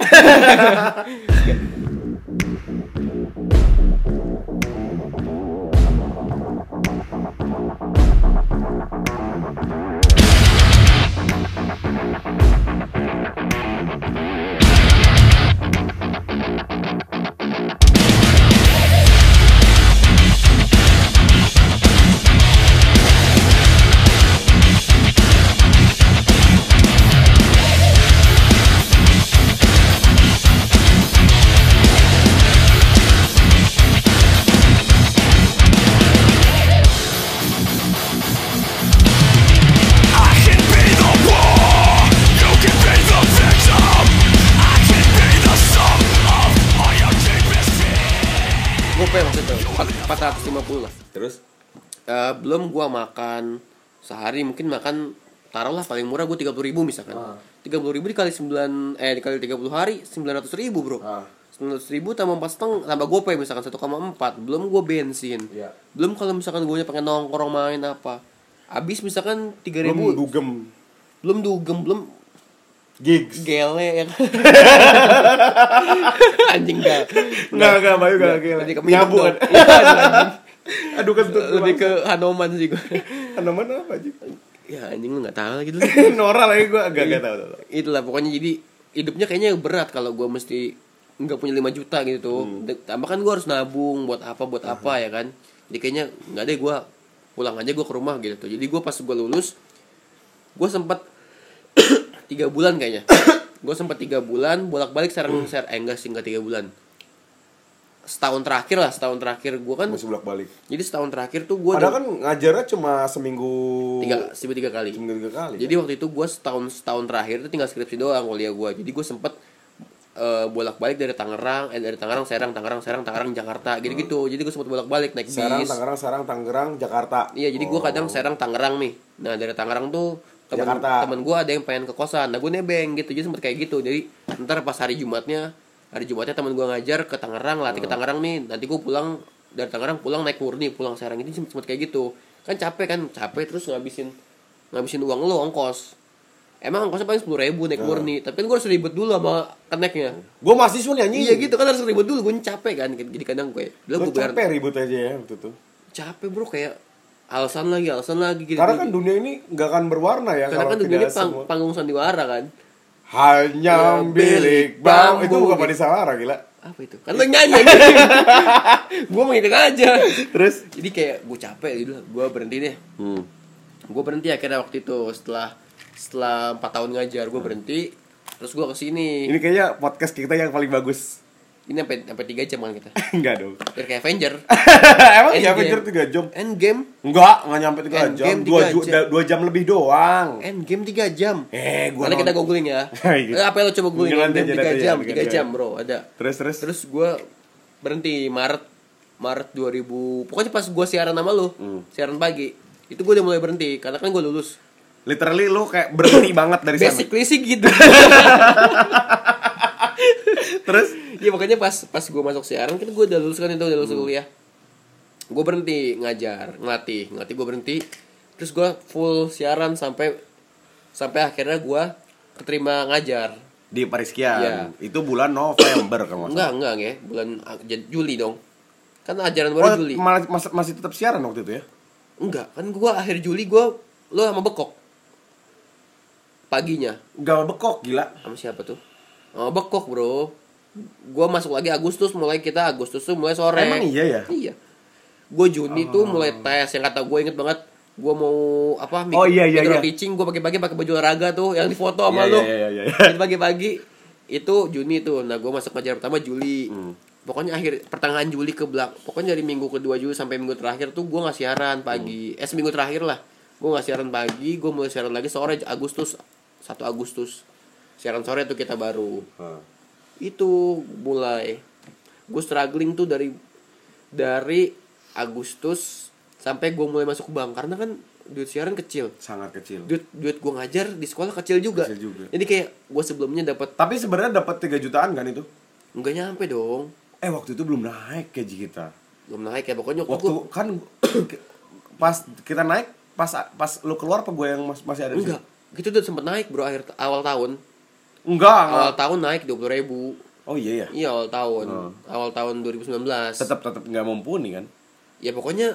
Speaker 3: I can be the war, you can be the victim. I can be the sum of all your deepest fears.
Speaker 2: gope maksudnya 450 lah
Speaker 1: Terus
Speaker 2: Eh, belum gua makan sehari mungkin makan taruhlah paling murah gua 30.000 ribu misalkan tiga ribu dikali 9 eh dikali 30 hari 900.000 ribu bro
Speaker 1: Ah.
Speaker 2: 900.000 ribu tambah empat seteng- tambah gope misalkan 1,4 belum gua bensin
Speaker 1: Iya.
Speaker 2: belum kalau misalkan gue pengen nongkrong main apa habis misalkan 3000
Speaker 1: belum
Speaker 2: ribu
Speaker 1: dugem
Speaker 2: belum dugem belum
Speaker 1: gigs.
Speaker 2: gele ya kan? anjing gak
Speaker 1: Enggak, enggak, Bayu enggak gila.
Speaker 2: lebih ke
Speaker 1: Nyabu
Speaker 2: minum
Speaker 1: kan.
Speaker 2: dong. Iya, anjing.
Speaker 1: Aduh kan kentut.
Speaker 2: lebih ke Hanoman sih gue
Speaker 1: Anak mana apa anjing?
Speaker 2: ya anjing lu nggak tahu lagi lu
Speaker 1: Iya. Nora lagi gua enggak enggak Iya, tahu. tahu, tahu.
Speaker 2: itulah pokoknya jadi hidupnya kayaknya berat kalau gua mesti nggak punya 5 juta gitu tuh.
Speaker 1: Hmm.
Speaker 2: De- Tambah kan gua harus nabung buat apa buat apa ya kan. Jadi kayaknya nggak deh gua pulang aja gua ke rumah gitu tuh. Jadi gua pas gua lulus gua sempat tiga bulan kayaknya. gua sempat tiga bulan bolak-balik sarang
Speaker 1: Hmm.
Speaker 2: ser eh, enggak sih enggak tiga bulan. Setahun terakhir lah, setahun terakhir gua kan.
Speaker 1: masih bolak balik
Speaker 2: Jadi setahun terakhir tuh
Speaker 1: Hmm.
Speaker 2: gua
Speaker 1: padahal
Speaker 2: udah
Speaker 1: kan ngajarnya cuma seminggu
Speaker 2: tiga seminggu tiga kali.
Speaker 1: seminggu tiga kali
Speaker 2: Jadi waktu itu gue setahun setahun terakhir itu tinggal skripsi doang kuliah gue. Jadi gue sempet eh, bolak-balik dari Tangerang, eh, dari Tangerang Serang, Tangerang Serang, Tangerang Jakarta, gitu-gitu. Jadi gue sempet bolak-balik naik
Speaker 1: Serang
Speaker 2: bis.
Speaker 1: Tangerang Serang Tangerang Jakarta
Speaker 2: Iya, jadi gue kadang Serang Tangerang nih. Nah dari Tangerang tuh temen
Speaker 1: Oh. Jakarta.
Speaker 2: temen gue ada yang pengen ke kosan, nah gue nebeng gitu. Jadi sempet kayak gitu. Jadi ntar pas hari Jumatnya, hari Jumatnya temen gue ngajar ke Tangerang, latih
Speaker 1: Hmm.
Speaker 2: ke Tangerang nih. Nanti gue pulang dari Tangerang pulang naik murni, pulang Serang itu sempet, sempet kayak gitu. Kan capek kan, capek terus ngabisin ngabisin uang lo ongkos. Emang ongkosnya paling sepuluh ribu
Speaker 1: Hmm.
Speaker 2: naik murni, tapi kan gue harus ribet dulu sama keneknya.
Speaker 1: gue mahasiswa nih anjing
Speaker 2: Iya gitu kan harus ribet dulu, gue capek kan. Jadi kadang gue,
Speaker 1: Lu
Speaker 2: gue
Speaker 1: capek ribut aja ya waktu itu
Speaker 2: capek bro kayak alasan lagi, alasan lagi. Gitu,
Speaker 1: karena kan dunia ini nggak akan berwarna ya
Speaker 2: karena
Speaker 1: kalau
Speaker 2: kan dunia
Speaker 1: tidak
Speaker 2: ini pang-
Speaker 1: semua
Speaker 2: panggung sandiwara kan
Speaker 1: hanya
Speaker 2: Ya,
Speaker 1: milik
Speaker 2: milik
Speaker 1: bang itu
Speaker 2: bambu,
Speaker 1: bukan
Speaker 2: gitu.
Speaker 1: Padi Salara gila
Speaker 2: apa itu
Speaker 1: Iya.
Speaker 2: kan lo nyanyi gue menghitung aja
Speaker 1: terus
Speaker 2: jadi kayak gue capek gitu gue berhenti deh
Speaker 1: hmm.
Speaker 2: gue berhenti akhirnya waktu itu setelah setelah empat tahun ngajar gue berhenti terus gue kesini
Speaker 1: ini
Speaker 2: ini,
Speaker 1: kayaknya podcast kita yang paling bagus
Speaker 2: ini sampai sampai tiga jam kan kita
Speaker 1: enggak dong
Speaker 2: Biar kayak Avenger
Speaker 1: emang
Speaker 2: Endgame.
Speaker 1: ya Avenger tiga jam
Speaker 2: Endgame
Speaker 1: enggak nggak nyampe tiga
Speaker 2: Endgame
Speaker 1: jam
Speaker 2: tiga
Speaker 1: dua ju-
Speaker 2: jam.
Speaker 1: da- dua jam lebih doang
Speaker 2: Endgame tiga jam
Speaker 1: eh gue
Speaker 2: Nanti kita googling ya
Speaker 1: Iya.
Speaker 2: Eh, apa yang lo coba
Speaker 1: Nanti,
Speaker 2: googling
Speaker 1: nanti,
Speaker 2: Endgame tiga
Speaker 1: nanti, ya,
Speaker 2: jam
Speaker 1: nanti,
Speaker 2: tiga
Speaker 1: nanti.
Speaker 2: jam bro ada
Speaker 1: terus terus
Speaker 2: Terus gue berhenti Maret Maret 2000 Pokoknya pas gue siaran sama lu Siaran pagi Itu gue udah mulai berhenti Karena kan gue lulus
Speaker 1: literally lu kayak berhenti banget dari sana
Speaker 2: Basically sih gitu
Speaker 1: terus
Speaker 2: Ya makanya pas pas gue masuk siaran Kan gue udah lulus kan itu Udah lulus kuliah Gue berhenti ngajar Ngelatih Ngelatih gue berhenti Terus gue full siaran sampai Sampai akhirnya gue Keterima ngajar
Speaker 1: di
Speaker 2: Iya.
Speaker 1: Pariskian itu bulan November kalau nggak salah.
Speaker 2: Enggak enggak ya Bulan ah, Jan- Juli dong Kan ajaran
Speaker 1: Oh,
Speaker 2: baru Juli
Speaker 1: malah- mas- masih tetap siaran waktu itu ya?
Speaker 2: Enggak, kan gua akhir Juli gua lo sama Bekok. Paginya
Speaker 1: Gak bekok gila.
Speaker 2: sama siapa tuh? Sama Bekok, Bro. Gua masuk lagi Agustus mulai kita Agustus tuh mulai sore.
Speaker 1: Emang iya ya? Oh.
Speaker 2: Iya. Gua Juni tuh mulai tes yang kata gua inget banget gua mau apa mik-
Speaker 1: Oh, iya, iya,
Speaker 2: mikro
Speaker 1: iya.
Speaker 2: teaching gua pagi-pagi pakai baju olahraga tuh yang difoto sama
Speaker 1: Iya,
Speaker 2: lo.
Speaker 1: iya, iya, iya.
Speaker 2: Jadi pagi-pagi itu Juni tuh. Nah, gua masuk pelajaran pertama Juli.
Speaker 1: Hmm.
Speaker 2: Pokoknya akhir pertengahan Juli ke belak. Pokoknya dari minggu kedua Juli sampai minggu terakhir tuh gua nggak siaran pagi.
Speaker 1: Hmm.
Speaker 2: Eh seminggu terakhir lah. Gua nggak siaran pagi, gua mulai siaran lagi sore Agustus 1 Agustus. Siaran sore tuh kita baru. Itu mulai gue struggling tuh dari dari Agustus sampai gua mulai masuk bank karena kan duit siaran kecil.
Speaker 1: Sangat kecil.
Speaker 2: Duit duit gua ngajar di sekolah kecil juga.
Speaker 1: Kecil juga.
Speaker 2: Jadi kayak gua sebelumnya dapat
Speaker 1: Tapi sebenarnya dapat 3 jutaan kan itu?
Speaker 2: nggak nyampe dong
Speaker 1: Eh waktu itu belum naik gaji kita.
Speaker 2: belum naik ya pokoknya
Speaker 1: Waktu
Speaker 2: waktu,
Speaker 1: kan ke- pas kita naik pas pas lu keluar apa gue yang mas- masih ada di
Speaker 2: aku enggak
Speaker 1: situ?
Speaker 2: gitu udah sempet naik bro akhir awal tahun
Speaker 1: Enggak.
Speaker 2: awal
Speaker 1: enggak.
Speaker 2: tahun naik dua puluh ribu
Speaker 1: Oh iya ya.
Speaker 2: iya awal tahun
Speaker 1: Ah.
Speaker 2: awal tahun 2019
Speaker 1: Tetap tetap nggak mumpuni kan?
Speaker 2: ya pokoknya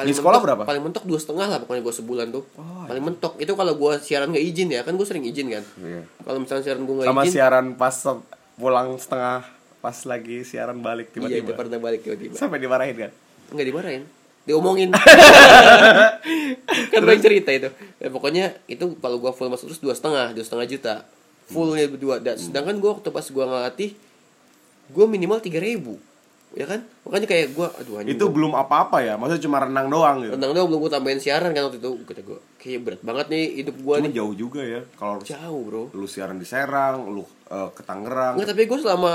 Speaker 1: Di sekolah
Speaker 2: mentok-
Speaker 1: berapa?
Speaker 2: paling mentok dua setengah lah pokoknya gua sebulan tuh
Speaker 1: Oh,
Speaker 2: paling mentok itu kalau gua siaran nggak izin ya kan gua sering izin kan
Speaker 1: Iya.
Speaker 2: kalau misalnya siaran gua nggak
Speaker 1: Sama
Speaker 2: izin
Speaker 1: siaran pas se- pulang setengah pas lagi siaran balik
Speaker 2: iya itu
Speaker 1: tiba-tiba.
Speaker 2: pernah balik tiba-tiba
Speaker 1: Sampai dimarahin kan?
Speaker 2: nggak dimarahin diomongin kan banyak cerita itu ya, pokoknya itu kalau gua full masuk terus dua setengah dua setengah juta fullnya berdua
Speaker 1: Hmm.
Speaker 2: dan sedangkan gua waktu pas gua ngelatih gua minimal tiga ribu ya kan makanya kayak gua aduh anjing,
Speaker 1: Itu
Speaker 2: gua-
Speaker 1: belum apa-apa ya, maksudnya cuma renang doang gitu.
Speaker 2: tentang dong belum gua tambahin siaran kan waktu itu kata gua kayak berat banget nih hidup gua
Speaker 1: Cuma
Speaker 2: nih
Speaker 1: jauh juga ya kalau
Speaker 2: jauh bro
Speaker 1: lu siaran di Serang, lu eh, ke Tangerang.
Speaker 2: nggak tapi gua selama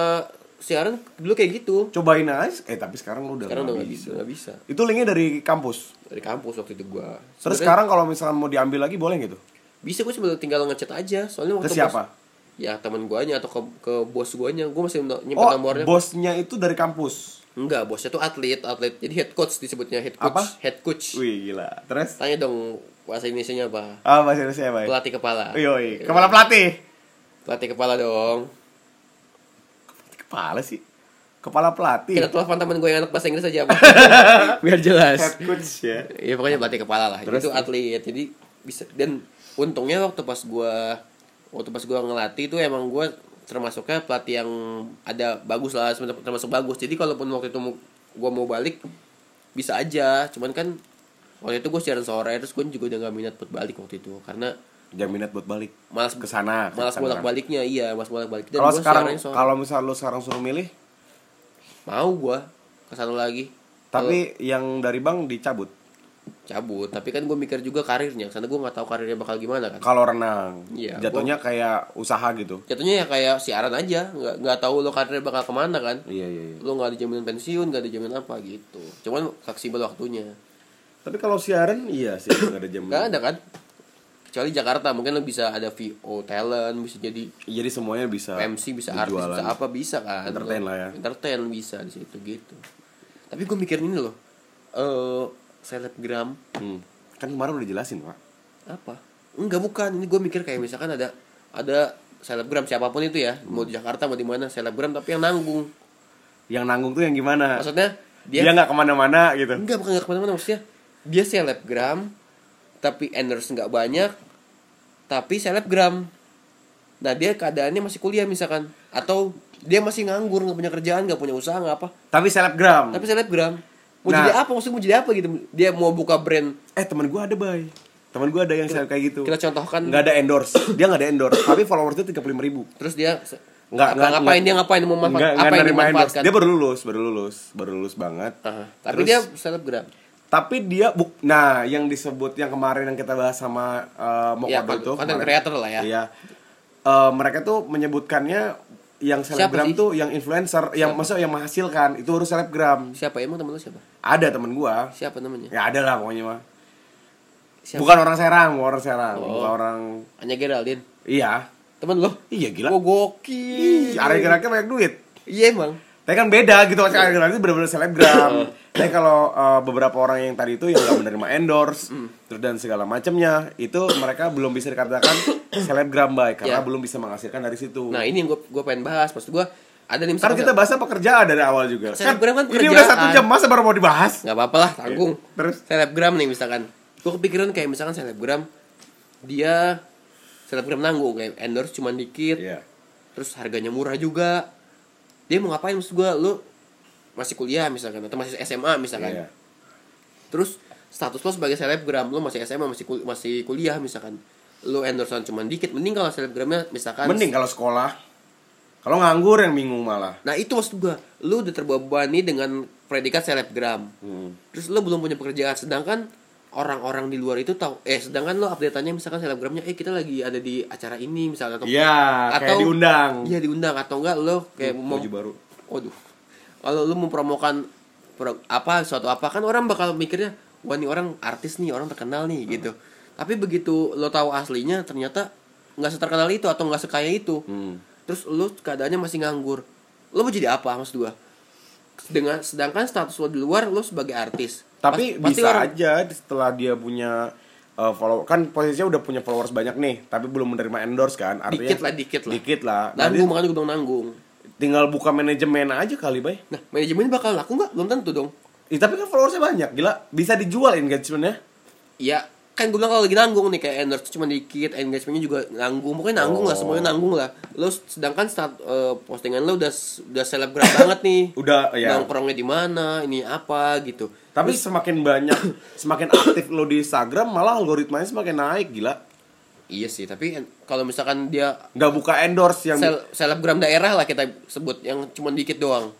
Speaker 2: siaran dulu kayak gitu
Speaker 1: Cobain aja. Eh tapi sekarang lu udah
Speaker 2: sekarang udah
Speaker 1: nggak
Speaker 2: nggak bisa nggak bisa
Speaker 1: Itu linknya dari kampus.
Speaker 2: dari kampus waktu itu gua
Speaker 1: Terus
Speaker 2: Sebenarnya-
Speaker 1: sekarang kalau misalkan mau diambil lagi boleh gitu?
Speaker 2: bisa gue sebenarnya tinggal ngechat aja soalnya
Speaker 1: Ke
Speaker 2: waktu
Speaker 1: siapa?
Speaker 2: pas- ya teman guanya atau ke ke bos guanya gue masih no- nyimpen
Speaker 1: Oh,
Speaker 2: nomornya
Speaker 1: bosnya itu dari kampus.
Speaker 2: enggak bosnya tuh atlet atlet jadi head coach disebutnya head coach
Speaker 1: Apa?
Speaker 2: head coach
Speaker 1: Wih, gila. Terus
Speaker 2: tanya dong bahasa Indonesia apa
Speaker 1: ah masih ada siapa? ya?
Speaker 2: pelatih Iya. kepala
Speaker 1: Yoi, kepala pelatih.
Speaker 2: pelatih kepala dong
Speaker 1: Kepala sih. Kepala
Speaker 2: kita
Speaker 1: pelatih.
Speaker 2: telepon teman gue yang anak bahasa Inggris aja apa biar jelas
Speaker 1: Head coach ya.
Speaker 2: ya pokoknya pelatih kepala lah
Speaker 1: Terus?
Speaker 2: itu atlet jadi bisa dan untungnya waktu pas gua waktu pas gua ngelatih itu emang gua termasuknya pelatih yang ada bagus lah sebenarnya termasuk bagus jadi kalaupun waktu itu mau- gua mau balik bisa aja cuman kan waktu itu gua siaran sore terus gua juga udah gak minat buat balik waktu itu karena
Speaker 1: Jaminat buat balik
Speaker 2: malas
Speaker 1: ke sana. ke
Speaker 2: malas
Speaker 1: Tangerang.
Speaker 2: bolak baliknya iya malas bolak balik
Speaker 1: Kalau sekarang
Speaker 2: sore
Speaker 1: kalau misal lu sekarang suruh milih,
Speaker 2: mau gua ke sana lagi
Speaker 1: tapi yang dari bank dicabut.
Speaker 2: Kalau cabut tapi kan gua mikir juga karirnya karena gua nggak tahu karirnya bakal gimana kan
Speaker 1: Kalau renang,
Speaker 2: Iya,
Speaker 1: jatuhnya kayak usaha gitu.
Speaker 2: jatuhnya ya kayak siaran aja nggak nggak tahu lo karirnya bakal kemana kan
Speaker 1: Iya iya. iya.
Speaker 2: lo nggak dijaminan pensiun nggak dijaminan apa gitu cuman fleksibel waktunya
Speaker 1: Tapi kalau siaran iya sih nggak ada jam.
Speaker 2: nggak ada kan kecuali Jakarta mungkin lo bisa ada VO talent bisa jadi
Speaker 1: Iya, Jadi semuanya bisa.
Speaker 2: MC bisa artis
Speaker 1: dijualan.
Speaker 2: bisa apa bisa kan
Speaker 1: Entertain lah ya.
Speaker 2: entertain bisa di situ gitu tapi gue mikirin ini loh eh selebgram
Speaker 1: Hmm. Kan kemarin udah jelasin pak.
Speaker 2: apa enggak bukan ini gue mikir kayak misalkan ada ada selebgram siapapun itu ya mau di Jakarta mau di mana selebgram tapi yang nanggung
Speaker 1: Yang nanggung tuh yang gimana?
Speaker 2: maksudnya
Speaker 1: dia nggak kemana-mana gitu.
Speaker 2: Enggak bukan nggak kemana-mana maksudnya dia selebgram tapi endorse nggak banyak tapi selebgram nah dia keadaannya masih kuliah misalkan atau dia masih nganggur nggak punya kerjaan nggak punya usaha nggak apa
Speaker 1: Tapi selebgram.
Speaker 2: tapi selebgram mau
Speaker 1: Nah.
Speaker 2: jadi apa maksudnya mau jadi apa gitu dia mau buka brand
Speaker 1: Eh teman gue ada bay. Teman gue ada yang seleb kayak gitu.
Speaker 2: kita contohkan
Speaker 1: Nggak ada endorse. dia nggak ada endorse. tapi followersnya tiga puluh ribu.
Speaker 2: terus dia se-
Speaker 1: Nggak,
Speaker 2: apa-
Speaker 1: nggak,
Speaker 2: ngapain
Speaker 1: nggak.
Speaker 2: dia ngapain mau manfaat
Speaker 1: Nggak,
Speaker 2: apa
Speaker 1: nggak
Speaker 2: yang
Speaker 1: nerima endorse.
Speaker 2: dimanfaatkan
Speaker 1: Dia baru lulus, baru lulus, baru lulus banget.
Speaker 2: Aha. tapi
Speaker 1: Terus-
Speaker 2: dia selebgram
Speaker 1: Tapi dia buk, nah yang disebut yang kemarin yang kita bahas sama eh, Moko
Speaker 2: Ya,
Speaker 1: Doi
Speaker 2: kon-
Speaker 1: tuh,
Speaker 2: content
Speaker 1: kemarin.
Speaker 2: creator lah ya.
Speaker 1: Iya. Eh, mereka tuh menyebutkannya yang selebgram
Speaker 2: sih?
Speaker 1: tuh yang influencer, yang maksudnya yang menghasilkan itu harus selebgram.
Speaker 2: siapa emang temen lu siapa
Speaker 1: Ada temen gua.
Speaker 2: siapa namanya
Speaker 1: Ya ada lah pokoknya mah.
Speaker 2: siapa
Speaker 1: Bukan orang Serang, bukan orang Serang,
Speaker 2: Oh.
Speaker 1: bukan orang
Speaker 2: Anya Geraldine
Speaker 1: iya.
Speaker 2: temen lo
Speaker 1: Iya gila.
Speaker 2: Wah,
Speaker 1: Ih,
Speaker 2: gokil
Speaker 1: Arya Gerangnya banyak duit.
Speaker 2: Iya emang.
Speaker 1: Tapi kan beda gitu kan Ariana Grande itu benar-benar selebgram. Tapi kalau eh, beberapa orang yang tadi itu yang nggak menerima endorse
Speaker 2: Hmm.
Speaker 1: terus dan segala macamnya itu mereka belum bisa dikatakan selebgram baik karena
Speaker 2: Ya.
Speaker 1: belum bisa menghasilkan dari situ.
Speaker 2: Nah ini yang gue gue pengen bahas. Maksud gue ada nih
Speaker 1: Karena kita bahasnya pekerjaan dari awal juga.
Speaker 2: Selebgram kan
Speaker 1: ini udah satu jam
Speaker 2: pekerjaan.
Speaker 1: masa baru mau dibahas.
Speaker 2: nggak apa-apa lah tanggung.
Speaker 1: Oke, Iya, terus?
Speaker 2: selebgram nih misalkan. Gue kepikiran kayak misalkan selebgram dia selebgram nanggung kayak endorse cuman dikit.
Speaker 1: Iya.
Speaker 2: Terus harganya murah juga. Dia mau ngapain maksud gue? Lu masih kuliah misalkan atau masih SMA misalkan.
Speaker 1: Iya.
Speaker 2: Terus status lo sebagai selebgram lo masih SMA masih kul- masih kuliah misalkan lo endorsean cuman dikit mending kalau selebgramnya misalkan
Speaker 1: Mending kalau sekolah. Kalau nganggur yang bingung malah.
Speaker 2: Nah itu maksud gua, lu udah terbebani dengan predikat selebgram.
Speaker 1: Hmm.
Speaker 2: Terus lu belum punya pekerjaan, sedangkan orang-orang di luar itu tahu. Eh sedangkan lu update-annya misalkan selebgramnya, eh kita lagi ada di acara ini misalnya atau
Speaker 1: Iya, kayak diundang. Hmm,
Speaker 2: Iya diundang atau enggak lu kayak mau
Speaker 1: Baju baru.
Speaker 2: Waduh. Kalau lu mempromokan pro- apa suatu apa kan orang bakal mikirnya wah nih orang artis nih, orang terkenal nih
Speaker 1: Hmm.
Speaker 2: gitu. Tapi begitu lo tahu aslinya ternyata nggak seterkenal itu atau nggak sekaya itu.
Speaker 1: Hmm.
Speaker 2: Terus lu keadaannya masih nganggur. Lo mau jadi apa maksud gua? Dengan sedangkan status lo di luar lo sebagai artis.
Speaker 1: Tapi
Speaker 2: Pas- pasti
Speaker 1: bisa
Speaker 2: orang-
Speaker 1: aja setelah dia punya uh, follow kan posisinya udah punya followers banyak nih, tapi belum menerima endorse kan. Artinya
Speaker 2: Dikit lah, dikit lah.
Speaker 1: Dikit lah. Nah,
Speaker 2: nanggung
Speaker 1: dia
Speaker 2: makanya gue bilang nanggung.
Speaker 1: tinggal buka manajemen aja kali, Bay.
Speaker 2: Nah, manajemen bakal laku nggak? Belum tentu dong.
Speaker 1: Ih, tapi kan followersnya banyak, gila. Bisa dijual engagementnya.
Speaker 2: Iya, kan gue bilang kalau lagi nanggung nih kayak endorse cuma dikit, engagementnya juga nanggung, pokoknya nanggung lah,
Speaker 1: Oh.
Speaker 2: semuanya nanggung lah. Lo sedangkan start, eh, postingan lo udah udah selebgram banget nih.
Speaker 1: Udah, ya.
Speaker 2: Nongkrongnya di mana, ini apa gitu.
Speaker 1: Tapi semakin banyak, semakin aktif lo di Instagram, malah algoritmanya semakin naik, gila.
Speaker 2: Iya sih, tapi en- kalau misalkan dia
Speaker 1: Nggak buka endorse yang
Speaker 2: sel- selebgram daerah lah kita sebut yang cuma dikit doang.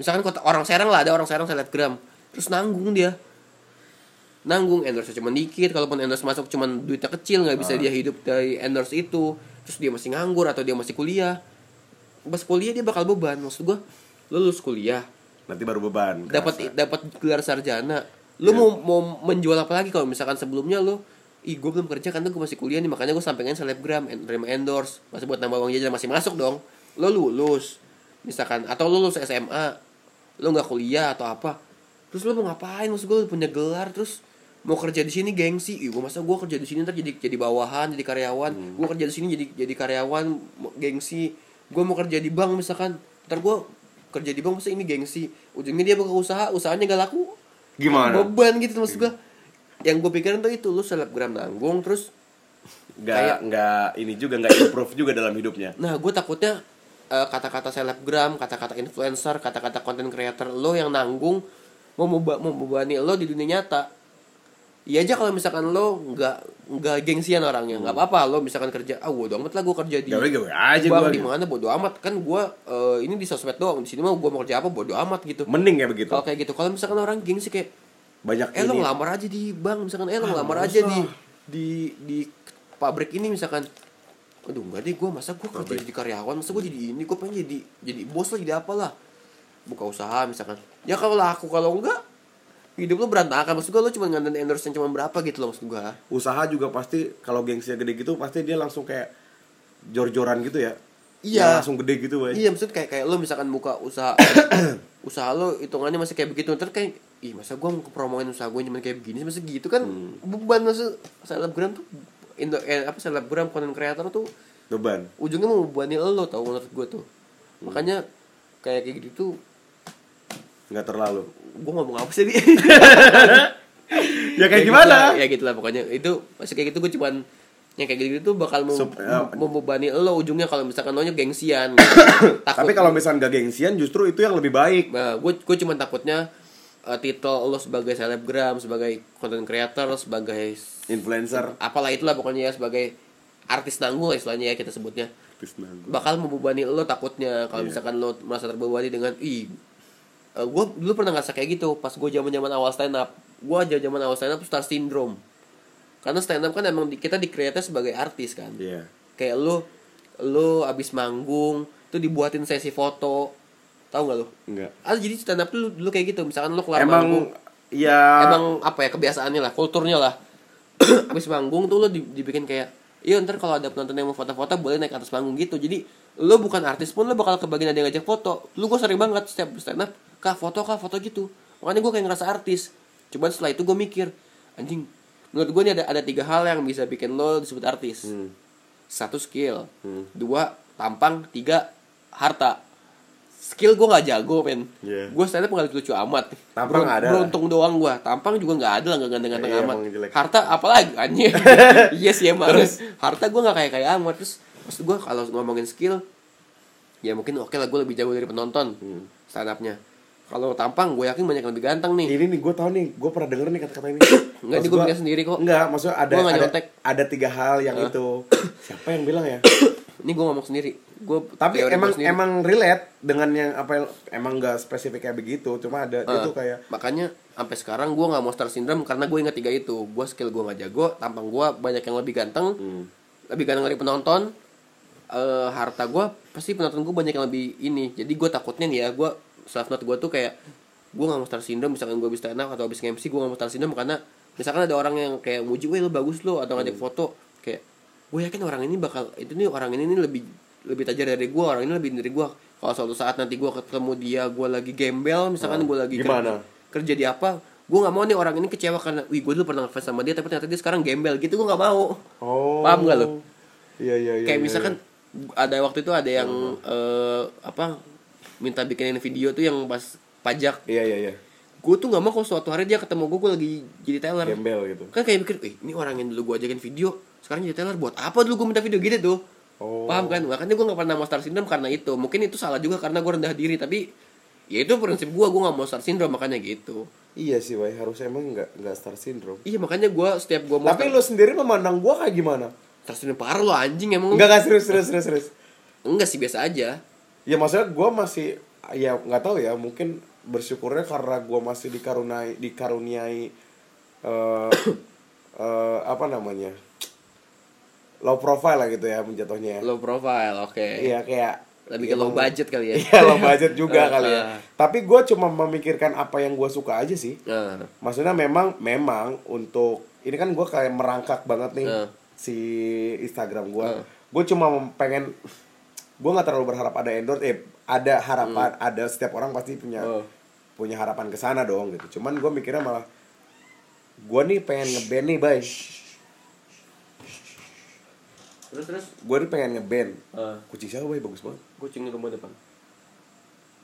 Speaker 2: Misalkan kota orang Serang lah ada orang Serang selebgram, terus nanggung dia. Nanggung endorse cuma dikit, kalaupun endorse masuk cuma duitnya kecil nggak bisa dia hidup dari endorse itu. Terus dia masih nganggur atau dia masih kuliah. Pas kuliah dia bakal beban. Maksud gua, lu lulus kuliah,
Speaker 1: nanti baru beban. kerasa.
Speaker 2: dapat dapat gelar sarjana. Lu mau mau menjual apa lagi kalau misalkan sebelumnya lu Ih gue belum kerja karena gue masih kuliah nih Makanya gue sampaikan selebgram en- Terima endorse Masih buat nambah uang jajan Masih masuk dong Lo lulus Misalkan Atau lo lulus SMA Lo gak kuliah atau apa Terus lo mau ngapain Maksud gue lo punya gelar Terus mau kerja di sini gengsi Ih gue masa gue kerja di sini ntar jadi jadi bawahan Jadi karyawan Gue kerja di sini jadi jadi karyawan mo- Gengsi Gue mau kerja di bank misalkan Ntar gue kerja di bank masa ini gengsi Ujungnya dia buka usaha Usahanya gak laku
Speaker 1: Gimana?
Speaker 2: Beban gitu maksud gue yang gue pikirin tuh itu lu selebgram nanggung terus
Speaker 1: nggak
Speaker 2: Kayak-
Speaker 1: nggak ini juga nggak improve juga dalam hidupnya
Speaker 2: Nah, gue takutnya eh, kata-kata selebgram, kata-kata influencer, kata-kata content creator lo yang nanggung mau memba- membebani lo di dunia nyata. Iya aja kalau misalkan lo nggak nggak gengsian orangnya, nggak apa-apa lo misalkan kerja, ah bodo amat lah gue kerja di
Speaker 1: gawe gawe aja gitu.
Speaker 2: bang di
Speaker 1: gue
Speaker 2: mana bodo amat kan gue eh, ini di sosmed doang di sini mah gue mau kerja apa bodo amat gitu.
Speaker 1: mending ya begitu
Speaker 2: Kalau kayak gitu, kalau misalkan orang gengsi kayak
Speaker 1: banyak
Speaker 2: eh lo
Speaker 1: ini
Speaker 2: ngelamar aja di bank misalkan eh lo ngelamar
Speaker 1: bagus
Speaker 2: aja di
Speaker 1: lah.
Speaker 2: di di pabrik ini misalkan aduh enggak deh gue masa gue kerja jadi karyawan masa gue jadi ini gue pengen jadi jadi bos lah jadi apalah buka usaha misalkan ya kalau aku kalau enggak hidup lo berantakan maksud gue lo cuma ngandelin endorse yang cuma berapa gitu loh maksud gue
Speaker 1: usaha juga pasti kalau gengsinya gede gitu pasti dia langsung kayak jor-joran gitu ya
Speaker 2: Iya.
Speaker 1: Yang langsung gede gitu woy.
Speaker 2: iya maksud kayak kayak lo misalkan buka usaha usaha lo hitungannya masih kayak begitu ntar kayak ih masa gue mau promoin usaha gue cuma kayak begini masa gitu kan beban maksud selebgram tuh Indo, eh, apa selebgram content creator tuh
Speaker 1: beban
Speaker 2: ujungnya mau bebani lo tau menurut gue tuh
Speaker 1: Hmm.
Speaker 2: makanya kayak kayak gitu
Speaker 1: nggak terlalu
Speaker 2: gue ngomong apa sih Di?
Speaker 1: ya kayak
Speaker 2: gitulah,
Speaker 1: gimana
Speaker 2: ya gitulah pokoknya itu masih kayak gitu gue cuman yang kayak gitu tuh bakal mem-
Speaker 1: Sup- ya.
Speaker 2: mem- membebani lo ujungnya kalau misalkan lo nya gengsian takut
Speaker 1: tapi kalau misalnya gak gengsian justru itu yang lebih baik
Speaker 2: Nah, gue gue cuman takutnya eh, titel lo sebagai selebgram, sebagai content creator, sebagai s-
Speaker 1: influencer
Speaker 2: apalah itulah pokoknya ya sebagai artis nanggung lah istilahnya ya kita sebutnya
Speaker 1: Tisna gua.
Speaker 2: bakal membebani lo takutnya
Speaker 1: Iya.
Speaker 2: kalau misalkan lo merasa terbebani dengan ih gue dulu pernah ngerasa kayak gitu pas gue zaman zaman awal stand up gue aja zaman awal stand up tuh star syndrome karena stand up kan emang di- kita dikreatnya sebagai artis kan
Speaker 1: iya
Speaker 2: kayak lo lo abis manggung tuh dibuatin sesi foto tau nggak lo
Speaker 1: enggak
Speaker 2: Ah jadi stand up dulu, dulu kayak gitu misalkan lo kelar manggung
Speaker 1: Iya. emang ya
Speaker 2: emang apa ya kebiasaannya lah kulturnya lah abis manggung tuh lo di- dibikin kayak iya ntar kalau ada penonton yang mau foto-foto boleh naik atas panggung gitu jadi lo bukan artis pun lo bakal kebagian ada yang ngajak foto lu gue sering banget setiap stand up kah foto kah foto gitu makanya gue kayak ngerasa artis cuman setelah itu gue mikir anjing menurut gue ini ada ada tiga hal yang bisa bikin lo disebut artis
Speaker 1: Hmm.
Speaker 2: satu skill dua tampang tiga harta skill gue nggak jago men
Speaker 1: Iya.
Speaker 2: gue stand up nggak lucu amat
Speaker 1: Tampang
Speaker 2: Ber-
Speaker 1: ada.
Speaker 2: beruntung doang gua tampang juga nggak ada lah nggak ganteng-ganteng
Speaker 1: Iya,
Speaker 2: amat
Speaker 1: emang jelek.
Speaker 2: harta apalagi anjir iya sih emang harta gua nggak kayak kayak amat terus maksud gua kalau ngomongin skill ya mungkin oke lah gua lebih jago dari penonton
Speaker 1: Hmm.
Speaker 2: stand upnya kalau tampang gue yakin banyak yang lebih ganteng nih
Speaker 1: ini nih gue tau nih gue pernah denger nih kata-kata ini
Speaker 2: Enggak, ini
Speaker 1: Maksud
Speaker 2: gue
Speaker 1: gua-
Speaker 2: punya sendiri kok.
Speaker 1: enggak maksudnya ada
Speaker 2: Gua nggak
Speaker 1: ada,
Speaker 2: nyontek.
Speaker 1: ada tiga hal yang itu siapa yang bilang ya
Speaker 2: ini gua ngomong sendiri gue
Speaker 1: tapi emang emang relate dengan yang apa yang, emang gak spesifik kayak begitu cuma ada
Speaker 2: Ah.
Speaker 1: itu kayak
Speaker 2: makanya sampai sekarang gua nggak mau star syndrome karena gue inget tiga itu gua skill gua nggak jago tampang gua banyak yang lebih ganteng lebih ganteng dari penonton Eh, harta gua pasti penonton gua banyak yang lebih ini jadi gua takutnya nih ya gua self note gua tuh kayak gua nggak mau star syndrome misalkan gua bisa enak atau habis MC gua nggak mau star syndrome karena misalkan ada orang yang kayak muji weh lo bagus lo atau ngajak foto kayak gue yakin orang ini bakal itu nih orang ini nih lebih lebih tajam dari gua orang ini lebih dari gua kalau suatu saat nanti gua ketemu dia gua lagi gembel misalkan kan gua lagi
Speaker 1: gimana?
Speaker 2: kerja di apa gue nggak mau nih orang ini kecewa karena wih gue dulu pernah ngefans sama dia tapi ternyata dia sekarang gembel gitu gue nggak mau
Speaker 1: oh
Speaker 2: Paham nggak lu?
Speaker 1: iya iya iya
Speaker 2: kayak
Speaker 1: iya,
Speaker 2: misalkan
Speaker 1: iya.
Speaker 2: ada waktu itu ada yang eh, apa minta bikinin video tuh yang pas pajak
Speaker 1: iya iya iya
Speaker 2: gue tuh nggak mau kalau suatu hari dia ketemu gue gue lagi jadi teller
Speaker 1: gembel gitu
Speaker 2: kan kayak mikir eh, ini orang yang dulu gue ajakin video sekarang jadi teller buat apa dulu gue minta video gitu tuh
Speaker 1: Oh.
Speaker 2: paham kan makanya gue nggak pernah mau star syndrome karena itu mungkin itu salah juga karena gue rendah diri tapi ya itu prinsip gue gue nggak mau star syndrome makanya gitu
Speaker 1: iya sih Wai harusnya emang nggak nggak star syndrome
Speaker 2: Iya makanya gue setiap gue mau
Speaker 1: tapi lu sendiri memandang gue kayak gimana
Speaker 2: tersenyum parah lo anjing emang lu-
Speaker 1: Enggak, enggak serius serius serius serius
Speaker 2: Enggak sih biasa aja
Speaker 1: ya maksudnya gue masih ya nggak tahu ya mungkin bersyukurnya karena gue masih dikaruniai dikaruniai eh eh, apa namanya low profile lah gitu ya menjatuhnya ya.
Speaker 2: Low profile oke
Speaker 1: iya kayak
Speaker 2: Lebih ke low budget kali ya
Speaker 1: iya low budget juga
Speaker 2: Eh,
Speaker 1: kali ya
Speaker 2: eh.
Speaker 1: tapi gue cuma memikirkan apa yang gue suka aja sih
Speaker 2: Nah,
Speaker 1: maksudnya memang memang untuk ini kan gue kayak merangkak banget nih
Speaker 2: Nah.
Speaker 1: si Instagram gue
Speaker 2: Nah.
Speaker 1: gue cuma mem- pengen gue nggak terlalu berharap ada endorse eh ada harapan
Speaker 2: Hmm.
Speaker 1: ada setiap orang pasti punya
Speaker 2: Oh.
Speaker 1: punya harapan ke sana dong gitu cuman gue mikirnya malah gue nih pengen ngeband nih bay
Speaker 2: Terus terus
Speaker 1: gue nih pengen ngeband
Speaker 2: Eh.
Speaker 1: kucing siapa bay bagus banget
Speaker 2: kucing di rumah depan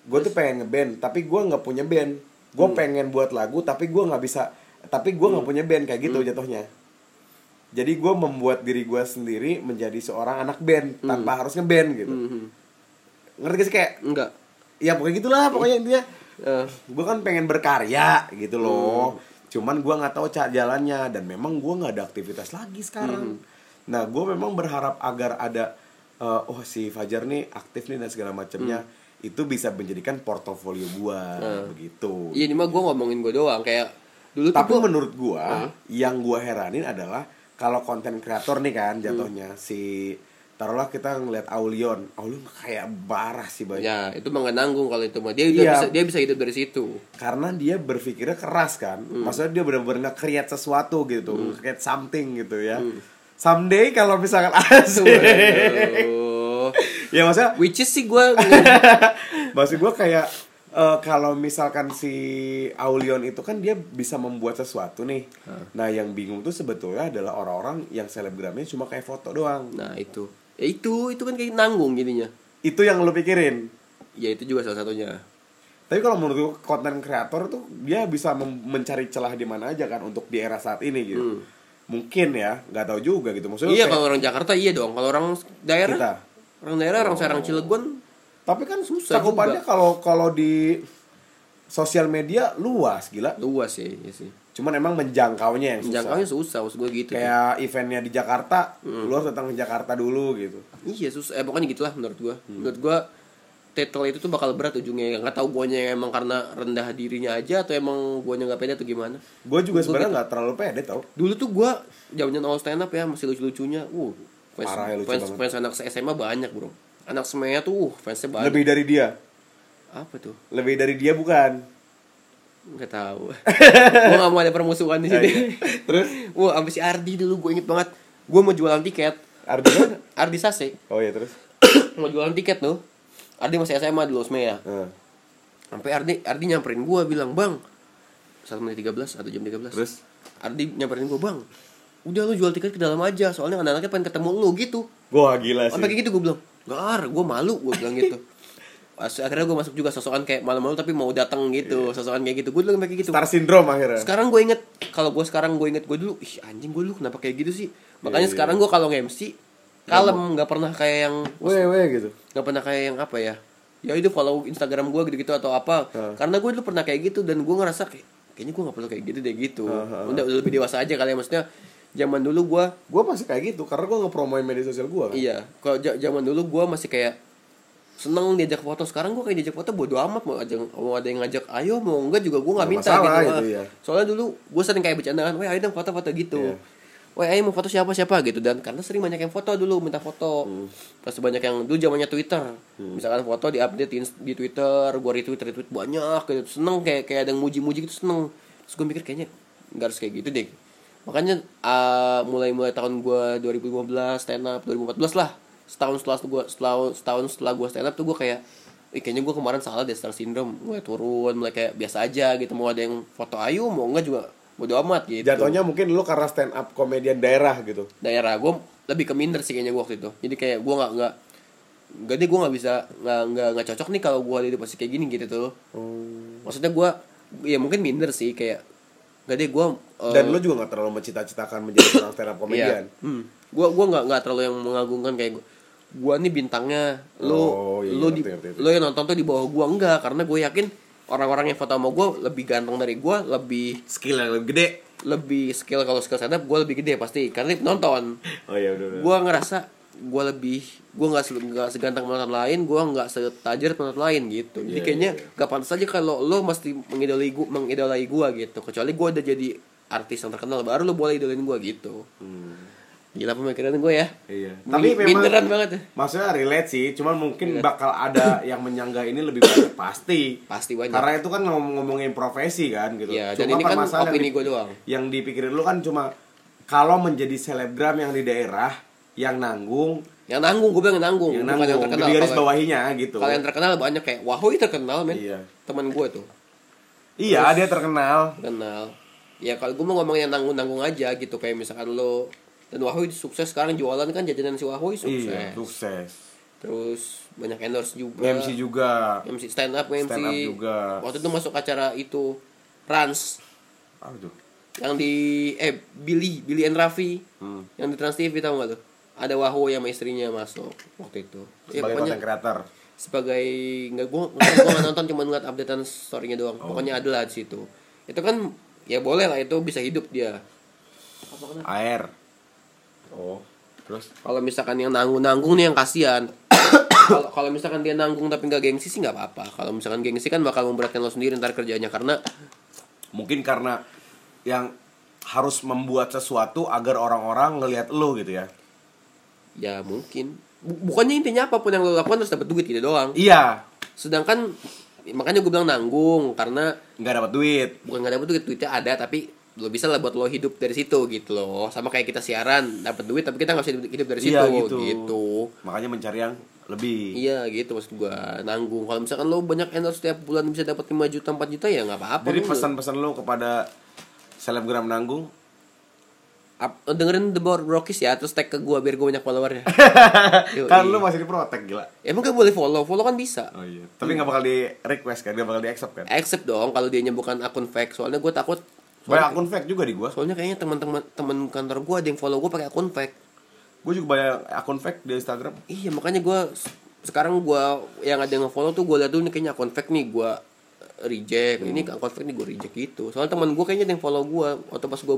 Speaker 1: gue tuh pengen ngeband tapi gue nggak punya band gue pengen buat lagu tapi gue nggak bisa tapi gue nggak punya band kayak gitu jatuhnya Jadi gue membuat diri gue sendiri menjadi seorang anak band tanpa harus ngeband gitu. Ngerti gak sih kayak
Speaker 2: Enggak.
Speaker 1: ya pokoknya gitulah pokoknya intinya
Speaker 2: Eh.
Speaker 1: gue kan pengen berkarya gitu loh cuman gue nggak tahu cara jalannya dan memang gue nggak ada aktivitas lagi sekarang
Speaker 2: Hmm.
Speaker 1: nah gue memang berharap agar ada eh, oh si Fajar nih aktif nih dan segala macamnya
Speaker 2: Hmm.
Speaker 1: itu bisa menjadikan portofolio gue begitu
Speaker 2: Iya ini mah gue ngomongin gue doang kayak dulu
Speaker 1: tapi
Speaker 2: tuh gua- Hmm.
Speaker 1: menurut gue yang gue heranin adalah kalau konten kreator nih kan jatuhnya
Speaker 2: Hmm.
Speaker 1: si taruhlah kita ngeliat Aulion Aulion kayak barah sih banyak
Speaker 2: ya itu mah nggak nanggung kalau itu mah dia udah
Speaker 1: Iya.
Speaker 2: bisa dia bisa hidup dari situ.
Speaker 1: karena dia berpikirnya keras kan maksudnya dia benar-benar nge-create sesuatu gitu nge-create something gitu ya someday kalau misalkan asik
Speaker 2: Waduh.
Speaker 1: ya maksudnya
Speaker 2: Which is sih gue
Speaker 1: maksud gue kayak eh, kalau misalkan si Aulion itu kan dia bisa membuat sesuatu nih nah yang bingung tuh sebetulnya adalah orang-orang yang selebgramnya cuma kayak foto doang
Speaker 2: Nah itu ya, Itu itu kan kayak nanggung jadinya
Speaker 1: itu yang lo pikirin
Speaker 2: Ya itu juga salah satunya
Speaker 1: tapi kalau menurut gue konten kreator tuh dia bisa mem- mencari celah di mana aja kan untuk di era saat ini gitu mungkin ya nggak tahu juga gitu maksudnya
Speaker 2: Hmm. Iya
Speaker 1: kayak-
Speaker 2: kalau orang Jakarta iya dong Kalau orang daerah
Speaker 1: Kita. Oh.
Speaker 2: Orang daerah, orang Serang Cilegon
Speaker 1: Tapi kan
Speaker 2: Susah
Speaker 1: susah cakupannya
Speaker 2: juga.
Speaker 1: kalau kalau di sosial media luas gila.
Speaker 2: Luas sih, iya sih.
Speaker 1: Cuman emang menjangkaunya yang susah.
Speaker 2: Menjangkaunya susah Hmm. maksud gue gitu
Speaker 1: Kayak eventnya di Jakarta, lu harus datang ke Jakarta dulu gitu.
Speaker 2: Iya susah, eh pokoknya gitulah menurut gue
Speaker 1: Hmm.
Speaker 2: Menurut gue title itu tuh bakal berat ujungnya Gak tau guanya emang karena rendah dirinya aja Atau emang guanya gak pede atau gimana
Speaker 1: Gue
Speaker 2: gitu.
Speaker 1: juga sebenarnya nggak terlalu pede tau.
Speaker 2: Dulu tuh gue jaman awal stand up ya masih lucu-lucunya Uh fans,
Speaker 1: Parah ya, lucu
Speaker 2: fans,
Speaker 1: banget.
Speaker 2: fans anak SMA banyak bro Anak SMA tuh uh, fansnya banyak
Speaker 1: Lebih dari dia,
Speaker 2: Apa tuh?
Speaker 1: lebih dari dia bukan.
Speaker 2: Gak tahu. gue gak mau ada permusuhan di sini.
Speaker 1: Iya, Terus
Speaker 2: Wah, abis si Ardi dulu gue inget banget. Gue mau jualan tiket.
Speaker 1: Arjuna?
Speaker 2: Ardi Sase
Speaker 1: Oh iya terus.
Speaker 2: mau jualan tiket tuh. Ardi masih SMA dulu SMA ya.
Speaker 1: Nah,
Speaker 2: Sampai Ardi Ardi nyamperin gue bilang bang. Satu menit tiga belas atau jam tiga belas.
Speaker 1: Terus?
Speaker 2: Ardi nyamperin gue bang. Udah lu jual tiket ke dalam aja soalnya anak-anaknya pengen ketemu lu gitu.
Speaker 1: Wah gila Iya sih.
Speaker 2: Sampai kayak gitu gue bilang Gak ar, gue malu Gue bilang gitu As- Akhirnya gue masuk juga sosokan kayak malu-malu tapi mau datang gitu Sosokan kayak gitu Gue dulu kayak gitu
Speaker 1: Star syndrome akhirnya.
Speaker 2: sekarang gue inget kalau gue sekarang gue inget gue dulu ih anjing gue dulu kenapa kayak gitu sih makanya sekarang gue kalau nge-MC kalem nggak pernah kayak yang
Speaker 1: Weh weh gitu.
Speaker 2: nggak pernah kayak yang apa ya ya itu follow Instagram gue gitu-gitu atau apa karena gue dulu pernah kayak gitu dan gue ngerasa kayak kayaknya gue nggak perlu kayak gitu deh gitu udah, udah lebih dewasa aja kali ya maksudnya zaman dulu gue
Speaker 1: Gue masih kayak gitu karena gue ngepromoin media sosial gue. Kan?
Speaker 2: iya kalau ja- zaman dulu gue masih kayak seneng diajak foto sekarang gue kayak diajak foto bodo amat mau aja mau ada yang ngajak ayo mau enggak juga gue nggak
Speaker 1: Nggak
Speaker 2: minta
Speaker 1: masalah
Speaker 2: gitu,
Speaker 1: gitu,
Speaker 2: ah.
Speaker 1: ya.
Speaker 2: soalnya dulu gue sering kayak bercanda kan weh ayo dong foto-foto gitu
Speaker 1: Iya.
Speaker 2: weh ayo mau foto siapa siapa gitu dan karena sering banyak yang foto dulu minta foto
Speaker 1: Hmm.
Speaker 2: pas banyak yang dulu zamannya twitter misalkan foto di update di twitter gue retweet retweet banyak gitu seneng kayak kayak ada yang muji-muji gitu seneng terus gue mikir kayaknya nggak harus kayak gitu deh makanya ah, mulai-mulai tahun gue 2015 stand up 2014 lah setahun setelah gue setahun setahun setelah gue stand up tuh gue kayak Ih, kayaknya gue kemarin salah deh star syndrome mulai turun mulai kayak biasa aja gitu mau ada yang foto ayu mau enggak juga bodo amat gitu
Speaker 1: Jatuhnya mungkin lu karena stand up komedian daerah gitu.
Speaker 2: daerah gue lebih ke minder sih kayaknya gue waktu itu jadi kayak gue nggak nggak nggak deh gue nggak bisa nggak nggak nggak cocok nih kalau gue ada di posisi kayak gini gitu tuh maksudnya gue ya mungkin minder sih kayak nggak deh eh, gue
Speaker 1: dan lo juga gak terlalu mencita-citakan menjadi seorang stand up
Speaker 2: Iya.
Speaker 1: comedian
Speaker 2: Hmm. Gua gua nggak nggak terlalu yang mengagungkan kayak gua. Gua nih bintangnya. Lu
Speaker 1: Oh, iya, iya,
Speaker 2: lu di-
Speaker 1: ngerti, ngerti, ngerti.
Speaker 2: lu yang nonton tuh di bawah gua enggak karena gue yakin orang-orang yang foto sama gua lebih ganteng dari gua, lebih
Speaker 4: skill yang lebih gede
Speaker 2: lebih skill kalau skill stand up gua lebih gede pasti karena dia penonton.
Speaker 1: oh iya udah udah
Speaker 2: Gua ngerasa gua lebih gua nggak se- nggak seganteng penonton lain, gua nggak setajir penonton lain gitu. Jadi
Speaker 1: Iya,
Speaker 2: kayaknya
Speaker 1: iya,
Speaker 2: nggak pantas aja kalau lo mesti mengidolai gua, mengidolai gua gitu. Kecuali gua udah jadi artis yang terkenal baru lo boleh idolain gua gitu. Gila pemikiran gue ya.
Speaker 1: Hmm. iya
Speaker 2: Tapi minderan banget ya.
Speaker 1: maksudnya relate sih cuman
Speaker 2: Iya.
Speaker 1: mungkin bakal ada yang menyanggah ini lebih banyak pasti
Speaker 2: Pasti banyak.
Speaker 1: karena itu kan ngom- ngomongin profesi kan gitu
Speaker 2: Iya, dan ini kan
Speaker 1: permasalahan
Speaker 2: opini
Speaker 1: yang di-
Speaker 2: gua doang.
Speaker 1: yang dipikirin lu kan cuma kalau menjadi selebgram yang di daerah yang nanggung
Speaker 2: Yang nanggung gue bilang yang nanggung,
Speaker 1: yang
Speaker 2: bukan yang
Speaker 1: nanggung
Speaker 2: terkenal.
Speaker 1: di garis
Speaker 2: Kalau-
Speaker 1: bawahinya gitu
Speaker 2: Kalau yang terkenal banyak kayak Wahoy terkenal men.
Speaker 1: Iya.
Speaker 2: Teman gue tuh
Speaker 1: iya dia terkenal
Speaker 2: terkenal. Ya kalau gue mau ngomongin yang nanggung-nanggung aja gitu kayak misalkan lo dan Wahoy sukses sekarang jualan kan jajanan si Wahoy sukses.
Speaker 1: iya sukses Eh.
Speaker 2: Terus banyak endorse juga.
Speaker 1: MC juga
Speaker 2: MC stand up, MC.
Speaker 1: Stand up juga.
Speaker 2: Waktu itu masuk acara itu Rans.
Speaker 1: Aduh.
Speaker 2: yang di eh Billy Billy and Raffi
Speaker 1: Hmm.
Speaker 2: yang di Trans TV tahu nggak tuh ada Wahwo yang sama istrinya masuk waktu itu Ya,
Speaker 1: sebagai
Speaker 2: pokoknya
Speaker 1: content creator
Speaker 2: sebagai nggak gua nggak gua nggak nonton cuma ngeliat updatean storynya doang
Speaker 1: Oh.
Speaker 2: pokoknya ada lah di situ itu kan ya boleh lah itu bisa hidup dia
Speaker 1: air oh terus
Speaker 2: kalau misalkan yang nanggung nanggung nih yang kasihan kalau kalau misalkan dia nanggung tapi nggak gengsi sih nggak apa-apa kalau misalkan gengsi kan bakal memberatkan lo sendiri ntar kerjanya karena
Speaker 1: mungkin karena yang harus membuat sesuatu agar orang-orang ngelihat lo gitu ya
Speaker 2: ya mungkin Bu- bukannya intinya apapun yang lo lakukan harus dapat duit gitu doang
Speaker 1: iya
Speaker 2: sedangkan makanya gue bilang nanggung karena
Speaker 1: nggak dapat duit
Speaker 2: bukan nggak dapet duit duitnya ada tapi lo bisa lah buat lo hidup dari situ gitu loh sama kayak kita siaran dapat duit tapi kita nggak bisa hidup dari situ
Speaker 1: Iya,
Speaker 2: gitu.
Speaker 1: gitu. makanya mencari yang lebih
Speaker 2: iya gitu maksud gua nanggung kalau misalkan lo banyak endorse setiap bulan bisa dapat 5 juta 4 juta ya nggak apa-apa
Speaker 1: jadi
Speaker 2: Lo-
Speaker 1: pesan-pesan lo kepada selebgram nanggung
Speaker 2: Ap- dengerin The Board Brokis ya terus tag ke gua biar gua banyak followernya Yoi. Ya,
Speaker 1: kan lo masih diprotek gila
Speaker 2: emang gak boleh follow follow kan bisa
Speaker 1: oh iya tapi nggak bakal di request kan nggak bakal di accept kan
Speaker 2: accept dong kalau dia bukan akun fake soalnya gua takut
Speaker 1: banyak
Speaker 2: soalnya,
Speaker 1: akun fake juga di gua
Speaker 2: soalnya kayaknya teman-teman teman kantor gua ada yang follow gua pakai akun fake
Speaker 1: gua juga banyak akun fake di Instagram
Speaker 2: Iya makanya gue sekarang gue yang ada yang ngefollow tuh gue liat dulu nih kayaknya akun fake nih gue reject ini
Speaker 1: Hmm.
Speaker 2: akun fake nih gue reject gitu soalnya teman gue kayaknya ada yang follow gue waktu pas gue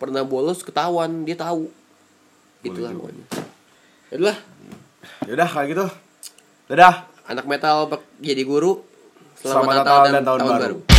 Speaker 2: pernah bolos ketahuan dia tahu itulah pokoknya itulah
Speaker 1: yaudah kayak gitu dadah
Speaker 2: anak metal pak- jadi guru
Speaker 1: Selamat Natal dan Tahun Baru.